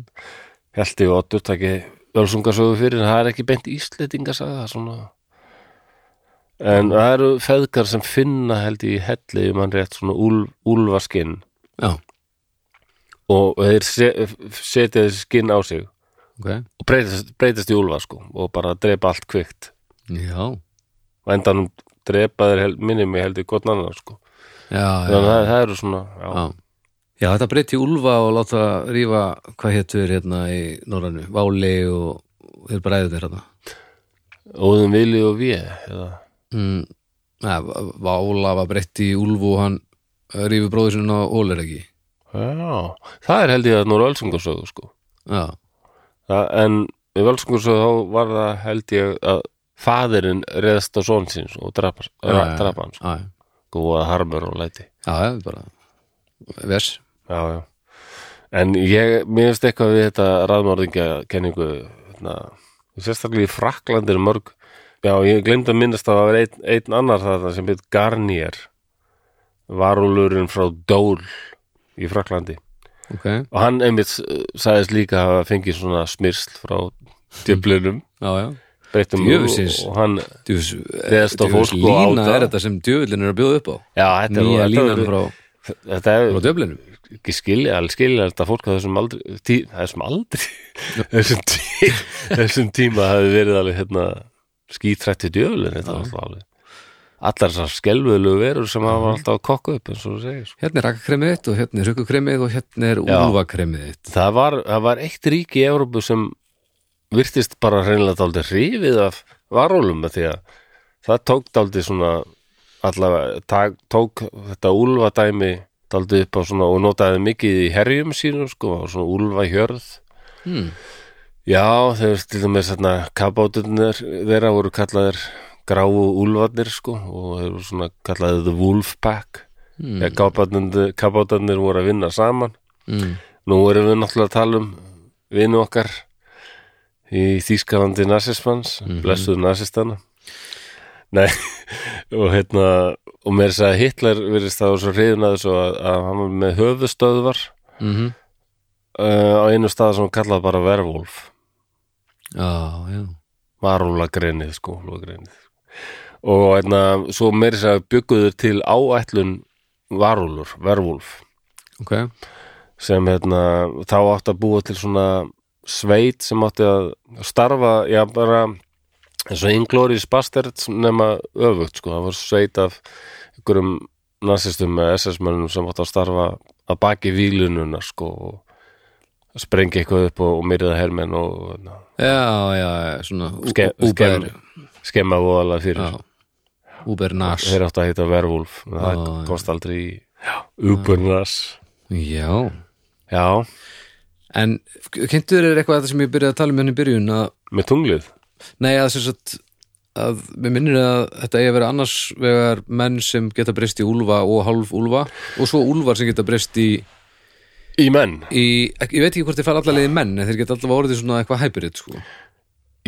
Speaker 1: Hjalti og Oddur takki völsungasögu fyrir en það er ekki beint íslendingasaga svona en það eru feðgar sem finna held ég í helli um hann rétt svona úl, úlfaskinn
Speaker 2: já,
Speaker 1: og þeir se- setja þessi skinn á sig og
Speaker 2: ok
Speaker 1: breytast, breytast í úlfa sko og bara drepa allt kvikt
Speaker 2: já,
Speaker 1: og endanum drepa þeir hel, minni mig heldur gott annar sko
Speaker 2: já, já,
Speaker 1: þannig að það eru svona já,
Speaker 2: já. Já, þetta breytti Úlfa og láta rífa hvað héttur hérna í Norrannu, Váli og og þeir bræðu þeir hérna.
Speaker 1: óðum vili og við eða,
Speaker 2: Mm, neða, Vála var breytti í Úlfu og hann rífi bróður sinna og Ólir ekki.
Speaker 1: já, það er held ég að nú er ölsungarsögu sko
Speaker 2: Já,
Speaker 1: það, en við ölsungarsögu þá var það held ég að faðirinn reðst á són síns og drapa,
Speaker 2: Já, já,
Speaker 1: drapa hann
Speaker 2: já, já.
Speaker 1: sko og að harmur og læti
Speaker 2: já, já, bara vers.
Speaker 1: já, já. en ég, mér finnst eitthvað við þetta raðmörðingja kenningu hérna, sérstaklega í Fraklandi er mörg já, ég glemd að minnast að það var einn ein annar þarna sem heit Garnier varulurinn frá Dól í Fraklandi
Speaker 2: Ok, já,
Speaker 1: og hann einmitt eh, sagðist líka að hafa fengið svona smyrsl frá djöflunum
Speaker 2: já.
Speaker 1: breyttum
Speaker 2: Djöfulsins.
Speaker 1: og, og hann,
Speaker 2: Djöfus,
Speaker 1: Réðst á fólk og
Speaker 2: Eh, lína
Speaker 1: áta.
Speaker 2: er þetta sem djöfullin er að bjóða upp á.
Speaker 1: já, þetta er-
Speaker 2: Nýja
Speaker 1: þetta er
Speaker 2: línan frá,
Speaker 1: þetta er
Speaker 2: frá djöflinum.
Speaker 1: ekki skilja, alveg skilja þetta fólk á þessum aldri, tí, þessum aldri þessum, tí, þessum tíma hafi verið alveg hérna skítrætti djöflin þetta var alltaf alveg allar þessar skelvölu verur sem hafa alltaf að kokka upp eins og þú segir sko.
Speaker 2: Hérna er rakkakremið þitt og hérna er rukkukremið og hérna er úlfakremið þitt.
Speaker 1: það var, það var eitt rík í Evrópu sem virtist bara hreinlega dálítið hrifið af varólum með því að það tók dálítið svona allavega, tak, tók þetta úlfadæmi dálítið upp á svona og notaði mikið í herjum sínum sko, og svona úlfahjörð
Speaker 2: Hmm.
Speaker 1: Já, þeir til dæmis hérna kabátunir þeirra voru kallaðir gráu úlfarnir sko og þeir voru svona kallaðir the wolf pack mm. ja, kabátunir voru að vinna saman
Speaker 2: Mm.
Speaker 1: Nú erum við náttúrulega að tala um vinu okkar í Þýskalandi nasismans, blessuðu nasistana Nei, og hérna og mér sagði að Hitler virðist það og svo hrifin að þessu að, að hann var með höfustöðvar
Speaker 2: Mm
Speaker 1: Hmm. uh, á einu stað sem hann kallaði bara vervólf
Speaker 2: Já, já.
Speaker 1: varúlagreinið sko úlfagreinið. og einna, svo meiri sér bygguður til áætlun varúlur, vervúlf
Speaker 2: Ok,
Speaker 1: sem hérna, þá átti að búa til svona sveit sem átti að starfa, já bara eins og Inglourious Basterds nema öfugt sko, það var sveit af einhverjum nasistum með SS-mönnum sem átti að starfa að baki výlununar sko og sprengi eitthvað upp og, og myrða hermenn og hérna,
Speaker 2: já, já, já, svona ú-
Speaker 1: Ske-
Speaker 2: ú-
Speaker 1: skemm-
Speaker 2: Uber
Speaker 1: skemma voðalega fyrir
Speaker 2: já. Uber Nash
Speaker 1: þeir áttu að heita Verwolf en það
Speaker 2: Já, já.
Speaker 1: komst aldrei í Ubernas
Speaker 2: Já,
Speaker 1: já,
Speaker 2: en kynntur er eitthvað þetta sem ég byrjaði að tala um henni í byrjun að,
Speaker 1: með tunglið
Speaker 2: nei, að sem sagt að mér minnir að þetta eigi að vera annars vegar menn sem geta breyst í úlfa og hálf úlfa og svo úlfar sem geta breyst í,
Speaker 1: í menn,
Speaker 2: í ek- ég veit ekki hvort þeir fara allavega í menn en þeir geta allavega orðið svona eitthvað hybrid sko.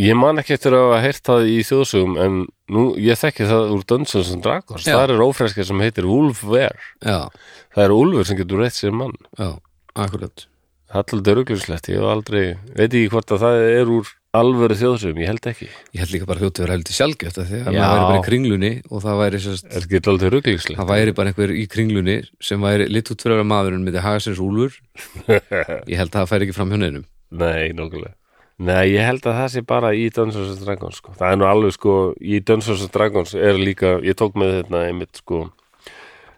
Speaker 1: ég man ekki eftir að hafa heyrt það í þjóðsögum en nú, ég þekki það úr Dungeons and Dragons
Speaker 2: Já.
Speaker 1: það er ófreskja sem heitir Wolfware
Speaker 2: Já,
Speaker 1: það er úlfur sem getur reitt sér mann
Speaker 2: já, akkurat
Speaker 1: það er alltaf rugljuslegt, ég hef aldrei veit ekki hvort að það er úr alvöru þjóðsögum, ég held ekki
Speaker 2: Ég held líka bara hljótið að vera heldur sjálfgjöft af því að
Speaker 1: Já.
Speaker 2: maður væri bara í kringlunni og það væri sérst
Speaker 1: er ekki alltaf rugljuslegt
Speaker 2: það væri bara einhver í kringlunni sem væri litt út fyrir að maðurinn myndi haga sér svo úlfur ég held að það færi ekki fram hjá neinum
Speaker 1: Nei, nokkulega Nei, ég held að það sé bara í Dungeons and Dragons sko. Það er nú alveg sko, í Dungeons and Dragons er líka, ég tók með þetta einmitt sko,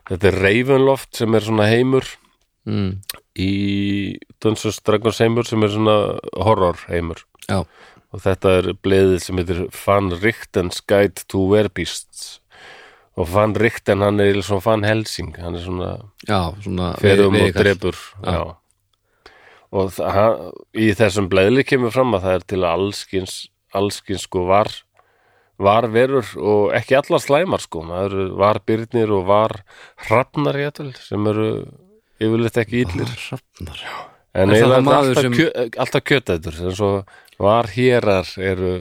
Speaker 1: þetta er Ravenloft sem er svona heimur
Speaker 2: mm.
Speaker 1: í Dungeons and Dragons heimur sem er svona horror heimur
Speaker 2: já,
Speaker 1: og þetta er bleðið sem heitir Van Richten's Guide to Werbeasts og Van Richten hann er svona Van Helsing hann er svona
Speaker 2: já, svona vei-
Speaker 1: ferum um og
Speaker 2: veikall.
Speaker 1: drefur já. og þa- hann, í þessum bleðli kemur fram að það er til allskins, allskins sko var var verur og ekki allar slæmar sko, það eru var byrnir og var hrafnar jætul sem eru yfirleitt ekki
Speaker 2: Ah,
Speaker 1: illir
Speaker 2: Hrafnar. Er
Speaker 1: en
Speaker 2: það
Speaker 1: eiginlega
Speaker 2: það maður
Speaker 1: alltaf,
Speaker 2: sem-
Speaker 1: sem... kjö, alltaf kjötætur eins og var hérar eru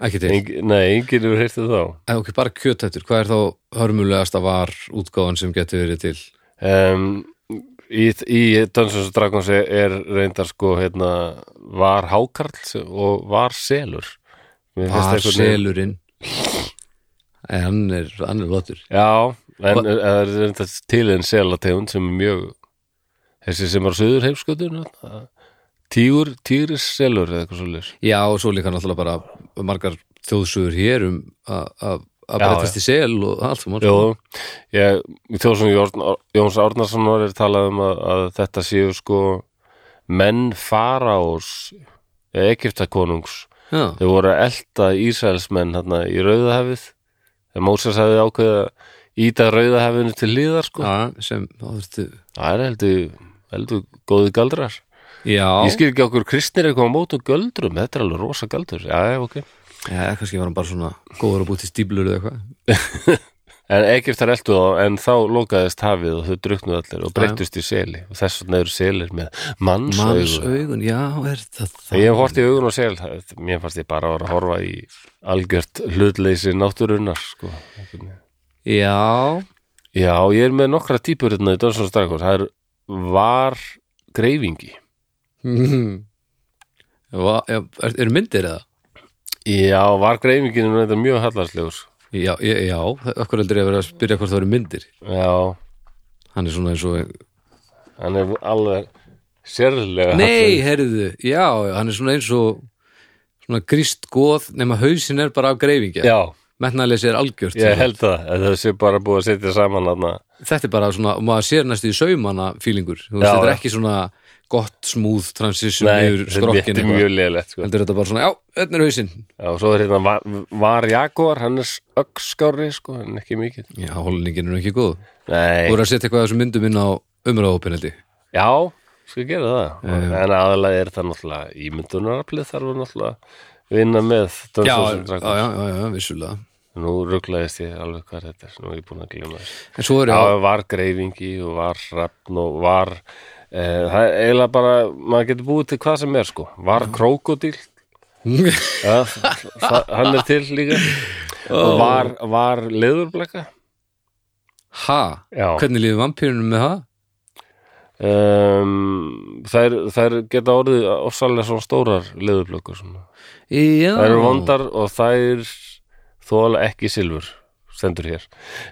Speaker 2: ekki til,
Speaker 1: engi, nei, enginn hefur heyrtið þá
Speaker 2: en ok, bara kjötættur hvað er þá hörmulegasta var útgáðan sem getur verið til
Speaker 1: um, í, í Dungeons and Dragons er, er reyndar sko hérna, var hákarl og var selur Mér finnst
Speaker 2: var
Speaker 1: einhvern veginn-
Speaker 2: selurinn en hann er, hann er lotur
Speaker 1: já, en er- það er reyndar til en selategund sem er mjög þessi sem er á söður heimskötun tígur, tígris selur eða eitthvað svo leir
Speaker 2: já, og svo líka náttúrulega bara margar þjóðsugur hér um að- að að
Speaker 1: Já,
Speaker 2: breytast í sel og allt um
Speaker 1: Jó, Sko, ég, Þjóðsson Jórn- Jóns Árnarssonar er talað um að, að þetta séu sko menn faraós Egiptakonungs
Speaker 2: já,
Speaker 1: Þau voru að elta Ísraelsmenn hérna í Rauðahafið þegar Mósas hafði ákveðið að íta Rauðahafinu til hlýðar sko.
Speaker 2: já, sem þá þurftu
Speaker 1: Það er heldur, heldur góði galdrar.
Speaker 2: já,
Speaker 1: Ég skil ekki okkur kristnir eitthvað á mótu göldrum, þetta er alveg rosa galdur. Já, já, ok.
Speaker 2: já, kannski var hann bara svona góður að búti stíblur eða eitthvað
Speaker 1: En Egiptar eltu þá, en þá lokaðist hafið og þau druknuð allir og breyttust í seli og þess vegna eru selir með mannsaugu.
Speaker 2: mannsaugun, já, er það það
Speaker 1: Ég hef hort í augun og sel, það- mér fannst ég bara að horfa í algjört hlutleysi náttúrunnar, sko.
Speaker 2: já,
Speaker 1: Já, ég er með nokkra típur hérna í Dungeons Dragons, það er var greifingi.
Speaker 2: Mhm. Va, já, er, er myndir eða?
Speaker 1: Já, var greifingin er þetta mjög hallarslegur.
Speaker 2: Já, já, já okkur heldur ég að vera að spyrja hvort það eru myndir
Speaker 1: Já,
Speaker 2: Hann er svona eins og
Speaker 1: hann er alveg sérlega
Speaker 2: Nei, heyrðu, já, hann er svona eins og svona gríst góð nema hausin er bara af greifingja
Speaker 1: hallarslegur.
Speaker 2: Metnaðleysi er algjört
Speaker 1: Já, ég held það, að það sé bara búið að setja saman þarna.
Speaker 2: Þetta er bara svona, og maður sér næstu í saumana fílingur, þú veist,
Speaker 1: Já,
Speaker 2: þetta er
Speaker 1: já.
Speaker 2: ekki svona gott, smooth transition
Speaker 1: Nei,
Speaker 2: yfir skrokkin
Speaker 1: þetta er
Speaker 2: eitthvað.
Speaker 1: mjög leðilegt, sko.
Speaker 2: Heldur þetta bara svona, já, þetta er hausinn
Speaker 1: Já, og svo er hérna var, var Jaguar, hann er ögskári, sko, en ekki mikið.
Speaker 2: Já, holningin er ekki góð Þú
Speaker 1: Nei,
Speaker 2: voru að setja eitthvað af þessum myndum inn á umræðópin held ég
Speaker 1: já, skal gera það. En aðalega er það náttúrulega ímyndunaraflið þarf að náttúrulega vinna með
Speaker 2: já,
Speaker 1: Dungeons and
Speaker 2: já,
Speaker 1: Dragons.
Speaker 2: já, já, já, vissulega
Speaker 1: Nú rugglaðist ég alveg hvað þetta er, nú er ég búin að glima þess.
Speaker 2: En svo eru
Speaker 1: Já, var greifingi og var hrafn og var, e, það er eiginlega bara, maður getur búið til hvað sem er sko. Var krókodíl, ja, það- hann er til líka. Og var, var leðurblaka.
Speaker 2: Ha?
Speaker 1: Já.
Speaker 2: Hvernig líður vampýrunum með það?
Speaker 1: Um, þær, þær geta orðið ofsalega svona stórar leðurblöku. Svona.
Speaker 2: Já
Speaker 1: Þær eru vondar og þær þóla ekki silfur stendur hér.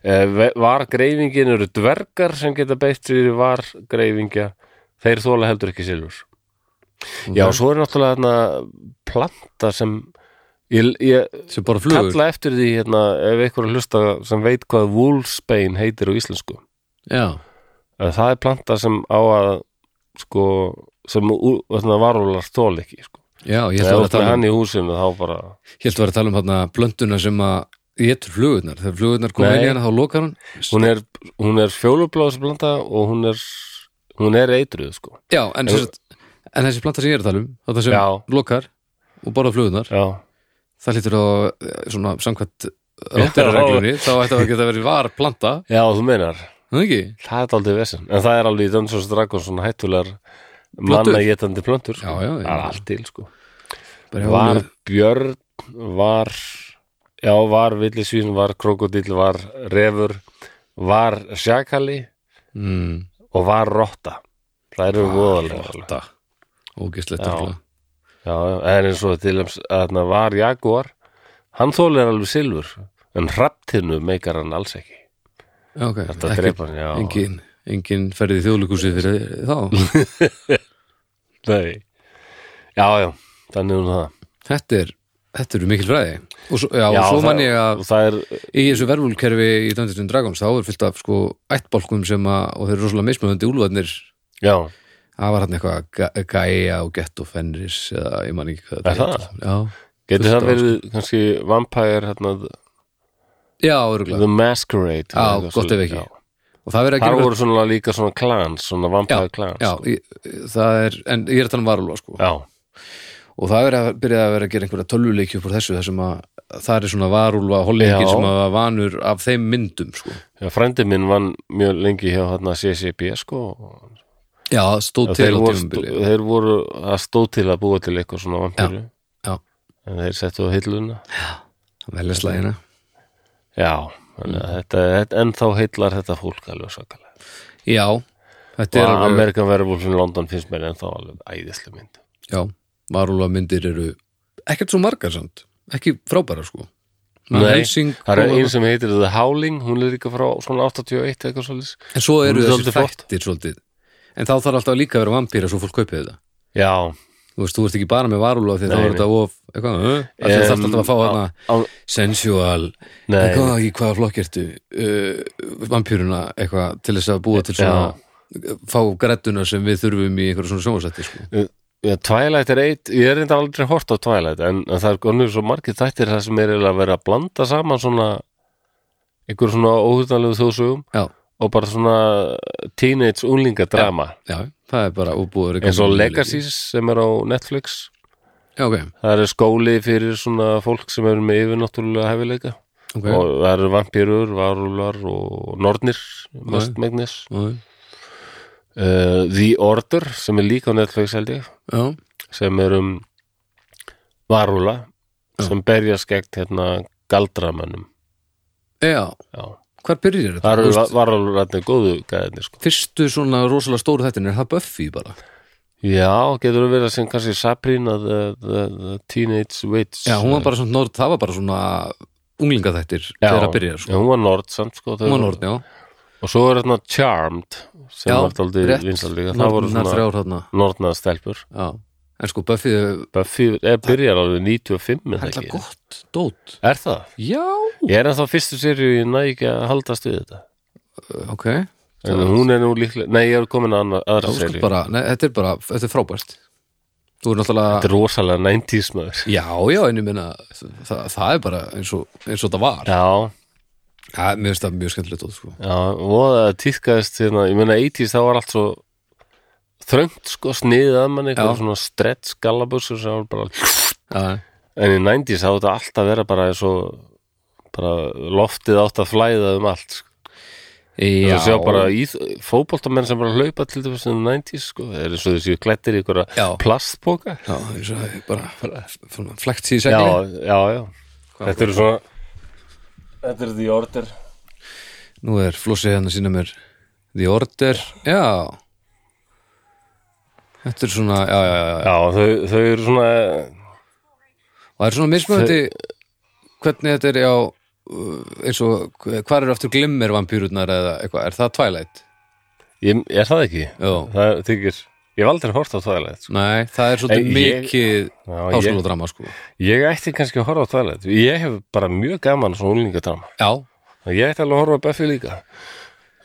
Speaker 1: Eh, var greifingin eru dvergar sem geta beitt sér í var greifingja þeir þóla heldur ekki silfur. Já, svo er náttúrulega hérna, planta sem ég, ég
Speaker 2: Sem bara flugur
Speaker 1: kalla eftir því hérna, ef einhver er að hlusta sem veit hvað Wolfsbane heitir á íslensku.
Speaker 2: Já,
Speaker 1: Eh, Það er planta sem á að sko, sem ú- hérna, varúlar þóla ekki. Sko.
Speaker 2: já, ég held að
Speaker 1: Ef
Speaker 2: vera
Speaker 1: þú
Speaker 2: að tala um
Speaker 1: hann í húsinu þá bara
Speaker 2: Ég held að vera að tala um hérna blönduna sem að Étur flugurnar, þegar flugurnar koma
Speaker 1: Nei.
Speaker 2: inn í hana þá lokar hún
Speaker 1: hún er, hún er fjólubláðsblanda og hún er, hún er eitruð sko.
Speaker 2: Já, en,
Speaker 1: Ef-
Speaker 2: en, en þessi planta sem ég er að tala um Þetta sem
Speaker 1: Já.
Speaker 2: lokar og borða flugurnar
Speaker 1: já,
Speaker 2: Það lítur á eh, svona samkvæmt Ráttarareglunni, þá ætti að geta verið var planta,
Speaker 1: já, þú meinar
Speaker 2: það ekki?
Speaker 1: það er aldrei vesinn, en það er alveg í Dungeons and Dragons svona hættulegar
Speaker 2: Plöntur.
Speaker 1: mannagetandi plöntur sko.
Speaker 2: Já, já, já.
Speaker 1: það er allt til sko.
Speaker 2: Bara hjá
Speaker 1: var
Speaker 2: honum.
Speaker 1: björn var já, var villisvín, var krokodil var refur, var sjakali
Speaker 2: mm.
Speaker 1: og var rotta það eru voðalega já,
Speaker 2: Ah, Rotta Ógislegt
Speaker 1: Já.
Speaker 2: örugglega.
Speaker 1: já, en eins og til dæmis að þarna var jaguar hann þólir alveg silfur en hraptinu meikar hann alls ekki
Speaker 2: Já, ok,
Speaker 1: Þetta
Speaker 2: ekki-
Speaker 1: drepa hann, já.
Speaker 2: engin, engin ferði í þjóðlíkusið fyrir þá
Speaker 1: Nei. Já, já, þannig hún það.
Speaker 2: Þetta er, þetta eru mikil fræði og svo, já,
Speaker 1: Já,
Speaker 2: og svo
Speaker 1: það-
Speaker 2: mann ég að
Speaker 1: og það er,
Speaker 2: í þessu verfúlkerfi í Dungeons and Dragons þá er fyllt af sko ættbálkum sem að og þeir eru rosalega mismunandi úlfarnir
Speaker 1: já,
Speaker 2: það var hann eitthvað Ga- Gaia og Gett og Fenris eða ég man ekki hvað
Speaker 1: Er
Speaker 2: þetta
Speaker 1: það?
Speaker 2: heitir. Já,
Speaker 1: Getur
Speaker 2: Fullt
Speaker 1: það
Speaker 2: af,
Speaker 1: verið kannski Vampire hérna,
Speaker 2: já, örgulega
Speaker 1: The Masquerade
Speaker 2: Já,
Speaker 1: eitthvað
Speaker 2: gott ef
Speaker 1: svoleiðis,
Speaker 2: ekki.
Speaker 1: já.
Speaker 2: og það verið að
Speaker 1: Þar
Speaker 2: gera
Speaker 1: voru svona líka svona clans, svona Vampire clans
Speaker 2: já, ég, það er, en ég er að tala um varulva sko.
Speaker 1: já,
Speaker 2: og það er að byrja að vera að gera einhverja tölvuleiki upp úr þessu, þessum að það er svona varulva holleikir
Speaker 1: Já.
Speaker 2: sem að var vanur af þeim myndum sko.
Speaker 1: já frændi minn vann mjög lengi hjá hérna CCP sko og
Speaker 2: já, það stóð til
Speaker 1: þeir
Speaker 2: á
Speaker 1: voru, stó,
Speaker 2: tímabili
Speaker 1: þeir voru að stóð til að búa til eitthvað svona vampíru
Speaker 2: já,
Speaker 1: en þeir settu á hilluna
Speaker 2: velja slæðina
Speaker 1: já, þannig að þetta, þetta en þá heillar þetta fólk alveg svakalega
Speaker 2: já, þetta er
Speaker 1: og
Speaker 2: alveg
Speaker 1: Amerikan Werewolf in London finnst mér en þá alveg æðislu mynd
Speaker 2: já, varulva myndir eru ekkert svo margar samt, ekki frábæra sko Van
Speaker 1: Nei,
Speaker 2: Helsing,
Speaker 1: það er
Speaker 2: kom-
Speaker 1: einn sem heitir The Howling hún er líka frá svona 81 eitthvað svolítið
Speaker 2: en svo eru
Speaker 1: hún er
Speaker 2: þessi
Speaker 1: svolítið flott.
Speaker 2: þættir svolítið en þá þarf alltaf líka að vera vampýra svo fólk kaupið þetta
Speaker 1: já,
Speaker 2: þú veist, þú ert ekki bara með varulva því þá
Speaker 1: Nei,
Speaker 2: er þetta of eitthvað, um, alltaf þarf alltaf að fá hana
Speaker 1: á,
Speaker 2: sensual,
Speaker 1: Nei.
Speaker 2: eitthvað í hvaða flokk ertu uh, vampýruna eitthvað til þess að búa til svona fá grættuna sem við þurfum í einhverju svona sjónvarsætti sko.
Speaker 1: Já, Twilight er eitt, ég er enda aldrei hort á Twilight en, en það er konur svo margir þættir það sem er eiginlega að vera að blanda saman svona einhver svona óhugnalegu þjóðsögum
Speaker 2: já,
Speaker 1: og bara svona teenage unglingadrama
Speaker 2: já, það er bara úbúður
Speaker 1: eins og Legacies sem er á Netflix
Speaker 2: já, ok,
Speaker 1: það er skóli fyrir svona fólk sem eru með yfirnáttúrulega hefileika
Speaker 2: ok
Speaker 1: og það eru vampýrur, varúlar og nornir, mest megnis
Speaker 2: og,
Speaker 1: uh, The Order sem er líka á Netflix held ég
Speaker 2: já,
Speaker 1: sem er um varúla sem berjast gegn hérna galdramönnum
Speaker 2: já,
Speaker 1: Já.
Speaker 2: hvar byrjar þetta?
Speaker 1: það
Speaker 2: Þú
Speaker 1: eru
Speaker 2: veist,
Speaker 1: varúlarnir góðu gæðinni sko.
Speaker 2: fyrstu svona rosalega stóru þættin er það Buffy bara
Speaker 1: já, getur það verið sem kannski Sabrina the, the, the Teenage Witch
Speaker 2: já, hún var bara svona, nord- það var bara svona unglingaþættir
Speaker 1: Já,
Speaker 2: þegar að byrja sko.
Speaker 1: já, hún var nord samt sko, þau
Speaker 2: hún var
Speaker 1: voru-
Speaker 2: nord, já
Speaker 1: og svo er þarna Charmed sem
Speaker 2: Já,
Speaker 1: var aldrei
Speaker 2: rétt.
Speaker 1: vinsalíka það voru
Speaker 2: Nornar
Speaker 1: svona
Speaker 2: þrjár þarna
Speaker 1: nordnaða stelpur
Speaker 2: Já, en sko Buffy
Speaker 1: Buffy er byrjar alveg 95 er það
Speaker 2: Hella
Speaker 1: ekki?
Speaker 2: gott, dót
Speaker 1: er það?
Speaker 2: Já,
Speaker 1: ég er ennþá fyrstu serið ég næ ekki að haldast við þetta
Speaker 2: ok
Speaker 1: en hún er nú líklega, nei ég er komin að anna- aðra
Speaker 2: Það
Speaker 1: serið
Speaker 2: er bara, nei, þetta er bara, þetta er frábært Þú er náttúrulega
Speaker 1: Þetta er rosalega 90s maður
Speaker 2: Já, já, en ég minna það, það er bara eins og, eins og það var
Speaker 1: Já,
Speaker 2: Já, mér finnst það mjög skemmtilegt dót, sko
Speaker 1: já, voða týðkaðist hérna, ég meina 80s þá var allt svo þröngt sko, sniðið að mann eitthvað
Speaker 2: Já.
Speaker 1: svona stretch gallabusur sem var bara
Speaker 2: Já,
Speaker 1: en í 90s þá þetta alltaf að vera bara svo bara loftið átt að flæða um allt sko.
Speaker 2: já
Speaker 1: þú sjá bara í fótboltamenn sem bara hlaupa til þess að 90s sko, það er eins og þessi klættir í einhverja
Speaker 2: Já.
Speaker 1: plastpoka
Speaker 2: Já, eins og það er bara, bara, bara flekt sér í
Speaker 1: Já,
Speaker 2: segli
Speaker 1: já, já Þetta eru svona Þetta eru the order
Speaker 2: Nú er Flossi hérna að sína mér The Order, já Þetta er svona, já, já, já, já
Speaker 1: Já, þau, þau eru svona
Speaker 2: og það er svona mismunandi hvernig þetta er já uh, eins og hvar eru aftur glimmir vampýrurnar eða eitthvað, er það Twilight?
Speaker 1: Ég, er það ekki?
Speaker 2: Jó,
Speaker 1: Það þykir, ég hef aldrei hort á Twilight sko.
Speaker 2: nei, það er
Speaker 1: Nei,
Speaker 2: svolítið
Speaker 1: ég-
Speaker 2: mikið
Speaker 1: Já, ég-
Speaker 2: háskóladrama sko
Speaker 1: Ég ætti kannski að horfa á Twilight Ég hef bara mjög gaman á svona úlingadrama
Speaker 2: Já,
Speaker 1: Ég ætti alveg að horfa á Buffy líka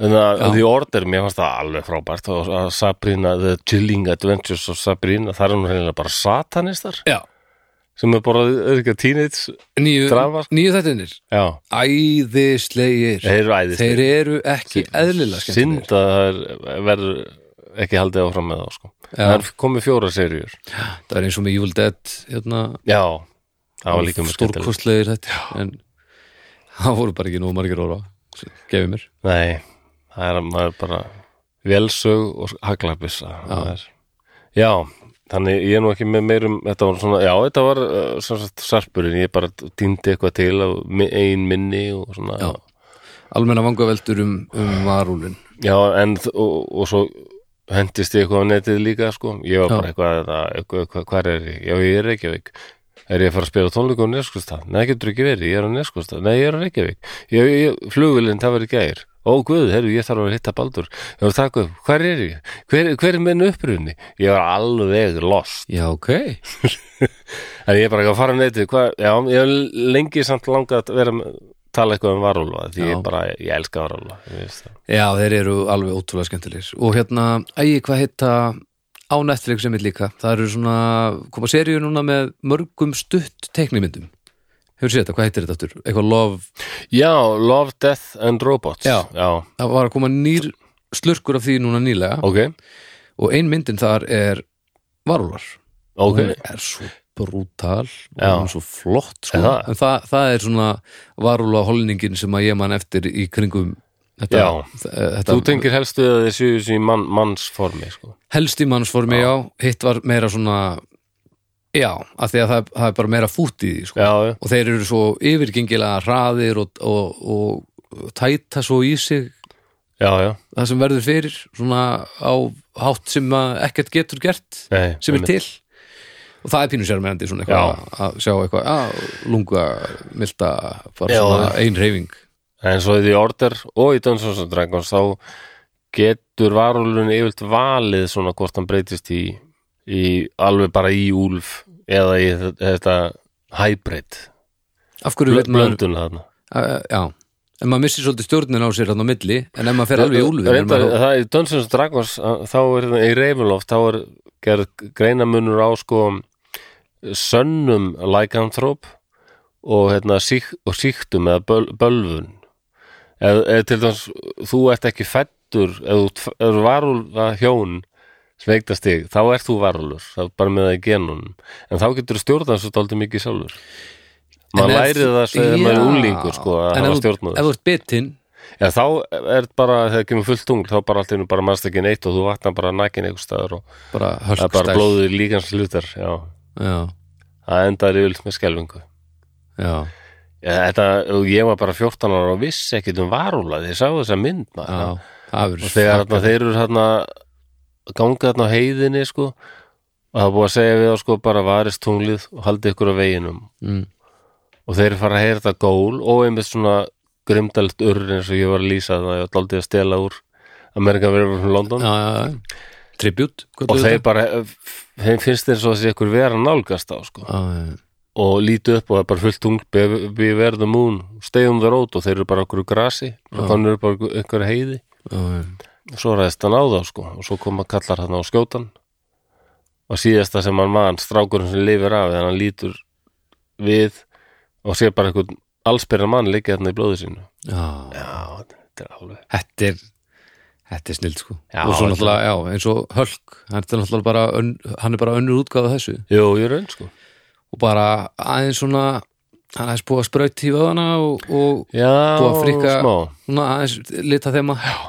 Speaker 1: En að The Order, mér fannst það alveg frábært og að Sabrina, The Chilling Adventures of Sabrina, það er hún reynilega bara satanistar
Speaker 2: já,
Speaker 1: sem er bara auðvitað teenage
Speaker 2: nýju,
Speaker 1: Drama, sko.
Speaker 2: nýju þættinir
Speaker 1: Já,
Speaker 2: æðislegir
Speaker 1: þeir eru æðist
Speaker 2: þeir eru ekki eðlilega skemmtilegir
Speaker 1: Synd að það er- verður ekki haldið áfram með þá sko Það er komið fjóra seríur
Speaker 2: það er eins og með Evil Dead hérna,
Speaker 1: Já, það var líka mjög skemmtileg
Speaker 2: stórkostlegir þetta en það voru bara ekki nú margir óra gefið mér
Speaker 1: Nei, það er maður er bara velsög og haglabissa já. já, þannig ég er nú ekki með meirum þetta var svona, já, þetta var uh, sem sagt sarpurinn, ég bara týndi eitthvað til af mi- ein minni og svona
Speaker 2: Já. almenna vangaveldur um, um varúlin
Speaker 1: Já, en þ- og, og svo hendist ég eitthvað á netið líka sko, ég var bara eitthvað, eitthvað, eitthvað, eitthvað hvað er ég, já, ég er Reykjavík er ég að fara að spila tónleika á Neskustad nei, getur ekki verið, ég er á Neskustad, nei, ég er á Reykjavík ég, ég, flugvillin, það var í gær ó, guð, herru, ég þarf að hitta Baldur ég var að taka upp, hvar er ég, hver, hver er minn upprunni, ég var alveg lost
Speaker 2: já, ok
Speaker 1: en ég er bara ekki að fara á netið, hvað, já, ég hef lengi samt langað að vera með tala eitthvað um varúlfa, því
Speaker 2: Já.
Speaker 1: ég bara, ég elska varúlfa ég veist það.
Speaker 2: Já, þeir eru alveg ótrúlega skemmtilegir og hérna, ægi, hvað heita á Netflix sem er líka það eru svona, koma seríu núna með mörgum stutt teiknimyndum hefur séð þetta, hvað heitir þetta aftur? eitthvað love,
Speaker 1: Já, Love, Death and Robots
Speaker 2: Já.
Speaker 1: Já,
Speaker 2: það var að koma nýr slurkur af því núna nýlega
Speaker 1: ok,
Speaker 2: og ein myndin þar er varulvar
Speaker 1: ok
Speaker 2: hún er svo brútal og
Speaker 1: Já.
Speaker 2: hún er svo flott sko.
Speaker 1: Er það?
Speaker 2: en það, það er svona varulva holningin sem að ég man eftir í kringum þetta,
Speaker 1: Já.
Speaker 2: þ- eh, þetta
Speaker 1: Þú tengir helst við að þessu, þessu mann, mannsformi sko.
Speaker 2: helst í mannsformi já. hitt var meira svona já, af því að það, það er bara meira fút í því sko.
Speaker 1: Já, já,
Speaker 2: og þeir eru svo yfirgengilega hraðir og, og, og tæta svo í sig
Speaker 1: já, já
Speaker 2: það sem verður fyrir svona á hátt sem að ekkert getur gert
Speaker 1: Nei,
Speaker 2: sem er
Speaker 1: einmitt.
Speaker 2: til og það er pínu sérmærandi svona eitthvað að sjá eitthvað að lunga milda bara
Speaker 1: Já.
Speaker 2: svona ein reyfing
Speaker 1: En svo í The Order og í Dungeons and Dragons þá getur varulun yfirlt valið svona hvort hann breytist í, í alveg bara í úlf eða í þe- þetta hybrid
Speaker 2: af hverju veit maður
Speaker 1: blöndun þarna
Speaker 2: að, já, en maður missir svolítið stjórnin á sér hann á milli, en ef maður fer alveg í úlfi er
Speaker 1: Reyndar,
Speaker 2: maður,
Speaker 1: það er í Dungeons and Dragons að- þá er það í Ravenloft þá er gerð greinamunur á sko sönnum lycanthrope og, hérna, sík, og síktum eða böl, bölvun eð, eð til dæmis þú ert ekki fættur eða þú ert- ef þú varulva hjón sveikta stig, þá ert þú varulur það er bara með það í genunum en þá getur þú stjórnað svo dálítið mikið sjálfur maður
Speaker 2: En ef-
Speaker 1: lærið það svo þegar maður er
Speaker 2: Já.
Speaker 1: úlingur sko, að
Speaker 2: en
Speaker 1: hafa
Speaker 2: ef þú-
Speaker 1: stjórnað
Speaker 2: ef þú ert bitinn
Speaker 1: Já, þá er bara, þegar kemur fullt tungl þá bara allt einu bara mannst ekki neitt og þú vatnar bara nakin einhver staðar og
Speaker 2: bara
Speaker 1: það er bara
Speaker 2: hölkstæl
Speaker 1: blóðið líkans hlutar já,
Speaker 2: já,
Speaker 1: það endar yfirleitt með skelfingu
Speaker 2: já,
Speaker 1: Já, þetta, og ég var bara 14 ára og vissi ekkit um varúla því ég sá þessa mynd
Speaker 2: já,
Speaker 1: maður
Speaker 2: það
Speaker 1: og
Speaker 2: verður
Speaker 1: þegar þarna, þeir eru þarna ganga þarna á heiðinni sko og það er búið að segja við þá sko bara varist tunglið og haldið ykkur á veginum
Speaker 2: mm,
Speaker 1: og þeir fara að heyra þetta gól og einmitt svona grimdalt urr eins og ég var að lýsa það ég var aldrei að stela úr Amerikan verður frá London
Speaker 2: já, já, já, tribut
Speaker 1: og þeir bara, eh, þeim finnst þeir svo að sé ykkur vera að nálgast á sko. og lítu upp og það er bara fullt tungt við verðumún, stayum the road og þeir eru bara okkur grasi og þannig eru bara ykkur heiði og svo ræðist hann á þá sko. og svo koma kallar hann á skjótan og síðasta sem hann mann strákurinn sem lifir af, þannig hann lítur við og sé bara ykkur allsbyrra mann liggja þarna í blóðu sínu
Speaker 2: já,
Speaker 1: já, þetta er alveg
Speaker 2: Þetta er Þetta er snill sko
Speaker 1: Já,
Speaker 2: Og svo
Speaker 1: þetta-
Speaker 2: náttúrulega, já, eins og Hölk Hann er náttúrulega bara, ön, hann er bara önnur útgáfa af þessu
Speaker 1: jú, ég raun sko
Speaker 2: Og bara aðeins svona Hann er aðeins búið að spraut í vöðana Og, og
Speaker 1: já,
Speaker 2: búið að frika
Speaker 1: smá
Speaker 2: Svona aðeins lita þeim að
Speaker 1: en,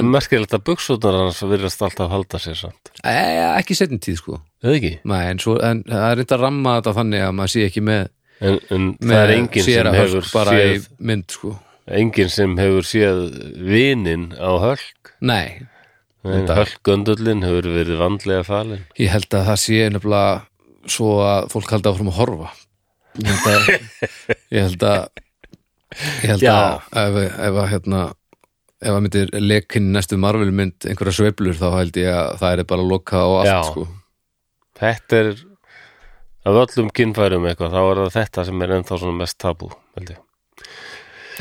Speaker 1: en merkilegt að buksutnar hans virðast alltaf halda sér samt
Speaker 2: e, Ekki setjum tíð sko
Speaker 1: eða ekki?
Speaker 2: Nei, en, svo, en það er reynda að ramma þetta þannig að maður sé ekki með,
Speaker 1: en, en
Speaker 2: með
Speaker 1: það er enginn
Speaker 2: séra
Speaker 1: sem
Speaker 2: Hölk
Speaker 1: hefur
Speaker 2: bara
Speaker 1: séð,
Speaker 2: í mynd sko
Speaker 1: enginn sem hefur séð vinin á hölk
Speaker 2: Nei, Þetta-
Speaker 1: hölkgöndullin hefur verið vandlega falin
Speaker 2: ég held að það sé nefnilega svo að fólk haldi áfram að horfa ég held að ég held að, ég held að
Speaker 1: Já.
Speaker 2: ef, ef að hérna ef að myndir lekin næstu Marvel mynd einhverja sveiflur þá held ég að það er bara lokað á allt
Speaker 1: Já.
Speaker 2: sko
Speaker 1: þetta er af öllum kynfærum eitthvað þá er það þetta sem er ennþá svona mest tabú held ég.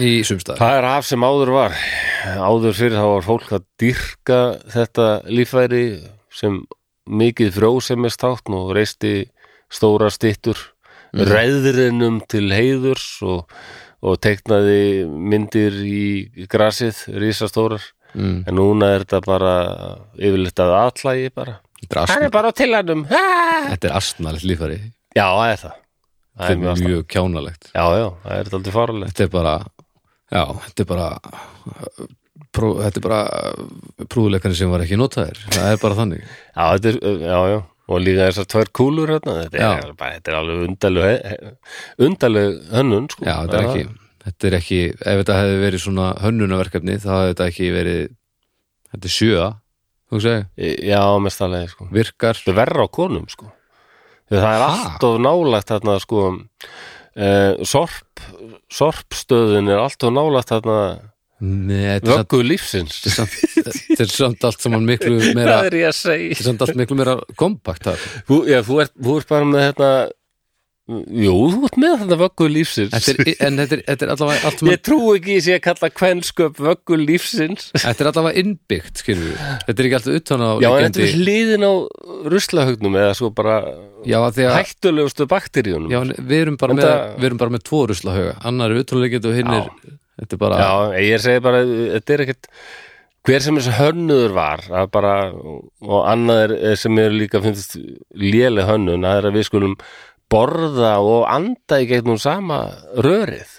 Speaker 2: í sumstað
Speaker 1: það er af sem áður var áður fyrir þá var fólk að dýrka þetta líffæri sem mikið frjósemistátt og reisti stóra stittur mm. reðrinum til heiðurs og, og teiknaði myndir í grasið risastórar
Speaker 2: mm,
Speaker 1: en núna er þetta bara yfirleitt að atlægi bara
Speaker 2: þetta er
Speaker 1: hann
Speaker 2: asna-
Speaker 1: er bara á tilhænum já,
Speaker 2: þetta er astnalegt lífari
Speaker 1: það er það það
Speaker 2: þetta
Speaker 1: er mjög
Speaker 2: er
Speaker 1: mjög
Speaker 2: mjög kjánalegt
Speaker 1: já, já, það er þetta aldrei farulegt
Speaker 2: þetta er bara já, þetta er bara prú, þetta er bara prúðleikarnir sem var ekki notaðir það er bara þannig
Speaker 1: já, þetta er, eh, já, já og líka þessar tvær kúlur hérna þetta er,
Speaker 2: Já.
Speaker 1: bara, þetta er alveg undaleg undaleg hönnun sko.
Speaker 2: Já, þetta er
Speaker 1: Já.
Speaker 2: ekki, þetta er ekki ef þetta hefði verið svona hönnunaverkefni þá hefði þetta ekki verið þetta er sjöa, þú segir,
Speaker 1: eh, já, mest alveg sko.
Speaker 2: virkar
Speaker 1: þetta er verra á konum sko. Þegar það er
Speaker 2: Ha?
Speaker 1: allt of nálægt þarna sko, uh, sorp sorpstöðin er allt of nálægt þarna
Speaker 2: Nei, þetta er samt-
Speaker 1: vöggu lífsins
Speaker 2: þetta er samt- þetta er samt allt saman miklu meira
Speaker 1: það
Speaker 2: þetta
Speaker 1: er ég að segja
Speaker 2: er samt allt miklu meira kompakt þar
Speaker 1: þú, já, þú, ert, þú ert bara með hérna Jú, þú ert með þetta vöggu lífsins
Speaker 2: Þetta er, en þetta er, þetta er allavega allt mann,
Speaker 1: Ég trú ekki í sig að kalla kvensköp vöggu lífsins
Speaker 2: þetta er allavega innbyggt skilur við, þetta er ekki alltaf utan á
Speaker 1: Já, en þetta
Speaker 2: liggjandi-
Speaker 1: er hliðin á ruslahögnum eða svo bara
Speaker 2: já, af því að
Speaker 1: hættulegustu bakteríunum
Speaker 2: já, en við, erum bara
Speaker 1: En
Speaker 2: með,
Speaker 1: það-
Speaker 2: við erum bara með tvo ruslahauga annar er utanleikjandi og hinn er þetta er bara,
Speaker 1: Já, ég segi bara, þetta er ekkert hver sem þessi hönnuður var að bara, og annað er, er sem er líka finnst léleg hönnun að er að við skulum borða og anda í gegnum sama rörið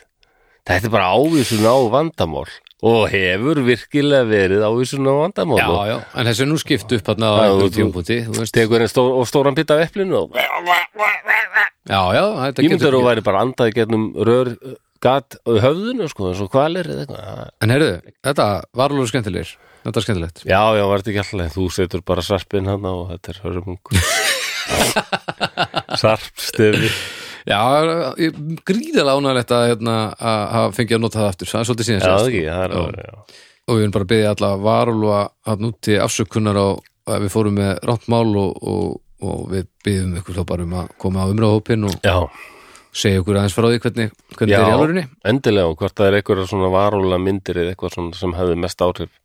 Speaker 1: þetta er bara ávísun á vandamál og hefur virkilega verið ávísun á vandamál
Speaker 2: já,
Speaker 1: og
Speaker 2: já, en þessi er nú skipt upp hann á
Speaker 1: Já,
Speaker 2: einhverjum
Speaker 1: þú-
Speaker 2: tímpúti já, já,
Speaker 1: tekur einn stó- og stóran pitta af eplinu og
Speaker 2: þetta
Speaker 1: ímyndur
Speaker 2: getur
Speaker 1: og væri bara andað í gegnum rör uh, gat á höfðinu sko, eins og hvalir eða eitthvað
Speaker 2: en heyrðu, þetta var alveg skemmtilegir þetta er skemmtilegt
Speaker 1: Já, já, var þetta ekki alltaf Þú setur bara sarpinn hann og þetta er hörmung Sarpstefi
Speaker 2: já, ég- gríðarlega ánægilegt að hérna, að hafa fengið að nota það aftur það er svolítið síðan
Speaker 1: Já, það
Speaker 2: síðast.
Speaker 1: ekki, það er alveg já.
Speaker 2: og við erum bara að byggja alla varulva að núti afsökunar á að við fórum með rátt mál og, og, og við byggjum ykkur þá bara um að koma á umræðhópin og
Speaker 1: já,
Speaker 2: segja ykkur aðeins frá því hvernig, hvernig
Speaker 1: já
Speaker 2: þetta er í alvörinni
Speaker 1: Endilega, og hvort það er einhverja svona varúlega myndir eða eitthvað svona sem hefði mest áhrif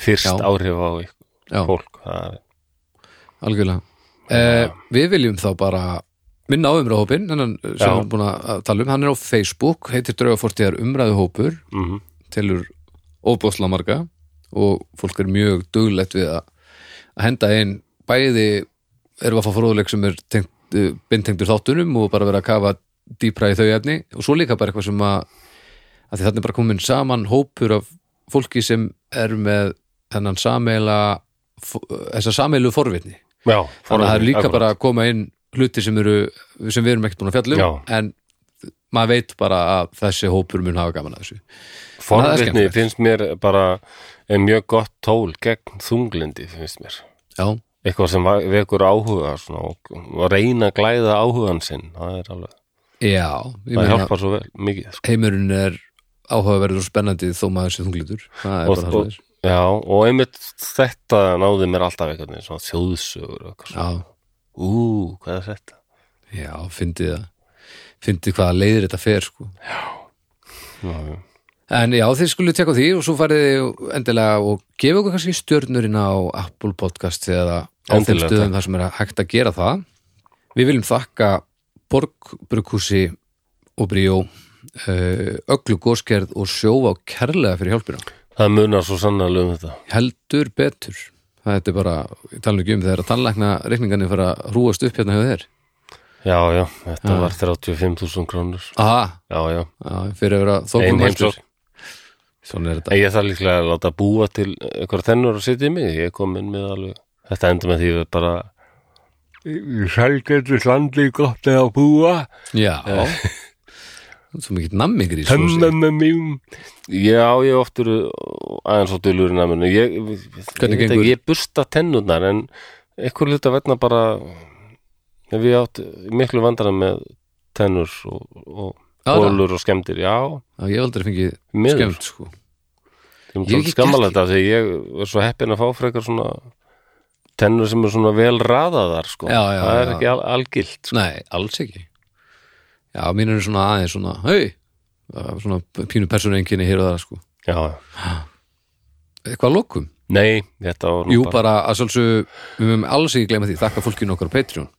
Speaker 1: Fyrst
Speaker 2: Já.
Speaker 1: áhrif á ykkur,
Speaker 2: Já,
Speaker 1: fólk það er,
Speaker 2: algjörlega eh, Við viljum þá bara minna á umræðhópin þennan eh, sem
Speaker 1: Já.
Speaker 2: við erum búin að tala um, hann er á Facebook heitir Draugafortiðar umræðuhópur
Speaker 1: mm -hmm.
Speaker 2: telur óbúðslega marga og fólk er mjög duglegt við að að henda einn bæði erum við að fá fróðuleik sem er tengt, eh, beintengdur þáttunum og bara vera að kafa dýpra í þau efni og svo líka bara eitthvað sem að, að því þannig bara komin saman hópur af fólki sem er með þennan sameila þessa sameilu forvitni
Speaker 1: Já,
Speaker 2: þannig að það er líka
Speaker 1: akkurat.
Speaker 2: bara að koma inn hluti sem, eru, sem við erum ekkert búin að fjalla um en maður veit bara að þessi hópur mun hafa gaman að þessu það er
Speaker 1: Forvitni
Speaker 2: skemmtilegt.
Speaker 1: finnst mér bara er mjög gott tól gegn þunglindi finnst mér
Speaker 2: Já,
Speaker 1: Eitthvað sem va- vekur áhuga svona, og, og reyna að glæða áhugan sinn það er alveg,
Speaker 2: Já, ég
Speaker 1: það
Speaker 2: meina
Speaker 1: hjálpar svo vel mikið sko.
Speaker 2: heimurinn er áhugaverður og spennandi þó maður sé þunglitur það er
Speaker 1: og,
Speaker 2: bara
Speaker 1: og,
Speaker 2: það
Speaker 1: já, og einmitt þetta náði mér alltaf einhvern veginn svona þjóðsögur og eitthvað svona.
Speaker 2: Já,
Speaker 1: Ú, hvað er þetta?
Speaker 2: já, fyndið það fyndið hvaða leiðir þetta fer sko
Speaker 1: Já, já.
Speaker 2: En já, þið skulle tekka á því og svo farið þið endilega og gefa okkur kannski stjörnurinn á Apple Podcast eða á þeim
Speaker 1: Endilega,
Speaker 2: stöðum þar sem er hægt að gera það Við viljum þakka Borg, Brukhúsi og Bríó eh, Öglu Góskerð og Sjóvá kærlega fyrir hjálpina
Speaker 1: Það munar svo sannarlega um þetta
Speaker 2: heldur betur þetta er bara, ég tala nú ekki um þegar að tannlækna reikningarnir fyrir að rúast upp hérna hjá þér
Speaker 1: Já, já, þetta var 35.000 krónur
Speaker 2: aha,
Speaker 1: Já, já,
Speaker 2: já, fyrir að vera
Speaker 1: ein
Speaker 2: þókum
Speaker 1: heimsók
Speaker 2: svona er þetta,
Speaker 1: En Ég þarf líklega að láta búa til eitthvað þennur að sitja í mig, ég kom inn með alveg Þetta endur með því við bara Sælgætur landi gott eða að búa
Speaker 2: já
Speaker 1: Eh.
Speaker 2: svo mikið nammingur í svo hvernig
Speaker 1: Hemmemmemmim Já, ég hef oftur aðeins á dulurinn að munni ég, ég,
Speaker 2: Hvernig
Speaker 1: ég, veit
Speaker 2: gengur?
Speaker 1: ekki, ég bursta tennurnar en einhver hluta vegna bara hef ég átt miklu vandræðum með tennur og, og
Speaker 2: Já, það.
Speaker 1: bólur og skemmdir Já,
Speaker 2: ég hef aldrei fengið
Speaker 1: miður
Speaker 2: skemmt sko
Speaker 1: Ég
Speaker 2: Ég hef
Speaker 1: er
Speaker 2: ekki
Speaker 1: skammal
Speaker 2: gert-
Speaker 1: þetta því ég er svo heppin að fá frekar svona tennur sem er svona vel raðaðar sko.
Speaker 2: Já, já,
Speaker 1: Það er
Speaker 2: já.
Speaker 1: ekki al algilt sko.
Speaker 2: nei, alls ekki já, mín eru svona aðeins svona hei, svona pínu persónuenginni hér og það sko,
Speaker 1: Já,
Speaker 2: eitthvað að lokum
Speaker 1: nei, þetta var nú
Speaker 2: jú, bara að svolsög, við mögum alls ekki glemma því þakka fólkinu okkar á Patreon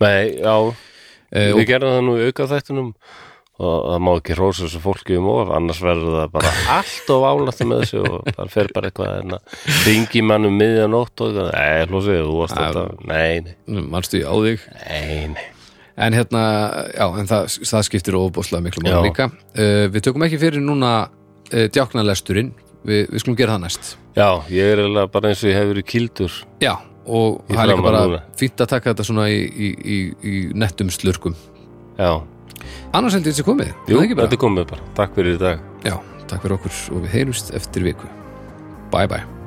Speaker 1: Nei, já,
Speaker 2: Eh,
Speaker 1: Við gerðum það nú í auka þættunum og það má ekki rósa þessu fólki um of annars verður það bara allt of álata með þessu og það fer bara eitthvað hérna, en að ringi mannum miðja nótt um og eitthvað, nei, hlósið, þú varst þetta
Speaker 2: Ah.
Speaker 1: nei, nei,
Speaker 2: Mm, manstu ég á þig
Speaker 1: nei, nei
Speaker 2: En hérna, já, en það, það skiptir óbúslega miklu máli
Speaker 1: Já.
Speaker 2: líka. Uh, við tökum ekki fyrir núna uh, djáknalesturinn, Vi, við skulum gera það næst.
Speaker 1: Já, ég er eiginlega bara eins og ég hef verið kildur
Speaker 2: Já, og
Speaker 1: Í
Speaker 2: það er líka
Speaker 1: framan
Speaker 2: bara
Speaker 1: núna.
Speaker 2: fínt að taka þetta svona í, í, í, í nettum slurkum.
Speaker 1: Já,
Speaker 2: Annars heldur þetta sé komið, er
Speaker 1: jú,
Speaker 2: það ekki bara?
Speaker 1: þetta er komið bara Takk fyrir í dag
Speaker 2: Já, takk fyrir okkur og við heyrumst eftir viku. Bye bye.